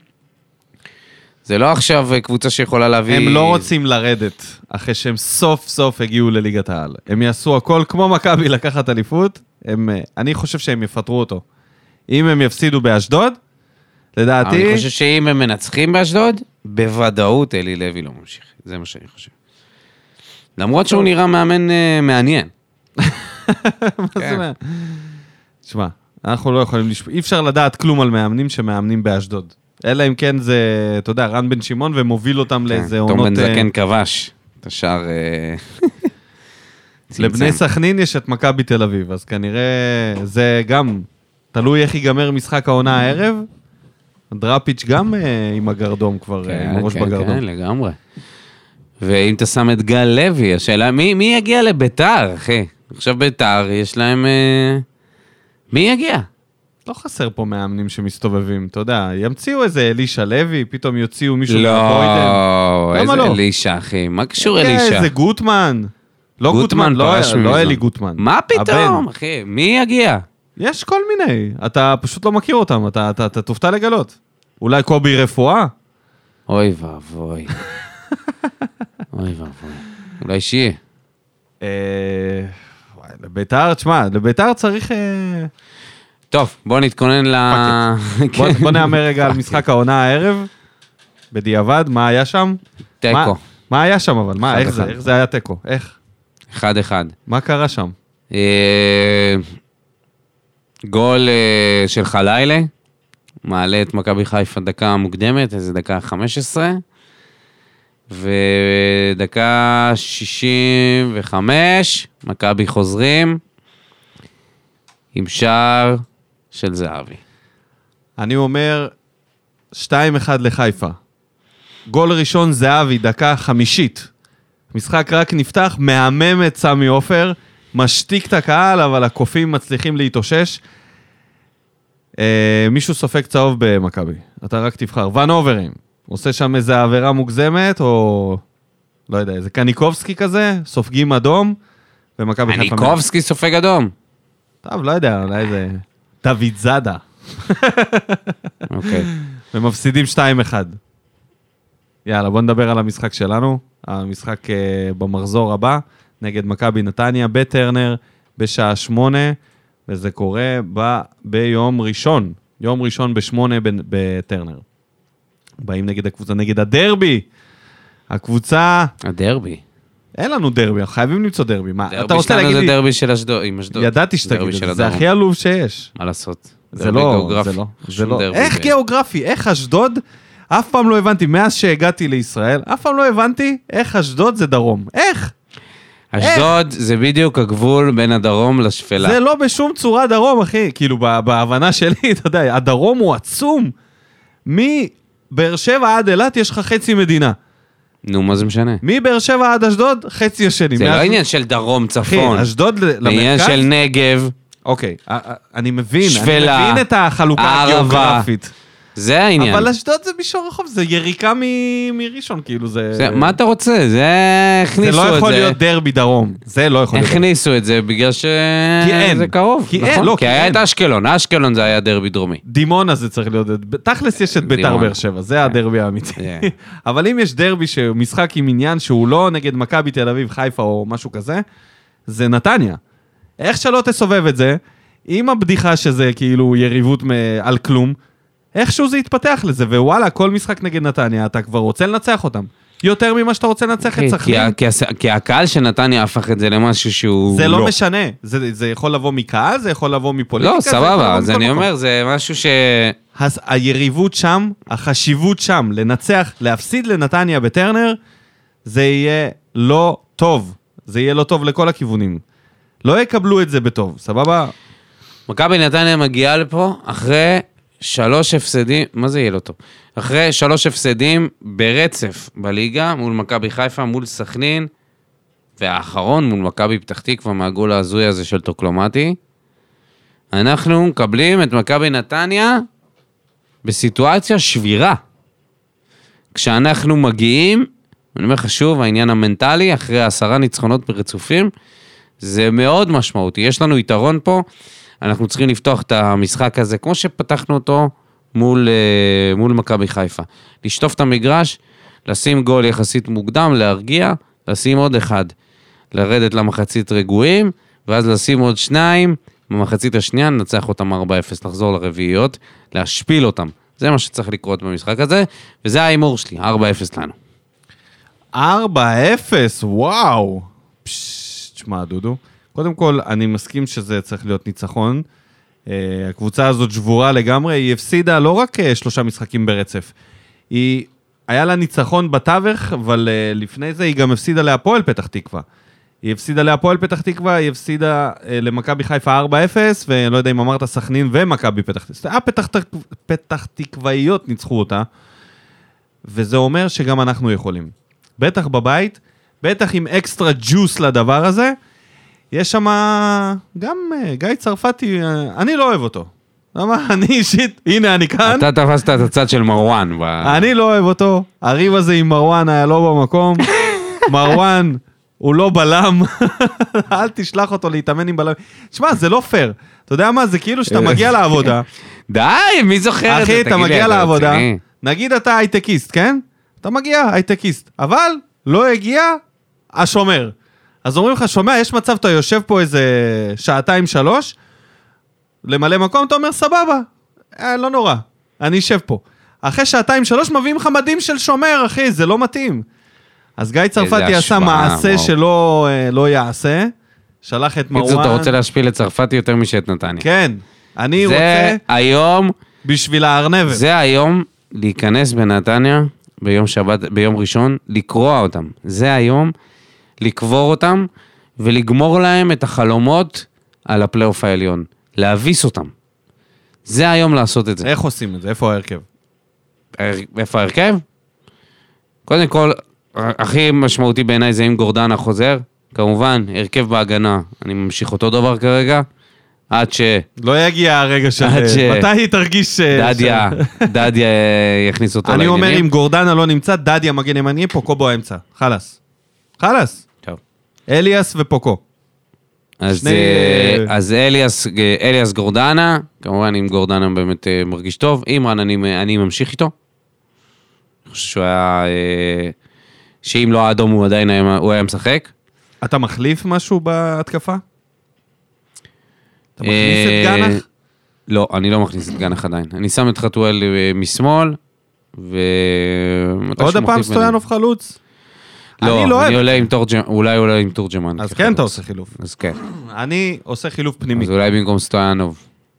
זה לא עכשיו אה, קבוצה שיכולה להביא...
הם לא רוצים לרדת אחרי שהם סוף סוף הגיעו לליגת העל. הם יעשו הכל כמו מכבי לקחת אליפות, הם, אה, אני חושב שהם יפטרו אותו. אם הם יפסידו באשדוד, לדעתי,
אני חושב שאם הם מנצחים באשדוד, בוודאות אלי לוי לא ממשיך. זה מה שאני חושב. למרות שהוא נראה מאמן אה, מעניין.
מה זה
כן.
מה? תשמע, אנחנו לא יכולים לשפוט, אי אפשר לדעת כלום על מאמנים שמאמנים באשדוד. אלא אם כן זה, אתה יודע, רן בן שמעון ומוביל אותם לאיזה
תום
עונות...
בן
אה,
זקן כבש. אתה השאר... אה,
לבני
צמצם.
סכנין יש את מכבי תל אביב, אז כנראה זה גם, תלוי איך ייגמר משחק העונה הערב. דראפיץ' גם אה, עם הגרדום כבר, אה, עם
כן,
הראש
כן,
בגרדום.
כן, לגמרי. ואם אתה שם את גל לוי, השאלה, מי, מי יגיע לביתר, אחי? עכשיו ביתר, יש להם... אה, מי יגיע?
לא חסר פה מאמנים שמסתובבים, אתה יודע, ימציאו איזה אלישע לוי, פתאום יוציאו מישהו מהבוידן.
לא,
למה
איזה
לא?
אלישע, אחי. מה קשור
כן,
לא, אלישע?
איזה גוטמן. לא גוטמן, לא-
פרש
לא
מזמן.
אלי גוטמן.
מה פתאום,
הבן.
אחי? מי יגיע?
יש כל מיני, אתה פשוט לא מכיר אותם, אתה- אתה אתה תופתע לגלות. אולי קובי רפואה?
אוי ואבוי. אוי ואבוי. אולי שיהיה.
אה, וואי, לביתר, תשמע, לביתר צריך... אה,
טוב, בוא נתכונן ל...
בוא,
כן.
בוא נאמר רגע על משחק העונה הערב, בדיעבד, מה היה שם? מה,
תיקו,
מה היה שם אבל? מה,
אחד
איך זה?
אחד.
איך זה היה תיקו? איך?
אחד אחד.
מה קרה שם?
אה, גול אה, של חלילה, מעלה את מכבי חיפה דקה מוקדמת, איזה דקה 15, ודקה 65, מכבי חוזרים עם שער של זהבי.
אני אומר, 2-1 לחיפה. גול ראשון זהבי, דקה חמישית. משחק רק נפתח, מהמם את סמי עופר, משתיק את הקהל, אבל הקופים מצליחים להתאושש. אה, מישהו סופג צהוב במכבי, אתה רק תבחר. ון אוברים, עושה שם איזה עבירה מוגזמת, או לא יודע, איזה קניקובסקי כזה, סופגים אדום, ומכבי חיפה...
הניקובסקי סופג אדום.
טוב, לא יודע, אולי איזה... דוד זאדה.
אוקיי.
ומפסידים 2-1. יאללה, בוא נדבר על המשחק שלנו. המשחק אה, במחזור הבא, נגד מכבי נתניה, בטרנר, בשעה שמונה, וזה קורה ב- ביום ראשון. יום ראשון בשמונה בנ- בטרנר. באים נגד הקבוצה, נגד הדרבי. הקבוצה,
הדרבי.
אין לנו דרבי, אנחנו חייבים למצוא דרבי. מה, אתה
דרבי
רוצה
שלנו
להגיד
זה
לי...
דרבי של אשדוד, עם אשדוד.
ידעתי שתגיד
דרבי
את
של
זה, זה
הדרום.
הכי עלוב שיש.
מה לעשות?
זה
דרבי
לא,
גיאוגרפי.
זה לא, זה
שום
לא.
דרבי
איך
ב-
גיאוגרפי? איך אשדוד? אף פעם לא הבנתי, מאז שהגעתי לישראל, אף פעם לא הבנתי איך אשדוד זה דרום. איך?
אשדוד זה בדיוק הגבול בין הדרום לשפלה.
זה לא בשום צורה דרום, אחי. כאילו, ב- בהבנה שלי, אתה יודע, הדרום הוא עצום. מבאר שבע עד אילת יש לך חצי מדינה. לא-
נו, מה זה משנה?
מבאר שבע עד אשדוד, חצי השני.
זה לא
מאשדוד-
עניין של דרום, צפון.
אחי, אשדוד ל-
זה עניין
למרכז?
של נגב.
אוקיי, א- א- אני מבין,
שפלה,
אני מבין את החלוקה
הערבה.
הגיאוגרפית.
זה העניין.
אבל אשדוד זה מישור החוף, זה יריקה מ- מראשון, כאילו זה...
זה- מה אתה רוצה? זה
זה
הכניסו
לא יכול
את זה.
להיות דרבי דרום, זה לא יכול להיות.
הכניסו את זה בגלל
אין.
שזה קרוב.
כי
נכון?
אין, לא,
כי
כי
היה
אין.
את אשקלון, אשקלון זה היה דרבי דרומי.
דימונה זה צריך להיות, תכלס יש את ביתר
דימונה.
באר שבע, זה הדרבי האמיתי.
כן.
אבל אם יש דרבי שהוא משחק עם עניין שהוא לא נגד מכבי תל אביב, חיפה או משהו כזה, זה נתניה. איך שלא תסובב את זה, עם הבדיחה שזה כאילו יריבות מ- על כלום, איכשהו זה יתפתח לזה, ווואלה, כל משחק נגד נתניה, אתה כבר רוצה לנצח אותם. יותר ממה שאתה רוצה לנצח את
כי-
סכנין.
כן, כי- כי הס- כי הקהל של נתניה הפך את זה למשהו שהוא...
זה לא משנה, זה זה יכול לבוא מקהל, זה יכול לבוא מפוליטיקה.
לא,
זה יכול לבוא
סבבה, אז
מכל
אני
מקום.
אומר, זה משהו ש...
הס- היריבות שם, החשיבות שם, לנצח, להפסיד לנתניה בטרנר, זה יהיה לא טוב. זה יהיה לא טוב לכל הכיוונים. לא יקבלו את זה בטוב, סבבה?
מכבי נתניה מגיעה לפה אחרי שלוש הפסדים, מה זה יהיה לא טוב? אחרי שלוש הפסדים ברצף בליגה, מול מכבי חיפה, מול סכנין, והאחרון מול מכבי פתח תקווה מהגול ההזוי הזה של טוקלומטי. אנחנו מקבלים את מכבי נתניה בסיטואציה שבירה. כשאנחנו מגיעים, אני אומר לך שוב, העניין המנטלי, אחרי עשרה ניצחונות ברצופים, זה מאוד משמעותי. יש לנו יתרון פה, אנחנו צריכים לפתוח את המשחק הזה כמו שפתחנו אותו מול, אה, מול מכבי חיפה. לשטוף את המגרש, לשים גול יחסית מוקדם, להרגיע, לשים עוד אחד, לרדת למחצית רגועים, ואז לשים עוד שניים, במחצית השנייה ננצח אותם 4-0, לחזור לרביעיות, להשפיל אותם. זה מה שצריך לקרות במשחק הזה, וזה ההימור שלי, 4-0 לנו.
4-0, וואו. פשש, תשמע, דודו, קודם כל, אני מסכים שזה צריך להיות ניצחון. אה, הקבוצה הזאת שבורה לגמרי, היא הפסידה לא רק אה, שלושה משחקים ברצף, היא היה לה ניצחון בתווך, אבל אה, לפני זה היא גם הפסידה להפועל פתח תקווה. היא הפסידה להפועל פתח תקווה, היא הפסידה אה, למכבי חיפה 4-0, ואני לא יודע אם אמרת סכנין ומכבי פתח תקווה. אה, פתח, תק- פתח תקוואיות ניצחו אותה, וזה אומר שגם אנחנו יכולים. בטח בבית, בטח עם אקסטרה ג'וס לדבר הזה. יש שם גם אה, גיא צרפתי, אה, אני לא אוהב אותו. למה אני אישית, הנה אני כאן.
אתה תפסת את הצד של מרואן. ב-
אני לא אוהב אותו, הריב הזה עם מרואן היה לא במקום. מרואן הוא לא בלם, אל תשלח אותו להתאמן עם בלם. שמע, זה לא פייר. אתה יודע מה, זה כאילו שאתה מגיע לעבודה,
די, מי זוכר את זה?
אחי, אתה
תגיד לי,
מגיע לעבודה,
רציני?
נגיד אתה הייטקיסט, כן? אתה מגיע הייטקיסט, אבל לא הגיע השומר. אז אומרים לך, שומע, יש מצב, אתה יושב פה איזה שעתיים-שלוש, למלא מקום, אתה אומר, סבבה, אה, לא נורא, אני אשב פה. אחרי שעתיים-שלוש מביאים לך מדים של שומר, אחי, זה לא מתאים. אז גיא צרפתי עשה
השפעה,
מעשה
וואו.
שלא אה, לא יעשה, שלח את מרואן.
בקיצור, אתה רוצה להשפיל את צרפתי יותר משאת נתניה.
כן, אני
זה
רוצה
היום,
בשביל הארנבת.
זה היום להיכנס בנתניה ביום שבת, ביום ראשון, לקרוע אותם. זה היום לקבור אותם ולגמור להם את החלומות על הפלייאוף העליון. להביס אותם. זה היום לעשות את זה.
איך עושים את זה? איפה ההרכב?
איפה ההרכב? קודם כל, הכי משמעותי בעיניי זה אם גורדנה חוזר. כמובן, הרכב בהגנה, אני ממשיך אותו דבר כרגע, עד
לא יגיע הרגע של...
עד ש-
מתי היא תרגיש... ש-
שדדיה,
ש-
דדיה אה, לא יכניס אותו
אה, אני
לעניינים.
אומר, אם גורדנה לא נמצא, דדיה מגן ימני, פוקו באמצע. חלאס. חלאס.
טוב.
אליאס ופוקו.
אז,
שני-
אה, אז אליאס, אה, אליאס גורדנה, כמובן אם גורדנה באמת אה, מרגיש טוב, אימרן אני, אני ממשיך איתו. אני חושב שהוא היה, אה, שאם לא האדום הוא עדיין היה, הוא היה משחק.
אתה מחליף משהו בהתקפה? אתה מכניס
אה,
את גנח?
לא, אני לא מכניס את גנח עדיין. אני שם את חתואל אה, משמאל, ו...
עוד
מתישהו
הפעם
מחליף ביניהם.
סטויאנוב חלוץ?
לא,
אני לא
אני
אוהב.
עולה עם תורג'מן, אולי עולה עם תורג'מן.
אז
כחלוץ.
כן אתה עושה חילוף.
אז כן,
אני עושה חילוף פנימי.
אז אה. אולי במקום סטויאנוב.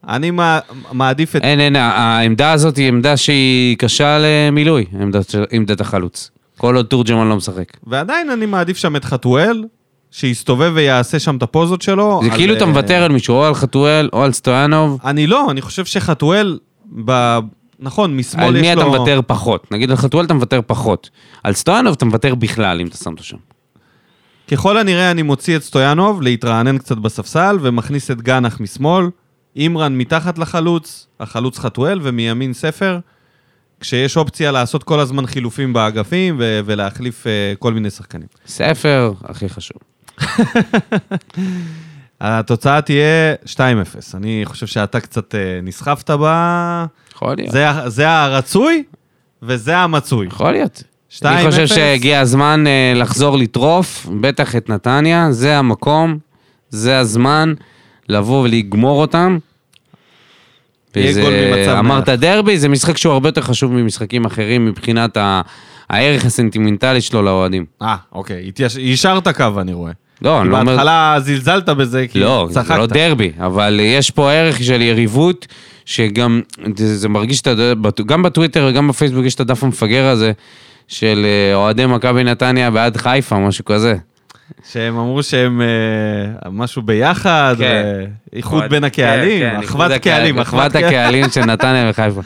אני מע- מעדיף את...
אין, אין, העמדה הזאת היא עמדה שהיא קשה למילוי, עמדת- עמדת החלוץ. כל עוד תורג'מן לא משחק.
ועדיין אני מעדיף שם את חתואל, שיסתובב ויעשה שם את הפוזות שלו.
זה
על,
כאילו אתה
אה,
מוותר על מישהו, או על חתואל, או על סטויאנוב.
אני לא, אני חושב שחתואל, ב... נכון, משמאל יש
על
לו...
מי אתה מוותר פחות? נגיד על חתואל אתה מוותר פחות. על סטויאנוב אתה מוותר בכלל, אם אתה שם אותו שם.
ככל הנראה אני מוציא את סטויאנוב להתרענן קצת בספסל, ומכניס את גנח משמאל, אימרן מתחת לחלוץ, החלוץ חתואל, ומימין ספר, כשיש אופציה לעשות כל הזמן חילופים באגפים ו- ולהחליף אה, כל מיני שחקנים.
ספר, הכי חשוב.
התוצאה תהיה 2-0. אני חושב שאתה קצת אה, נסחפת בה.
יכול להיות.
זה, ה- זה הרצוי וזה המצוי.
יכול להיות.
2-0.
אני חושב שהגיע הזמן אה, לחזור לטרוף, בטח את נתניה, זה המקום, זה הזמן לבוא ולגמור אותם.
יהיה
וזה-
גול ממצב נייח.
אמרת דרבי, זה משחק שהוא הרבה יותר חשוב ממשחקים אחרים מבחינת ה- הערך הסנטימנטלי שלו לאוהדים.
אה, אוקיי, התייש- יישרת קו, אני רואה.
לא,
כי
אני לא אומר...
בהתחלה זלזלת בזה, כי
לא, זה לא
כאילו, צחקת.
דרבי, אבל יש פה ערך של יריבות, שגם, זה זה מרגיש, שאתה יודע, בט- גם בטוויטר וגם בפייסבוק יש את הדף המפגר הזה, של אה, אוהדי מכבי נתניה בעד חיפה, משהו כזה.
שהם אמרו שהם אה, משהו ביחד,
כן.
אה, איחוד בין כן, הקהלים, אחוות קהלים,
אחוות הקהלים של נתניה וחיפה.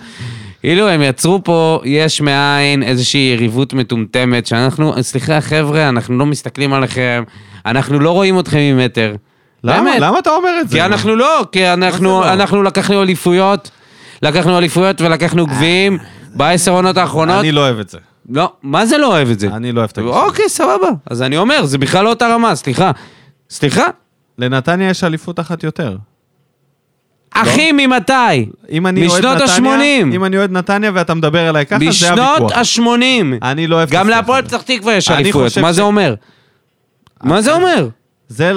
אילו הם יצרו פה יש מאין איזושהי יריבות מטומטמת, שאנחנו, סליחה חבר'ה, אנחנו לא מסתכלים עליכם, אנחנו לא רואים אתכם ממטר.
למה?
באמת.
למה אתה אומר את זה?
כי אנחנו לא, כי אנחנו,
לא?
אנחנו לקחנו אליפויות, לקחנו אליפויות ולקחנו גביעים בעשר עונות האחרונות.
אה, אני לא אוהב את זה.
לא, מה זה לא אוהב את זה?
אני לא אוהב את הגישה. הזאת.
אוקיי, סבבה. אז אני אומר, זה בכלל לא אותה רמה, סליחה. סליחה?
לא. לנתניה יש אליפות אחת יותר.
אחי, ממתי?
אם אני אוהד
משנות
נתניה-
ה-80.
אם אני אוהד נתניה ואתה מדבר אליי ככה, זה
בשנות
הוויכוח.
ה-80.
אני לא אוהב את
גם
השיח
להפועל
הזה.
פתח תקווה יש
אני
אליפויות,
חושב
מה
ש- אה,
זה אומר? מה זה אומר?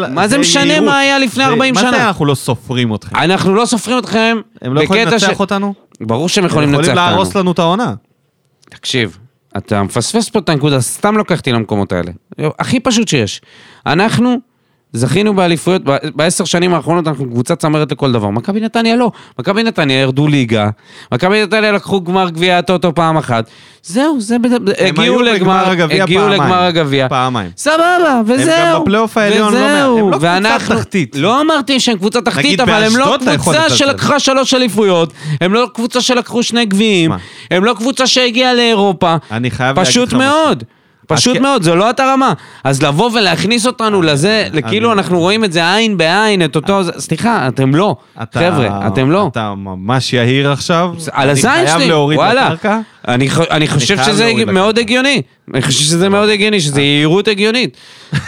מה זה משנה
יהירות.
מה היה לפני
זה-
40
מה
שנה?
זה אנחנו לא סופרים אתכם?
אנחנו לא סופרים אתכם
הם לא יכולים
בקטע ש...
לנצח אותנו?
ברור שהם
הם
יכולים לנצח
יכולים
אותנו.
להרוס לנו את העונה.
תקשיב, אתה מפספס פה את הנקודה, סתם לקחתי למקומות האלה. הכי פשוט שיש. אנחנו, זכינו באליפויות, ב- בעשר שנים האחרונות אנחנו קבוצה צמרת לכל דבר. מכבי נתניה לא. מכבי נתניה ירדו ליגה, מכבי נתניה לקחו גמר גביע הטוטו פעם אחת. זהו, זה... בד-
הם היו
הגיעו לגמר
הגביע
הגיעו
פעמיים.
לגמר הגביע.
פעמיים.
סבבה, וזהו.
גם בפלייאוף העליון לא מעט.
וזהו.
הם לא קבוצה
ואנחנו-
תחתית.
לא אמרתי שהם קבוצה תחתית,
נגיד,
אבל הם לא
באשדוד אתה יכול
קבוצה
לזלזל.
שלקחה שלוש אליפויות, הם לא קבוצה שלקחו שני גביעים,
מה?
הם לא קבוצה שהגיעה לאירופה.
אני חייב להגיד
פשוט
לך משהו.
מאוד. פשוט
אז- כן.
מאוד, זו לא אותה רמה. אז לבוא ולהכניס אותנו לזה, כאילו
אני- אה,
אנחנו רואים את זה עין בעין, את אותו... זה- סליחה, אתם לא.
אתה-
חבר'ה, אתם לא.
אתה ממש יהיר עכשיו.
על הזין
אני חייב
שלי,
להוריד
וואלה.
לקרקע.
אני ח- אני חושב
חייב
שזה
להוריד לקרקע.
מאוד
אה.
הגיוני. אני חושב שזה מאוד הגיוני, שזה יהירות הגיונית. כן,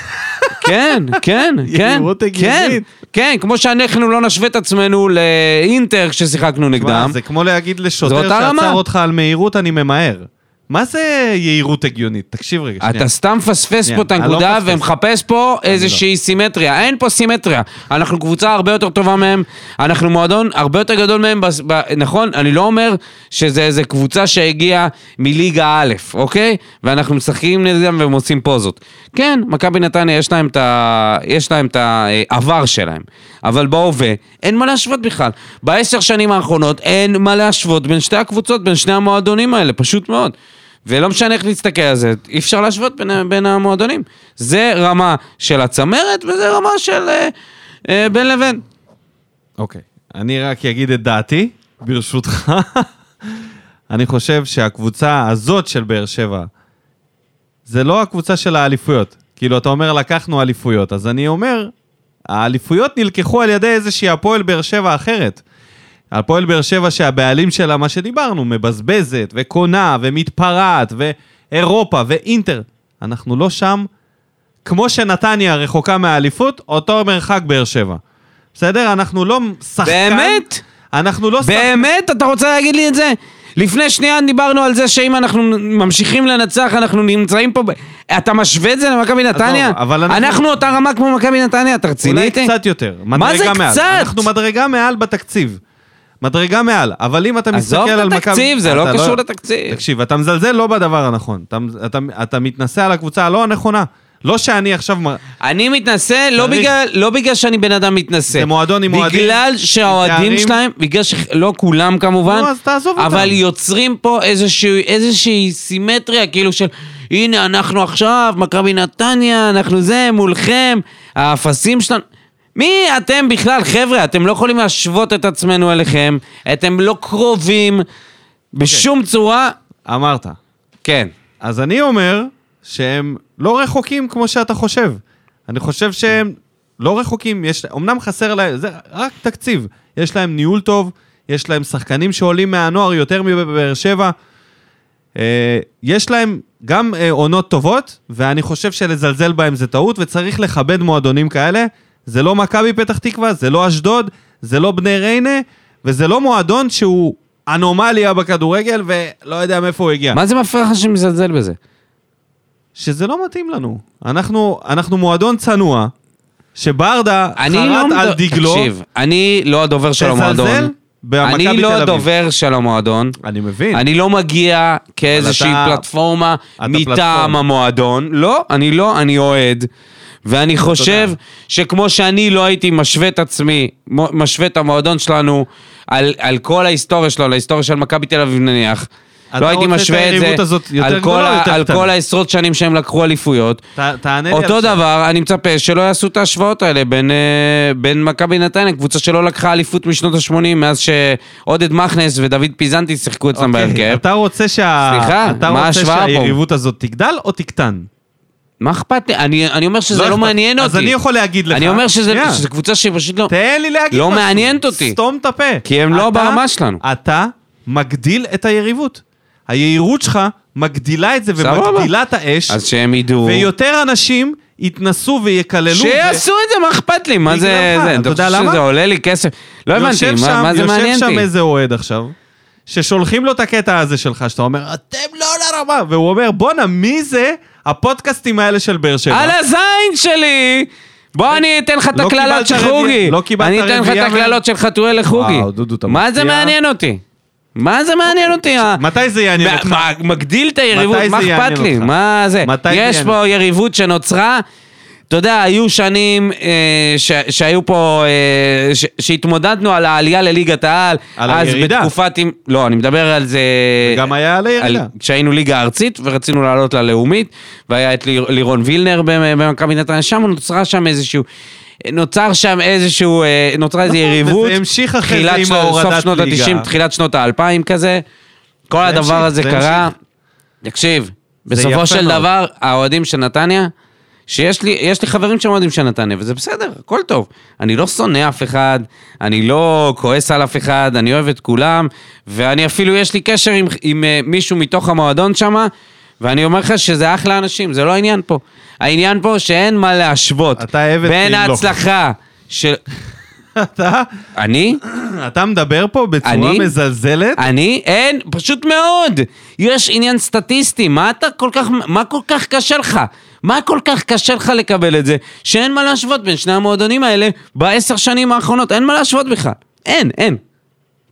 כן, כן,
יהירות
כן,
הגיונית.
כן, כמו שאנחנו לא נשווה את עצמנו לאינטר כששיחקנו נגדם.
מה, זה כמו להגיד
זו
לשוטר
אותה רמה.
שעצר אותך על מהירות, אני ממהר. מה זה יהירות הגיונית? תקשיב רגע, שנייה.
אתה סתם מפספס
שנייה,
פה את
אני לא
הנקודה
מפספס. לא.
ומחפש פה איזושהי סימטריה. אין פה סימטריה. אנחנו קבוצה הרבה יותר טובה מהם, אנחנו מועדון הרבה יותר גדול מהם, בס- ב- נכון? אני לא אומר שזה איזה קבוצה שהגיעה מליגה א', אוקיי? ואנחנו משחקים נגדם והם עושים פוזות. כן, מכבי נתניה יש להם את ה- יש להם את העבר שלהם, אבל בהווה אין מה להשוות בכלל. בעשר שנים האחרונות אין מה להשוות בין שתי הקבוצות, בין שני המועדונים האלה, פשוט מאוד. ולא משנה איך נסתכל על זה, אי אפשר להשוות בין, ה- בין המועדונים. זה רמה של הצמרת וזה רמה של אה, אה, בין לבין.
אוקיי. אני רק אגיד את דעתי, ברשותך. אני חושב שהקבוצה הזאת של באר שבע, זה לא הקבוצה של האליפויות. כאילו, אתה אומר, לקחנו אליפויות. אז אני אומר, האליפויות נלקחו על ידי איזושהי הפועל באר שבע אחרת. הפועל באר שבע שהבעלים שלה, מה שדיברנו, מבזבזת וקונה ומתפרעת ואירופה ואינטר. אנחנו לא שם. כמו שנתניה רחוקה מהאליפות, אותו מרחק באר שבע. בסדר? אנחנו לא שחקן...
באמת?
אנחנו לא שחקן...
באמת? אתה רוצה להגיד לי את זה? לפני שנייה דיברנו על זה שאם אנחנו ממשיכים לנצח, אנחנו נמצאים פה... ב... אתה משווה את זה למכבי נתניה?
אבל אנחנו-
אנחנו אותה רמה כמו מכבי נתניה, אתה רציני
אולי
איתי?
קצת יותר.
זה
מדרגה מעל.
קצת?
אנחנו מדרגה מעל בתקציב. מדרגה מעל, אבל אם אתה מסתכל
עזוב את
על מכבי... אה,
התקציב, זה לא
אתה
קשור לתקציב.
תקשיב, אתה מזלזל לא בדבר הנכון. אתה, אתה, אתה מתנשא על הקבוצה הלא הנכונה. לא שאני עכשיו... מ-
אני מתנשא לא
צריך-
בגלל, לא בגלל שאני בן אדם מתנשא.
זה מועדון עם אוהדים,
בגלל
עם
שהאוהדים
תארים.
שלהם, בגלל שלא כולם כמובן,
נו, אז תעזוב
אבל
אותם.
יוצרים פה איזושהי, איזושהי סימטריה כאילו של הנה אנחנו עכשיו, מכבי נתניה, אנחנו זה, מולכם, האפסים שלנו. מי אתם בכלל? חבר'ה, אתם לא יכולים להשוות את עצמנו אליכם, אתם לא קרובים בשום
אוקיי.
צורה.
אמרת.
כן.
אז אני אומר שהם לא רחוקים כמו שאתה חושב. אני חושב שהם לא רחוקים, יש, אמנם חסר להם, זה רק תקציב. יש להם ניהול טוב, יש להם שחקנים שעולים מהנוער יותר מבאר שבע. אה, יש להם גם אה, עונות טובות, ואני חושב שלזלזל בהם זה טעות, וצריך לכבד מועדונים כאלה. זה לא מכבי פתח תקווה, זה לא אשדוד, זה לא בני ריינה, וזה לא מועדון שהוא אנומליה בכדורגל, ולא יודע מאיפה הוא הגיע.
מה זה מפריע לך שאני מזלזל בזה?
שזה לא מתאים לנו. אנחנו, אנחנו מועדון צנוע, שברדה חרט
אני לא...
על
מד-
דגלו,
תקשיב, אני לא הדובר של
תזלזל
המועדון.
במכבי תל
אני
אביב.
לא הדובר של המועדון.
אני מבין.
אני לא מגיע כאיזושהי
אתה-
פלטפורמה
אתה
מטעם
פלטפורמה.
המועדון. לא, אני לא, אני אוהד. ואני חושב שכמו שאני לא הייתי משווה את עצמי, מו- משווה את המועדון שלנו על, על כל ההיסטוריה שלו, על ההיסטוריה של מכבי תל אביב נניח.
אתה
לא הייתי
רוצה את
משווה את זה
היריבות הזאת יותר
על,
גדולה
כל,
או
ה-
יותר
על
קטנה?
כל העשרות שנים שהם לקחו אליפויות.
ת, תענה לי על
אותו
זה.
דבר, אני מצפה שלא יעשו את ההשוואות האלה בין, אה, בין מכבי נתניה, קבוצה שלא לקחה אליפות משנות ה-80, מאז שעודד מכנס ודוד פיזנטי שיחקו אצלם
אוקיי,
בהרכב.
אתה רוצה, שה...
סליחה,
אתה
מה
רוצה
ההשוואה פה?
שהיריבות הזאת תגדל או תקטן?
מה אכפת לי? אני, אני אומר שזה לא,
אכפת.
מעניין
אז
אותי.
אני יכול להגיד לך.
אני אומר שזה,
שנייה.
שזה קבוצה שפשוט לא...
תן לי להגיד
לא
משהו.
מעניינת אותי.
סתום את הפה.
כי הם לא
אתה-
ברמה שלנו.
אתה מגדיל את היריבות. היהירות שלך מגדילה את זה
סבבה.
ומגדילה את האש.
אז שהם ידעו.
ויותר אנשים יתנסו ויקללו.
שיעשו את זה, מה אכפת לי? מה זה...
בגללך,
זה?
אתה
אתה
יודע
חושב
למה?
שזה עולה לי כסף? לא הבנתי,
יושב
מה-
שם-
מה זה מעניין
יושב שם
אותי?
איזה אוהד עכשיו, ששולחים לו את הקטע הזה שלך, שאתה אומר, אתם לא לרמה, והוא אומר, בואנה, מי זה הפודקאסטים האלה של באר שבע?
על הזין שלי! בוא, אני אתן לך את
לא
הקללות
קיבלת
של
רביעי-
חוגי.
לא קיבלת
אני אתן לך את
רביעייה
הקללות של חתואל לחוגי.
וואו, דודו, אתה
מה
מפתיע.
זה מעניין אותי? מה זה מעניין אותי? ה-
מתי זה
מה-
יעניין אותך?
מה- מגדיל את היריבות,
מתי
מה
זה
אכפת
יעניין
לי?
אותך?
מה זה?
מתי זה
יש פה
יעניין?
יריבות שנוצרה אתה יודע, היו שנים אה, ש, שהיו פה, אה, ש, שהתמודדנו על העלייה לליגת העל.
על
אז
הירידה.
בתקופת... עם- לא, אני מדבר על זה...
גם היה על
על,
הירידה.
כשהיינו ליגה ארצית ורצינו לעלות ללאומית, והיה את ליר, לירון וילנר במ- במכבי נתניה, שם נוצרה שם איזשהו... נוצר שם איזשהו, אה, נוצרה איזו
נכון,
יריבות.
וזה המשיך אחרי
תחילת
זה עם
שנות- סוף
ההורדת
שנות
ליגה.
ה-90, תחילת שנות ה-2000 כזה. כל
זה
הדבר
המשיך,
הזה
זה
קרה.
המשיך.
תקשיב,
זה
בסופו
יפה
של
מאוד.
דבר, האוהדים של נתניה, שיש לי, יש לי חברים שהם אוהדים של נתניה, וזה בסדר, הכל טוב. אני לא שונא אף אחד, אני לא כועס על אף אחד, אני אוהב את כולם, ואני אפילו, יש לי קשר עם, עם אה, מישהו מתוך המועדון שם, ואני אומר לך שזה אחלה אנשים, זה לא העניין פה. העניין פה שאין מה להשוות.
אתה עבד
בין
כאילו.
ההצלחה של...
אתה,
אני?
אתה מדבר פה בצורה
אני?
מזלזלת?
אני? אין, פשוט מאוד. יש עניין סטטיסטי, מה אתה כל כך, מה כל כך קשה לך? מה כל כך קשה לך לקבל את זה, שאין מה להשוות בין שני המועדונים האלה בעשר שנים האחרונות? אין מה להשוות בכלל. אין, אין.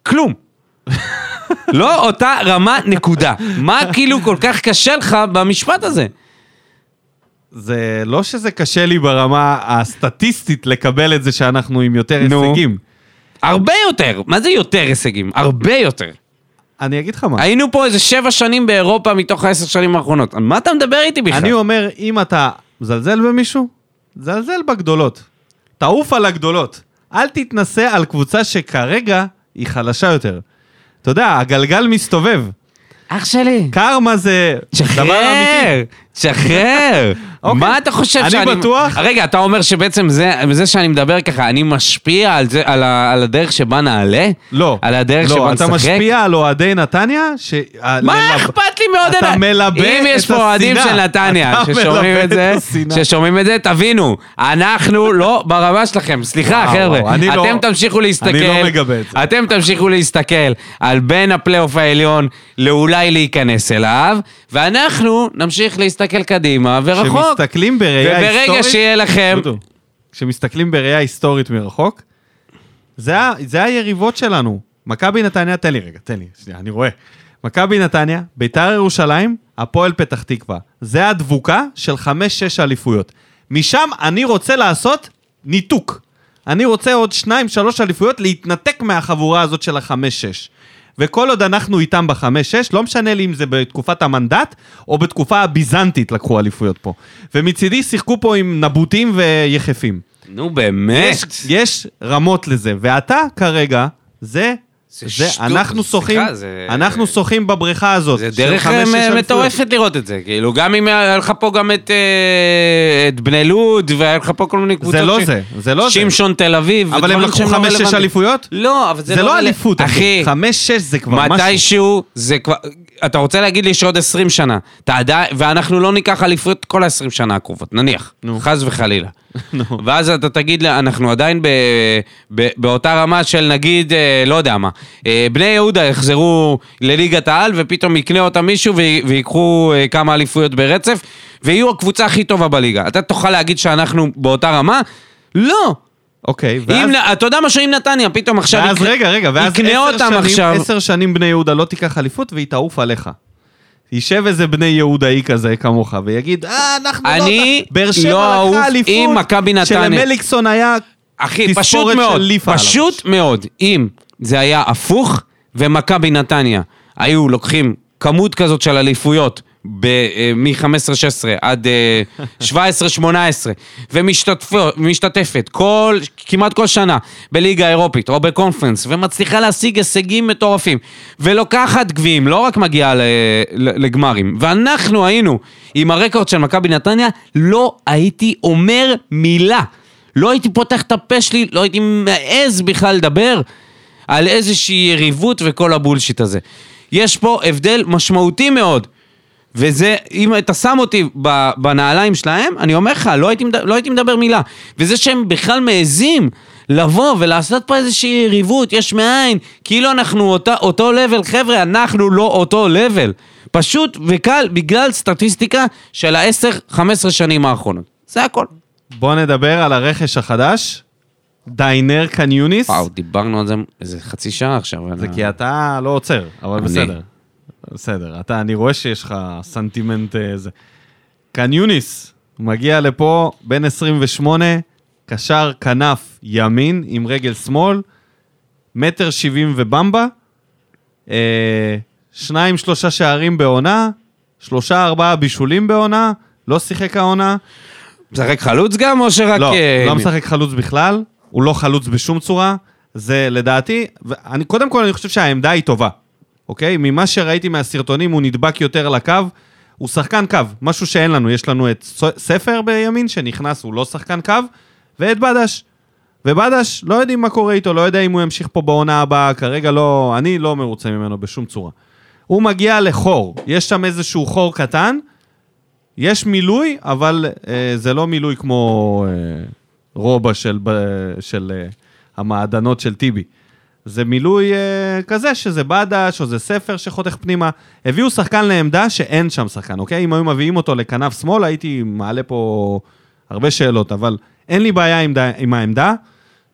כלום. לא אותה רמה, נקודה. מה כאילו כל כך קשה לך במשפט הזה?
זה לא שזה קשה לי ברמה הסטטיסטית לקבל את זה שאנחנו עם יותר
נו.
הישגים.
הרבה יותר. מה זה יותר הישגים? הרבה יותר.
אני אגיד לך מה.
היינו פה איזה שבע שנים באירופה מתוך העשר שנים האחרונות. על מה אתה מדבר איתי בכלל?
אני אומר, אם אתה מזלזל במישהו, זלזל בגדולות. תעוף על הגדולות. אל תתנסה על קבוצה שכרגע היא חלשה יותר. אתה יודע, הגלגל מסתובב.
אח שלי.
קרמה זה דבר אמיתי.
תשחרר, תשחרר.
אוקיי.
מה אתה חושב
אני
שאני...
בטוח.
רגע, אתה אומר שבעצם זה, זה שאני מדבר ככה, אני משפיע על, זה, על, ה, על הדרך שבה נעלה?
לא.
על הדרך
לא,
שבה
אתה
נשחק?
משפיע על אוהדי נתניה, ש...
מה אכפת לי מאוד?
אתה
אלה?
מלבה
אם
את
יש פה אוהדים
השנאה.
של נתניה
אתה
ששומעים
מלבה
את זה,
את השנאה.
ששומעים את זה, תבינו, אנחנו לא ברמה שלכם. סליחה,
וואו,
חבר'ה.
וואו, אני לא-
אתם תמשיכו להסתכל.
אני לא מגבה את זה.
אתם תמשיכו להסתכל על בין הפלייאוף העליון לאולי להיכנס אליו, ואנחנו נמשיך להסתכל קדימה ורחוק.
כשמסתכלים בראייה
וברגע
היסטורית...
שיהיה לכם-
דודו, כשמסתכלים בראייה היסטורית מרחוק, זה, ה- זה היריבות שלנו. מכבי נתניה, תן לי רגע, תן לי, שנייה, אני רואה. מכבי נתניה, ביתר ירושלים, הפועל פתח תקווה. זה הדבוקה של חמש-שש אליפויות. משם אני רוצה לעשות ניתוק. אני רוצה עוד שניים, שלוש אליפויות להתנתק מהחבורה הזאת של החמש-שש. וכל עוד אנחנו איתם בחמש-שש, לא משנה לי אם זה בתקופת המנדט או בתקופה הביזנטית לקחו אליפויות פה. ומצידי שיחקו פה עם נבוטים ויחפים.
נו באמת.
יש, יש רמות לזה, ואתה כרגע, זה,
זה
זה,
שטות,
אנחנו
סליחה,
שוחים,
זה-
אנחנו שוחים בבריכה הזאת.
זה
של
דרך
חמש,
אה,
שש אליפויות.
מטורפת לראות את זה, כאילו, גם אם היה לך פה גם את, אה, את בני לוד, והיה לך פה כל מיני קבוצות.
זה לא
ש-
זה, זה לא זה.
שמשון תל אביב.
אבל הם
ודברים
לקחו
שהם לא
חמש, שש
רלוונטיים.
אליפויות?
לא, אבל
זה לא
רלוונטי.
אליפות, אחי.
אחי,
חמש, שש זה כבר משהו.
מתישהו זה כבר... אתה רוצה להגיד לי שעוד 20 שנה, אתה עדיין, ואנחנו לא ניקח אליפות כל ה-20 שנה הקרובות, נניח, חס וחלילה. ואז אתה תגיד, לה, אנחנו עדיין ב, ב, באותה רמה של נגיד, אה, לא יודע מה, אה, בני יהודה יחזרו לליגת העל ופתאום יקנה אותה מישהו ו- ויקחו אה, כמה אליפויות ברצף, ויהיו הקבוצה הכי טובה בליגה. אתה תוכל להגיד שאנחנו באותה רמה? לא.
אוקיי, ואז...
אם, נ- אתה יודע משהו, אם נתניה פתאום עכשיו
ואז
יקנה-
רגע, רגע, ואז
יקנה
עשר
אותם
שנים,
עכשיו.
עשר שנים בני יהודה לא תיקח אליפות והיא תעוף עליך. יישב איזה בני יהודאי כזה כמוך ויגיד, אה, אנחנו לא...
אני
באר שבע
לא
לקחה
אעוף
אליפות
אם מכבי נתניה.
שלמליקסון היה
אחי, פשוט
תספורת של
מאוד,
ליפה עליו.
פשוט מאוד, אם זה היה הפוך ומכבי נתניה היו לוקחים כמות כזאת של אליפויות אה, מ-15-16 עד אה, 17-18 ומשתתפת כל, כמעט כל שנה בליגה האירופית או בקונפרנס ומצליחה להשיג הישגים מטורפים ולוקחת גביעים, לא רק מגיעה ל- ל- לגמרים ואנחנו היינו עם הרקורד של מכבי נתניה לא הייתי אומר מילה לא הייתי פותח את הפה שלי, לא הייתי מעז בכלל לדבר על איזושהי יריבות וכל הבולשיט הזה. יש פה הבדל משמעותי מאוד. וזה, אם אתה שם אותי ב- בנעליים שלהם, אני אומר לך, לא הייתי, מד- לא הייתי מדבר מילה. וזה שהם בכלל מעזים לבוא ולעשות פה איזושהי יריבות, יש מאין, כאילו אנחנו אותה, אותו לבל, חבר'ה, אנחנו לא אותו לבל. פשוט וקל, בגלל סטטיסטיקה של ה-10-15 שנים האחרונות. זה הכל.
בוא נדבר על הרכש החדש, דיינר קניוניס.
וואו, דיברנו על זה איזה חצי שעה עכשיו. על
זה
ה-
כי אתה לא עוצר, אבל
אני.
בסדר. בסדר, אתה, אני רואה שיש לך סנטימנט אה, זה. קניוניס, מגיע לפה, בן 28, קשר כנף ימין עם רגל שמאל, מטר שבעים ובמבה, אה, שניים, שלושה שערים בעונה, שלושה, ארבעה בישולים בעונה, לא שיחק העונה,
משחק חלוץ גם, או שרק...
לא,
אה,
לא משחק חלוץ בכלל, הוא לא חלוץ בשום צורה. זה לדעתי, ואני, קודם כל אני חושב שהעמדה היא טובה, אוקיי? ממה שראיתי מהסרטונים, הוא נדבק יותר לקו. הוא שחקן קו, משהו שאין לנו. יש לנו את ס- ספר בימין שנכנס, הוא לא שחקן קו, ואת בדש. ובדש, לא יודעים מה קורה איתו, לא יודע אם הוא ימשיך פה בעונה הבאה, כרגע לא, אני לא מרוצה ממנו בשום צורה. הוא מגיע לחור, יש שם איזשהו חור קטן, יש מילוי, אבל אה, זה לא מילוי כמו אה, רובה של, ב- של אה, המעדנות של טיבי. זה מילוי אה, כזה, שזה בדש, או זה ספר שחותך פנימה. הביאו שחקן לעמדה שאין שם שחקן, אוקיי? אם היו מביאים אותו לכנף שמאל, הייתי מעלה פה הרבה שאלות, אבל אין לי בעיה עם, ד... עם העמדה.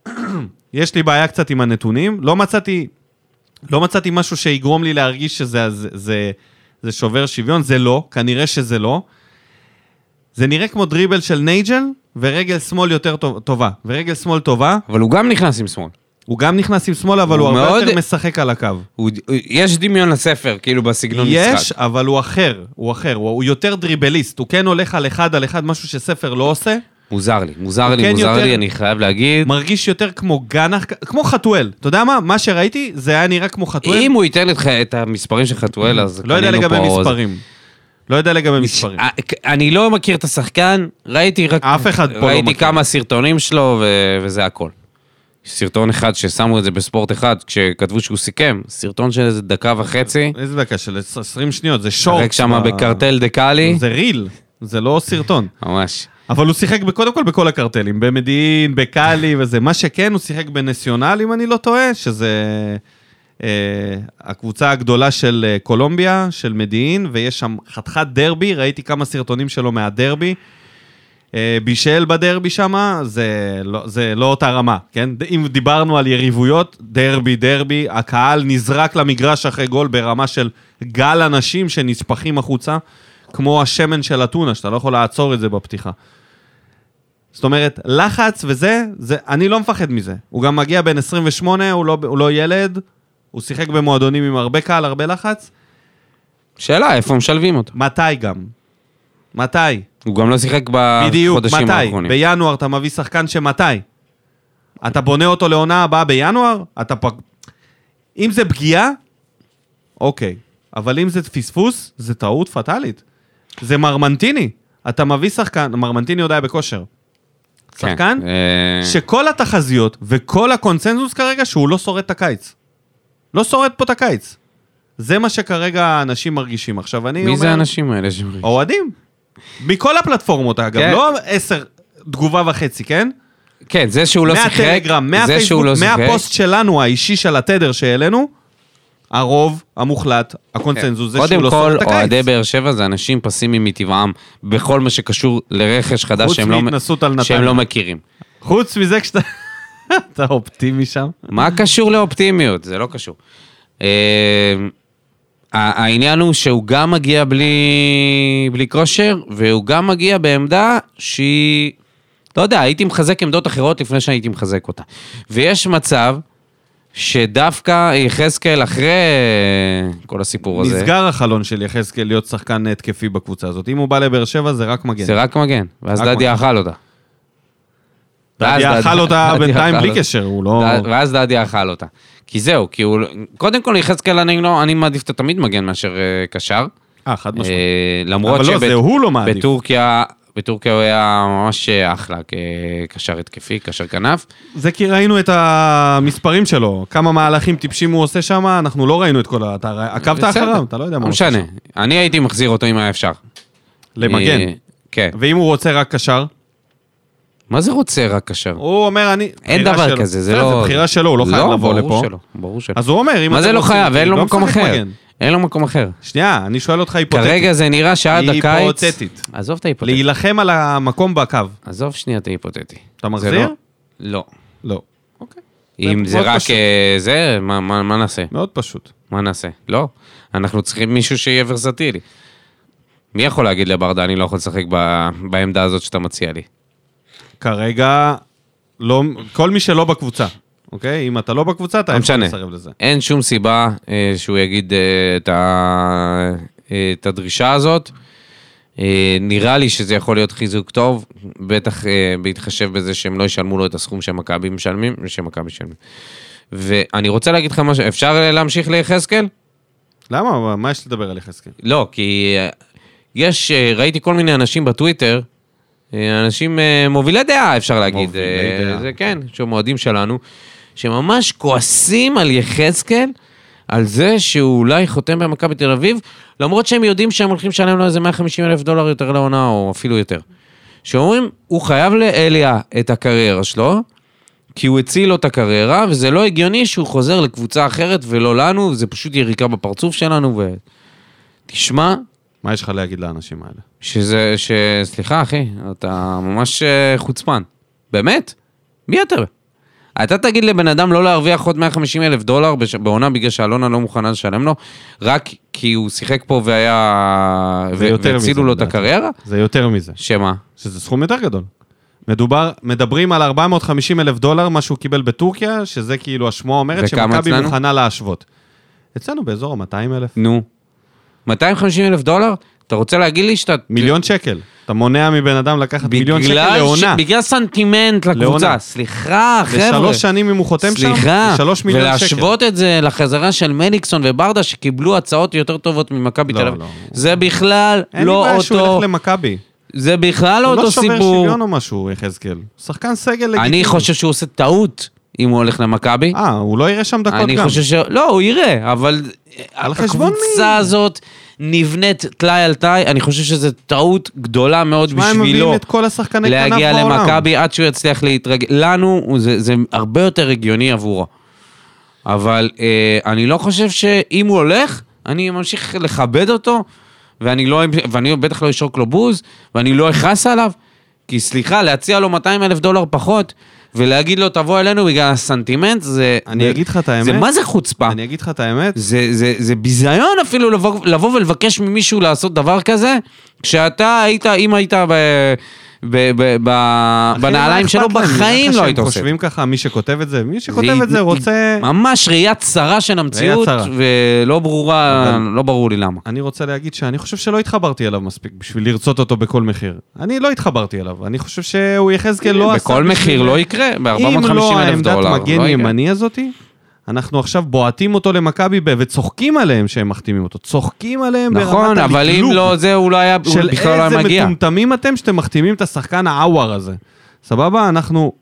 יש לי בעיה קצת עם הנתונים. לא מצאתי, לא מצאתי משהו שיגרום לי להרגיש שזה זה, זה, זה שובר שוויון, זה לא, כנראה שזה לא. זה נראה כמו דריבל של נייג'ל, ורגל שמאל יותר טוב, טובה. ורגל שמאל טובה,
אבל הוא גם נכנס עם שמאל.
הוא גם נכנס עם שמאל, אבל הוא,
הוא
הרבה
מאוד-
יותר משחק על הקו.
הוא- הוא- יש דמיון לספר, כאילו, בסגנון משחק.
יש, אבל הוא אחר, הוא אחר, הוא, הוא יותר דריבליסט, הוא כן הולך על אחד על אחד, משהו שספר לא עושה,
מוזר לי, מוזר
הוא
לי,
כן
מוזר
יותר-
לי, אני חייב להגיד.
מרגיש יותר כמו גנח, כמו חתואל. אתה יודע מה? מה שראיתי, זה היה נראה כמו חתואל.
אם הוא ייתן לך את המספרים של חתואל, אז
לא יודע
קנינו
לגבי
פה עוד.
מספרים. לא יודע לגבי מספרים.
אה, אני לא מכיר את השחקן, ראיתי רק...
אף אחד פה לא
ראיתי
מכיר.
כמה סרטונים שלו, ו- וזה הכל. סרטון אחד ששמו את זה בספורט אחד, כשכתבו שהוא סיכם, סרטון של איזה דקה וחצי,
איזה דקה של 20 שניות, זה שורט.
שחק שם בקרטל דקאלי,
זה ריל, זה לא סרטון.
ממש.
אבל הוא שיחק ב- קודם כל בכל הקרטלים, במדיעין, בקאלי וזה. מה שכן, הוא שיחק בנסיונל, אם אני לא טועה, שזה אה, הקבוצה הגדולה של אה, קולומביה, של מדיעין, ויש שם חתיכת דרבי, ראיתי כמה סרטונים שלו מהדרבי. אה, בישל בדרבי שמה, זה, לא, זה לא אותה רמה, כן? ד- אם דיברנו על יריבויות, דרבי, דרבי, הקהל נזרק למגרש אחרי גול ברמה של גל אנשים שנשפכים החוצה, כמו השמן של אתונה, שאתה לא יכול לעצור את זה בפתיחה. זאת אומרת, לחץ וזה, זה, אני לא מפחד מזה. הוא גם מגיע בן 28, הוא לא, הוא לא ילד, הוא שיחק במועדונים עם הרבה קהל, הרבה לחץ.
שאלה, איפה משלבים אותו?
מתי גם? מתי?
הוא גם לא שיחק
בדיוק,
בחודשים
מתי?
האחרונים.
בינואר אתה מביא שחקן שמתי? אתה בונה אותו לעונה הבאה בינואר? אתה פג... אם זה פגיעה, אוקיי. אבל אם זה פספוס, זה טעות פטאלית. זה מרמנטיני. אתה מביא שחקן, מרמנטיני עוד היה בכושר.
כן,
שחקן?
אה,
שכל התחזיות וכל הקונצנזוס כרגע שהוא לא שורד את הקיץ. לא שורד פה את הקיץ. זה מה שכרגע האנשים מרגישים. עכשיו, אני אומר...
מי זה האנשים האלה ש...
אוהדים. מכל הפלטפורמות, אגב.
כן.
לא עשר תגובה וחצי, כן?
כן, זה שהוא לא שיחק,
מהטלגרם,
זה שהוא
מהפייסבוק,
לא שיחק,
מהפוסט שלנו, האישי של התדר שהעלינו, הרוב המוחלט, הקונצנזוס, זה שהוא
כן. קודם
לא
כל,
שורד את הקיץ.
אוהדי באר שבע זה אנשים פסימיים מטבעם, בכל מה שקשור לרכש חדש
חוץ
שהם לא-
מהתנסות על
שהם
נתניה.
לא מכירים.
חוץ מזה כשאתה... אתה אופטימי שם.
מה קשור לאופטימיות? זה לא קשור. אה, ה- העניין הוא שהוא גם מגיע בלי, בלי כושר, והוא גם מגיע בעמדה שהיא... לא יודע, הייתי מחזק עמדות אחרות לפני שהייתי מחזק אותה. ויש מצב שדווקא יחזקאל, אחרי כל הסיפור הזה,
נסגר החלון של יחזקאל להיות שחקן התקפי בקבוצה הזאת. אם הוא בא לבאר שבע, זה רק מגן.
זה רק מגן, ואז
רק
דדיה
מגן.
אכל אותה. ואז
דדיה אכל אותה
דדיה
בינתיים
אכל
בלי
אותה.
קשר, הוא לא...
ד- ואז דדיה אכל אותה. כי זהו, כי הוא... קודם כל, יחזקאל, אני לא, אני מעדיף אותו תמיד מגן מאשר אה, קשר.
אה, חד משמעית.
אה, למרות
אבל לא,
שבת-
זה הוא לא מעדיף.
בטורקיה, בטורקיה הוא היה ממש אה, אחלה כקשר התקפי, קשר כנף.
זה כי ראינו את המספרים שלו, כמה מהלכים טיפשים הוא עושה שם, אנחנו לא ראינו את כל ה... אתה ר- עקבת
בסדר.
אחריו, אתה לא יודע מה
לא
הוא עושה
משנה,
שם.
אני הייתי מחזיר אותו אם היה אפשר.
למגן.
אה, כן.
ואם הוא רוצה רק קשר,
מה זה רוצה רק קשר?
הוא אומר, אני...
אין
בחירה
דבר
שלו.
כזה, זה
בסדר,
לא...
זה בחירה שלו, הוא לא חייב לבוא
ברור
לפה.
שלא, ברור שלא.
אז הוא אומר, אם
מה זה
אתם
לא
רוצים
חייב?
אותי,
אין לו
לא
מקום
משחק
אחר.
מגן.
אין לו מקום אחר.
שנייה, אני שואל אותך היפותטית.
כרגע זה נראה שעד
היא
הקיץ...
היפותטית.
עזוב את ההיפותטי.
להילחם על המקום בקו.
עזוב שנייה את ההיפותטי.
אתה
זה
מחזיר?
לא- לא.
לא.
אם
מאוד
זה רק
פשוט.
אה, זה, מה- מה מה נעשה?
מאוד פשוט.
מה נעשה? לא. אנחנו צריכים מישהו שיהיה ורסטילי. מי יכול להגיד לברדה, אני לא יכול לשחק ב- בעמדה הזאת שאתה מציע לי?
כרגע, לא, כל מי שלא בקבוצה, אוקיי? אם אתה לא בקבוצה, אתה
לא
יכול
משנה.
לסרב לזה.
אין שום סיבה אה, שהוא יגיד אה, את, ה... אה, את הדרישה הזאת. אה, נראה לי שזה יכול להיות חיזוק טוב, בטח אה, בהתחשב בזה שהם לא ישלמו לו את הסכום שמכבי משלמים, שמכבי משלמים. ואני רוצה להגיד לך משהו, אפשר להמשיך ליחזקאל?
למה? מה- מה יש לדבר על יחזקאל?
לא, כי אה, יש, אה, ראיתי כל מיני אנשים בטוויטר, אה, אנשים אה, מובילי דעה, אפשר להגיד.
מובילי
אה,
דעה.
זה כן, שהם אוהדים שלנו, שממש כועסים על יחזקאל, על זה שהוא אולי חותם במכבי תל אביב, למרות שהם יודעים שהם הולכים לשלם לו איזה 150 אלף דולר יותר לעונה, או אפילו יותר. שאומרים, הוא חייב לאליה את הקריירה שלו, כי הוא הציל לו את הקריירה, וזה לא הגיוני שהוא חוזר לקבוצה אחרת ולא לנו, זה פשוט יריקה בפרצוף שלנו, ו... תשמע,
מה יש לך להגיד לאנשים האלה?
שזה, ש... סליחה, אחי, אתה ממש אה, חוצפן. באמת? מי אתה? אתה תגיד לבן אדם לא להרוויח עוד 150 אלף דולר בש... בעונה בגלל שאלונה לא מוכנה לשלם לו, רק כי הוא שיחק פה והיה...
זה יותר מזה,
והצילו לו את
לדעתי.
הקריירה?
זה יותר מזה,
שמה?
שזה סכום יותר גדול. מדובר, מדברים על 450 אלף דולר, מה שהוא קיבל בטורקיה, שזה כאילו השמועה אומרת
וכמה
שמכבי
אצלנו?
מוכנה להשוות. אצלנו באזור ה-200 אלף.
נו. 250 אלף דולר? אתה רוצה להגיד לי שאתה...
מיליון שקל. אתה מונע מבן אדם לקחת מיליון שקל
בגלל
לעונה.
ש... בגלל סנטימנט לקבוצה.
לעונה.
סליחה, חבר'ה.
לשלוש שנים אם הוא חותם שם,
סליחה,
זה שלוש מיליון שקל.
ולהשוות את זה לחזרה של מליקסון וברדה שקיבלו הצעות יותר טובות ממכבי
לא,
תל אביב.
לא.
זה בכלל
אין לי
לא
בעיה שהוא
אותו,
ילך למכבי.
זה בכלל לא
הוא
אותו
לא שובר
סיפור.
שוויון או משהו, יחזקאל. שחקן סגל לגיטימי.
אני חושב שהוא עושה טעות אם הוא הולך למכבי.
אה, הוא לא יראה שם דקות
אני
גם.
חושב ש... לא, הוא יראה, אבל...
על חשבון מי?
הקבוצה הזאת נבנית טלאי על טלאי, אני חושב שזו טעות גדולה מאוד
מה, הם
בשבילו.
מביאים את כל השחקני כנף בעולם.
להגיע למכבי עד שהוא יצליח להתרגל. לנו הוא- זה, זה הרבה יותר הגיוני עבורו. אבל אה, אני לא חושב שאם הוא הולך, אני ממשיך לכבד אותו, ואני, לא, ואני בטח לא אשרוק לו בוז, ואני לא אכעס עליו, כי סליחה, להציע לו 200 אלף דולר פחות, ולהגיד לו תבוא אלינו בגלל הסנטימנט, זה...
אני אגיד לך את האמת.
זה מה זה חוצפה?
אני אגיד לך את האמת,
זה, זה, זה ביזיון אפילו לבוא, לבוא ולבקש ממישהו לעשות דבר כזה, כשאתה היית, אם היית ב, ב, ב, ב,
אחי,
בנעליים
מה
שלו,
אכפת להם?
בחיים
נראה
לא
לך
היית
שהם
עושה.
חושבים ככה, מי שכותב את זה, מי שכותב את זה
היא-
רוצה...
היא ממש ראייה צרה של המציאות,
צרה.
ולא ברורה,
אבל-
לא ברור לי למה.
אני רוצה להגיד שאני חושב שלא התחברתי אליו מספיק בשביל לרצות אותו בכל מחיר. אני לא התחברתי אליו, אני חושב שהוא יחזקאל לא עשה...
בכל מחיר
בשביל-
לא יקרה,
אם לא
ב-450 אלף
העמדת
דולר.
מגן
לא יקרה.
ימני הזאתי, אנחנו עכשיו בועטים אותו למכבי ב- וצוחקים עליהם שהם מחתימים אותו. צוחקים עליהם
נכון,
ברמת
אבל אם
הלגלוג
לא זה, הוא לא היה, הוא
של
בכלל לא
איזה
היה מגיע.
מטומטמים אתם שאתם מחתימים את השחקן העוואר הזה. סבבה? אנחנו...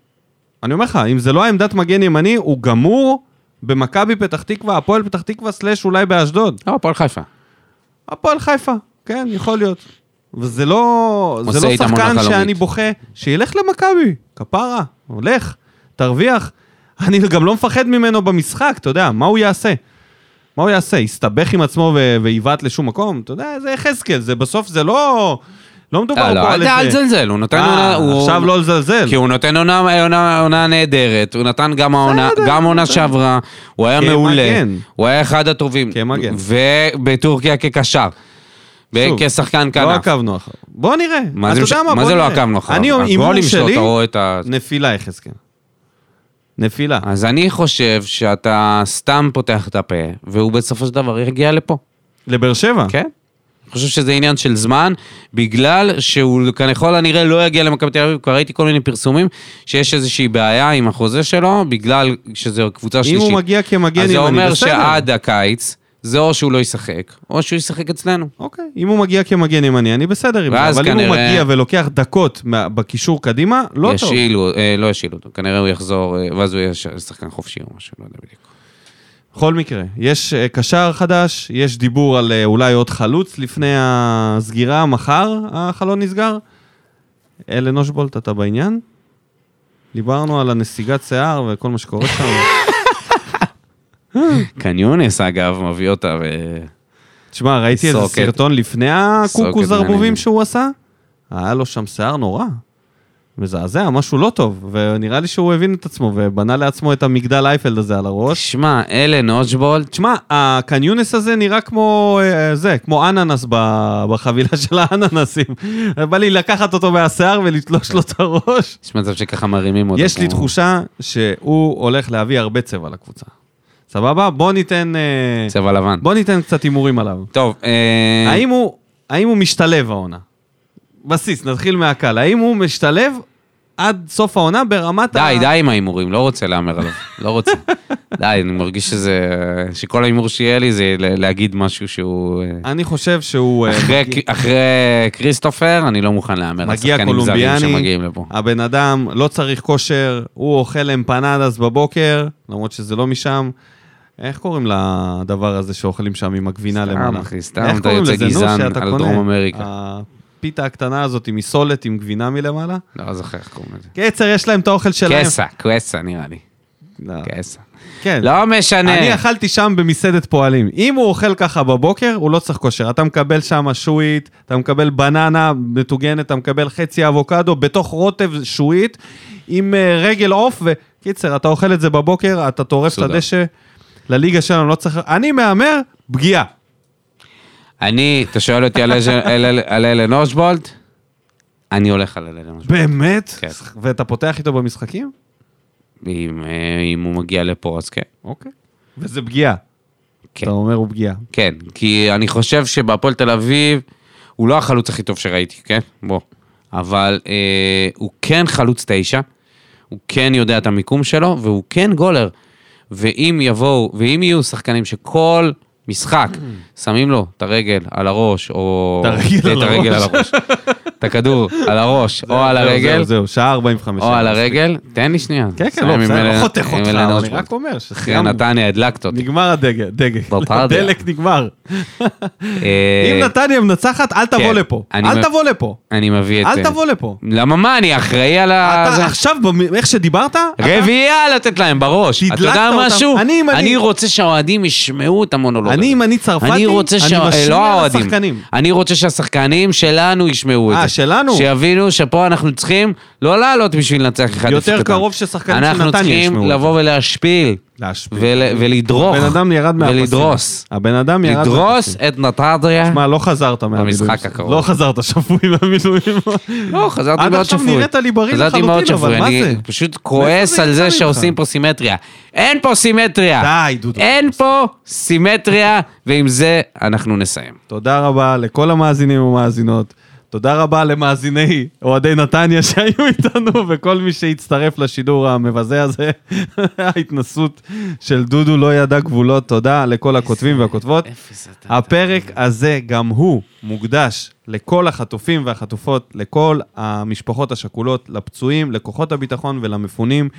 אני אומר לך, אם זה לא העמדת מגן ימני, הוא גמור במכבי פתח תקווה, הפועל פתח תקווה סלאש אולי באשדוד.
לא, הפועל חיפה.
הפועל חיפה, כן, יכול להיות. וזה לא,
עושה
זה לא
איתם עונה
שחקן
חלומית.
שאני בוכה, שילך למכבי, כפרה, הולך, תרוויח. אני גם לא מפחד ממנו במשחק, אתה יודע, מה הוא יעשה? מה הוא יעשה? יסתבך עם עצמו ו- ויבעט לשום מקום? אתה יודע, זה יחזקאל, זה בסוף, זה לא... לא מדובר
אה,
פה
לא,
על
אל
איזה...
אל תזלזל, הוא נותן
אה,
עונה, הוא...
עכשיו לא לזלזל.
כי הוא נותן עונה, עונה, עונה נהדרת, הוא נתן גם העונה,
בסדר,
גם עונה
בסדר.
שעברה, הוא היה
כמגן.
מעולה, הוא היה אחד הטובים.
כמגן.
ובטורקיה כקשר. ו-
שוב,
כשחקן
לא
כנף.
עקבנו אחריו. בוא נראה.
מה
אתה
זה
יודע
מש- מה
בוא
זה לא
נראה.
עקבנו אחריו?
אני,
הגולים
הימור
שלו,
שלי,
אתה רואה את ה...
נפילה יחזקאל. נפילה.
אז אני חושב שאתה סתם פותח את הפה, והוא בסופו של דבר יגיע לפה,
לבאר שבע.
כן? אני חושב שזה עניין של זמן, בגלל שהוא ככל הנראה לא יגיע למכבי תל אביב, כבר ראיתי כל מיני פרסומים שיש איזושהי בעיה עם החוזה שלו, בגלל שזו קבוצה
אם
שלישית.
הוא מגיע כמגן
אז
ימני,
זה אומר
בסדר.
שעד הקיץ, זה או שהוא לא ישחק, או שהוא ישחק אצלנו.
אוקיי, אם הוא מגיע כמגן ימני, אני בסדר עם זה,
ואז
אבל אם הוא
כנראה-
מגיע ולוקח דקות מה- בקישור קדימה, לא טוב.
ישילו, אה, לא ישילו אותו, כנראה הוא יחזור, אה, ואז הוא יהיה ש- שחקן חופשי או משהו, לא יודע בדיוק.
בכל מקרה, יש אה, קשר חדש, יש דיבור על אה, אולי עוד חלוץ לפני הסגירה, מחר החלון נסגר. אלן אושבולט, אתה בעניין? דיברנו על הנסיגת שיער וכל מה שקורה שם.
קניונס, אגב, מביא אותה, ו-
תשמע, ראיתי איזה
סוקת.
סרטון לפני הקוקו
סוקת
זרבובים
מעניינת.
שהוא עשה? היה לו שם שיער נורא. מזעזע, משהו לא טוב, ונראה לי שהוא הבין את עצמו ובנה לעצמו את המגדל אייפלד הזה על הראש.
תשמע, אלן אושבולט,
תשמע, הקניונס הזה נראה כמו אה, זה, כמו אננס ב- בחבילה של האננסים. בא לי לקחת אותו מהשיער ולתלוש לו את הראש.
יש מצב שככה מרימים אותו.
יש לי
כמו-
תחושה שהוא הולך להביא הרבה צבע לקבוצה. סבבה? בוא ניתן... אה,
צבע לבן.
בוא ניתן קצת הימורים עליו.
טוב, אה,
האם הוא, האם הוא משתלב העונה? בסיס, נתחיל מהקל. האם הוא משתלב עד סוף העונה ברמת
די, די עם ההימורים, לא רוצה להמר עליו, לא רוצה. די, אני מרגיש שזה... שכל ההימור שיהיה לי זה ל- להגיד משהו שהוא... אה,
אני חושב שהוא... אה,
אחרי,
מגיע-
אחרי כריסטופר, אני לא מוכן להמר על
מגיע
שחקנים זרים
קולומביאני,
שמגיעים לפה.
הבן אדם לא צריך כושר, הוא אוכל אמפנדס בבוקר, למרות שזה לא משם. איך קוראים לדבר הזה שאוכלים שם עם הגבינה
סתם,
למעלה?
אחי, סתם,
איך
אתה
קוראים
יוצא
לזה? נו,
גזען
שאתה
על
קונה.
דרום אמריקה.
הפיתה הקטנה הזאת עם מסולת, עם גבינה מלמעלה.
לא זוכר איך קוראים לזה.
קיצר, יש להם את האוכל שלהם.
קסה, קסה נראה לי.
לא,
קסה.
כן.
לא משנה.
אני אכלתי שם במסעדת פועלים. אם הוא אוכל ככה בבוקר, הוא לא צריך כושר. אתה מקבל שם שועית, אתה מקבל בננה מטוגנת, אתה מקבל חצי אבוקדו, בתוך רוטב שועית, עם אה, רגל עוף, וקיצר, אתה אוכל את זה בבוקר, אתה טורף את
מסודר.
הדשא. לליגה שלנו לא צריך... אני מהמר, פגיעה.
אני, אתה שואל אותי על אל- אל- על אלן אושבולט? אני הולך על אלן אושבולט.
באמת?
כן.
ואתה פותח איתו במשחקים?
אם, אה, אם הוא מגיע לפה, אז כן.
אוקיי. וזה פגיעה.
כן.
אתה אומר הוא פגיעה.
כן, כי אני חושב שבהפועל תל אביב, הוא לא החלוץ הכי טוב שראיתי, כן? בוא. אבל אה, הוא כן חלוץ תשע, הוא כן יודע את המיקום שלו, והוא כן גולר. ואם יבואו, ואם יהיו שחקנים שכל משחק שמים לו את הרגל על הראש, או...
את הרגל
כן,
על
את הרגל על
הראש.
הראש. את הכדור על הראש, או על
זהו,
הרגל,
זהו, זהו, שעה 45.
או על הרגל, תן לי שנייה.
כן, כן,
נסיים
לא,
עם
בסדר,
אלן-
לא חותך
עם
אותך,
אלן
אבל אני
אושבולט.
רק אומר
אחרי
שסיימנו.
נתניה הדלקת אותי.
נגמר הדגל, דגל.
בפרדיה.
הדלק נגמר.
אה,
אם נתניה מנצחת, אל תבוא
כן.
לפה.
אני
אל
מב-
תבוא לפה.
אני מביא את...
אל תבוא לפה.
למה מה, אני אחראי על ה...
אתה
אה, זה?
עכשיו, במ- איך שדיברת, אתה-
רביעייה לתת להם בראש. אתה
הדלקת
יודע
אותם.
משהו?
אני, אם אני-
אני רוצה שהאוהדים ישמעו את המונולוג.
אני,
הזה.
אם אני צרפתי,
אני רוצה שה-
אני משמיע
לא האוהדים.
לשחקנים.
אני רוצה שהשחקנים שלנו ישמעו את זה.
אה, שלנו?
שיבינו שפה אנחנו צריכים לא לעלות בשביל לנצח אחד.
יותר
אפס קטן.
קרוב ששחקנים של
אנחנו
נתניה
צריכים
ישמעו את
לבוא ולהשפיל.
להשפיל.
ול- ולדרוך.
הבן אדם ירד מהפסים.
ולדרוס.
הבן אדם ירד
לדרוס
מהפסים.
את נתניה.
מה, לא חזרת מהמילואים.
במשחק
שלך.
הקרוב.
לא חזרת שפוי מהמילואים.
לא, חזרתי
עד
מאוד
עכשיו
שפוי.
נראית לי בריא
חזרתי
לחלוטין,
מאוד
אבל
שפוי,
מה זה?
אני פשוט
מאיפה
כועס
זה
על
יצא
זה
ממך?
שעושים פה סימטריה. אין פה סימטריה.
די, דודו.
אין פה סימטריה, ועם זה אנחנו נסיים.
תודה רבה לכל המאזינים ומאזינות. תודה רבה למאזיני אוהדי נתניה שהיו איתנו, וכל מי שהצטרף לשידור המבזה הזה. ההתנסות של דודו לא ידע גבולות. תודה לכל הכותבים והכותבות. הפרק הזה גם הוא מוקדש לכל החטופים והחטופות, לכל המשפחות השכולות, לפצועים, לכוחות הביטחון ולמפונים.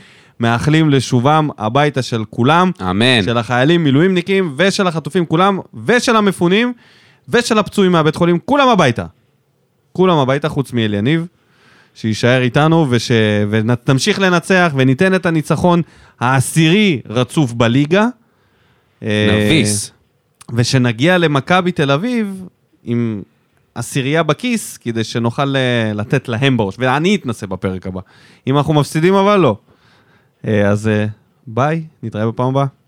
מאחלים לשובם הביתה של כולם.
אמן.
של החיילים מילואימניקים ושל החטופים כולם, ושל המפונים, ושל הפצועים מהבית חולים, כולם הביתה. כולם הביתה חוץ מאלי יניב, שיישאר איתנו וש... ונמשיך לנצח וניתן את הניצחון העשירי רצוף בליגה. אה,
נביס.
ושנגיע למכבי תל אביב עם עשירייה בכיס, כדי שנוכל אה, לתת להם בראש, ואני אתנסה בפרק הבא. אם אנחנו מפסידים אבל לא. אה, אז אה, ביי, נתראה בפעם הבאה.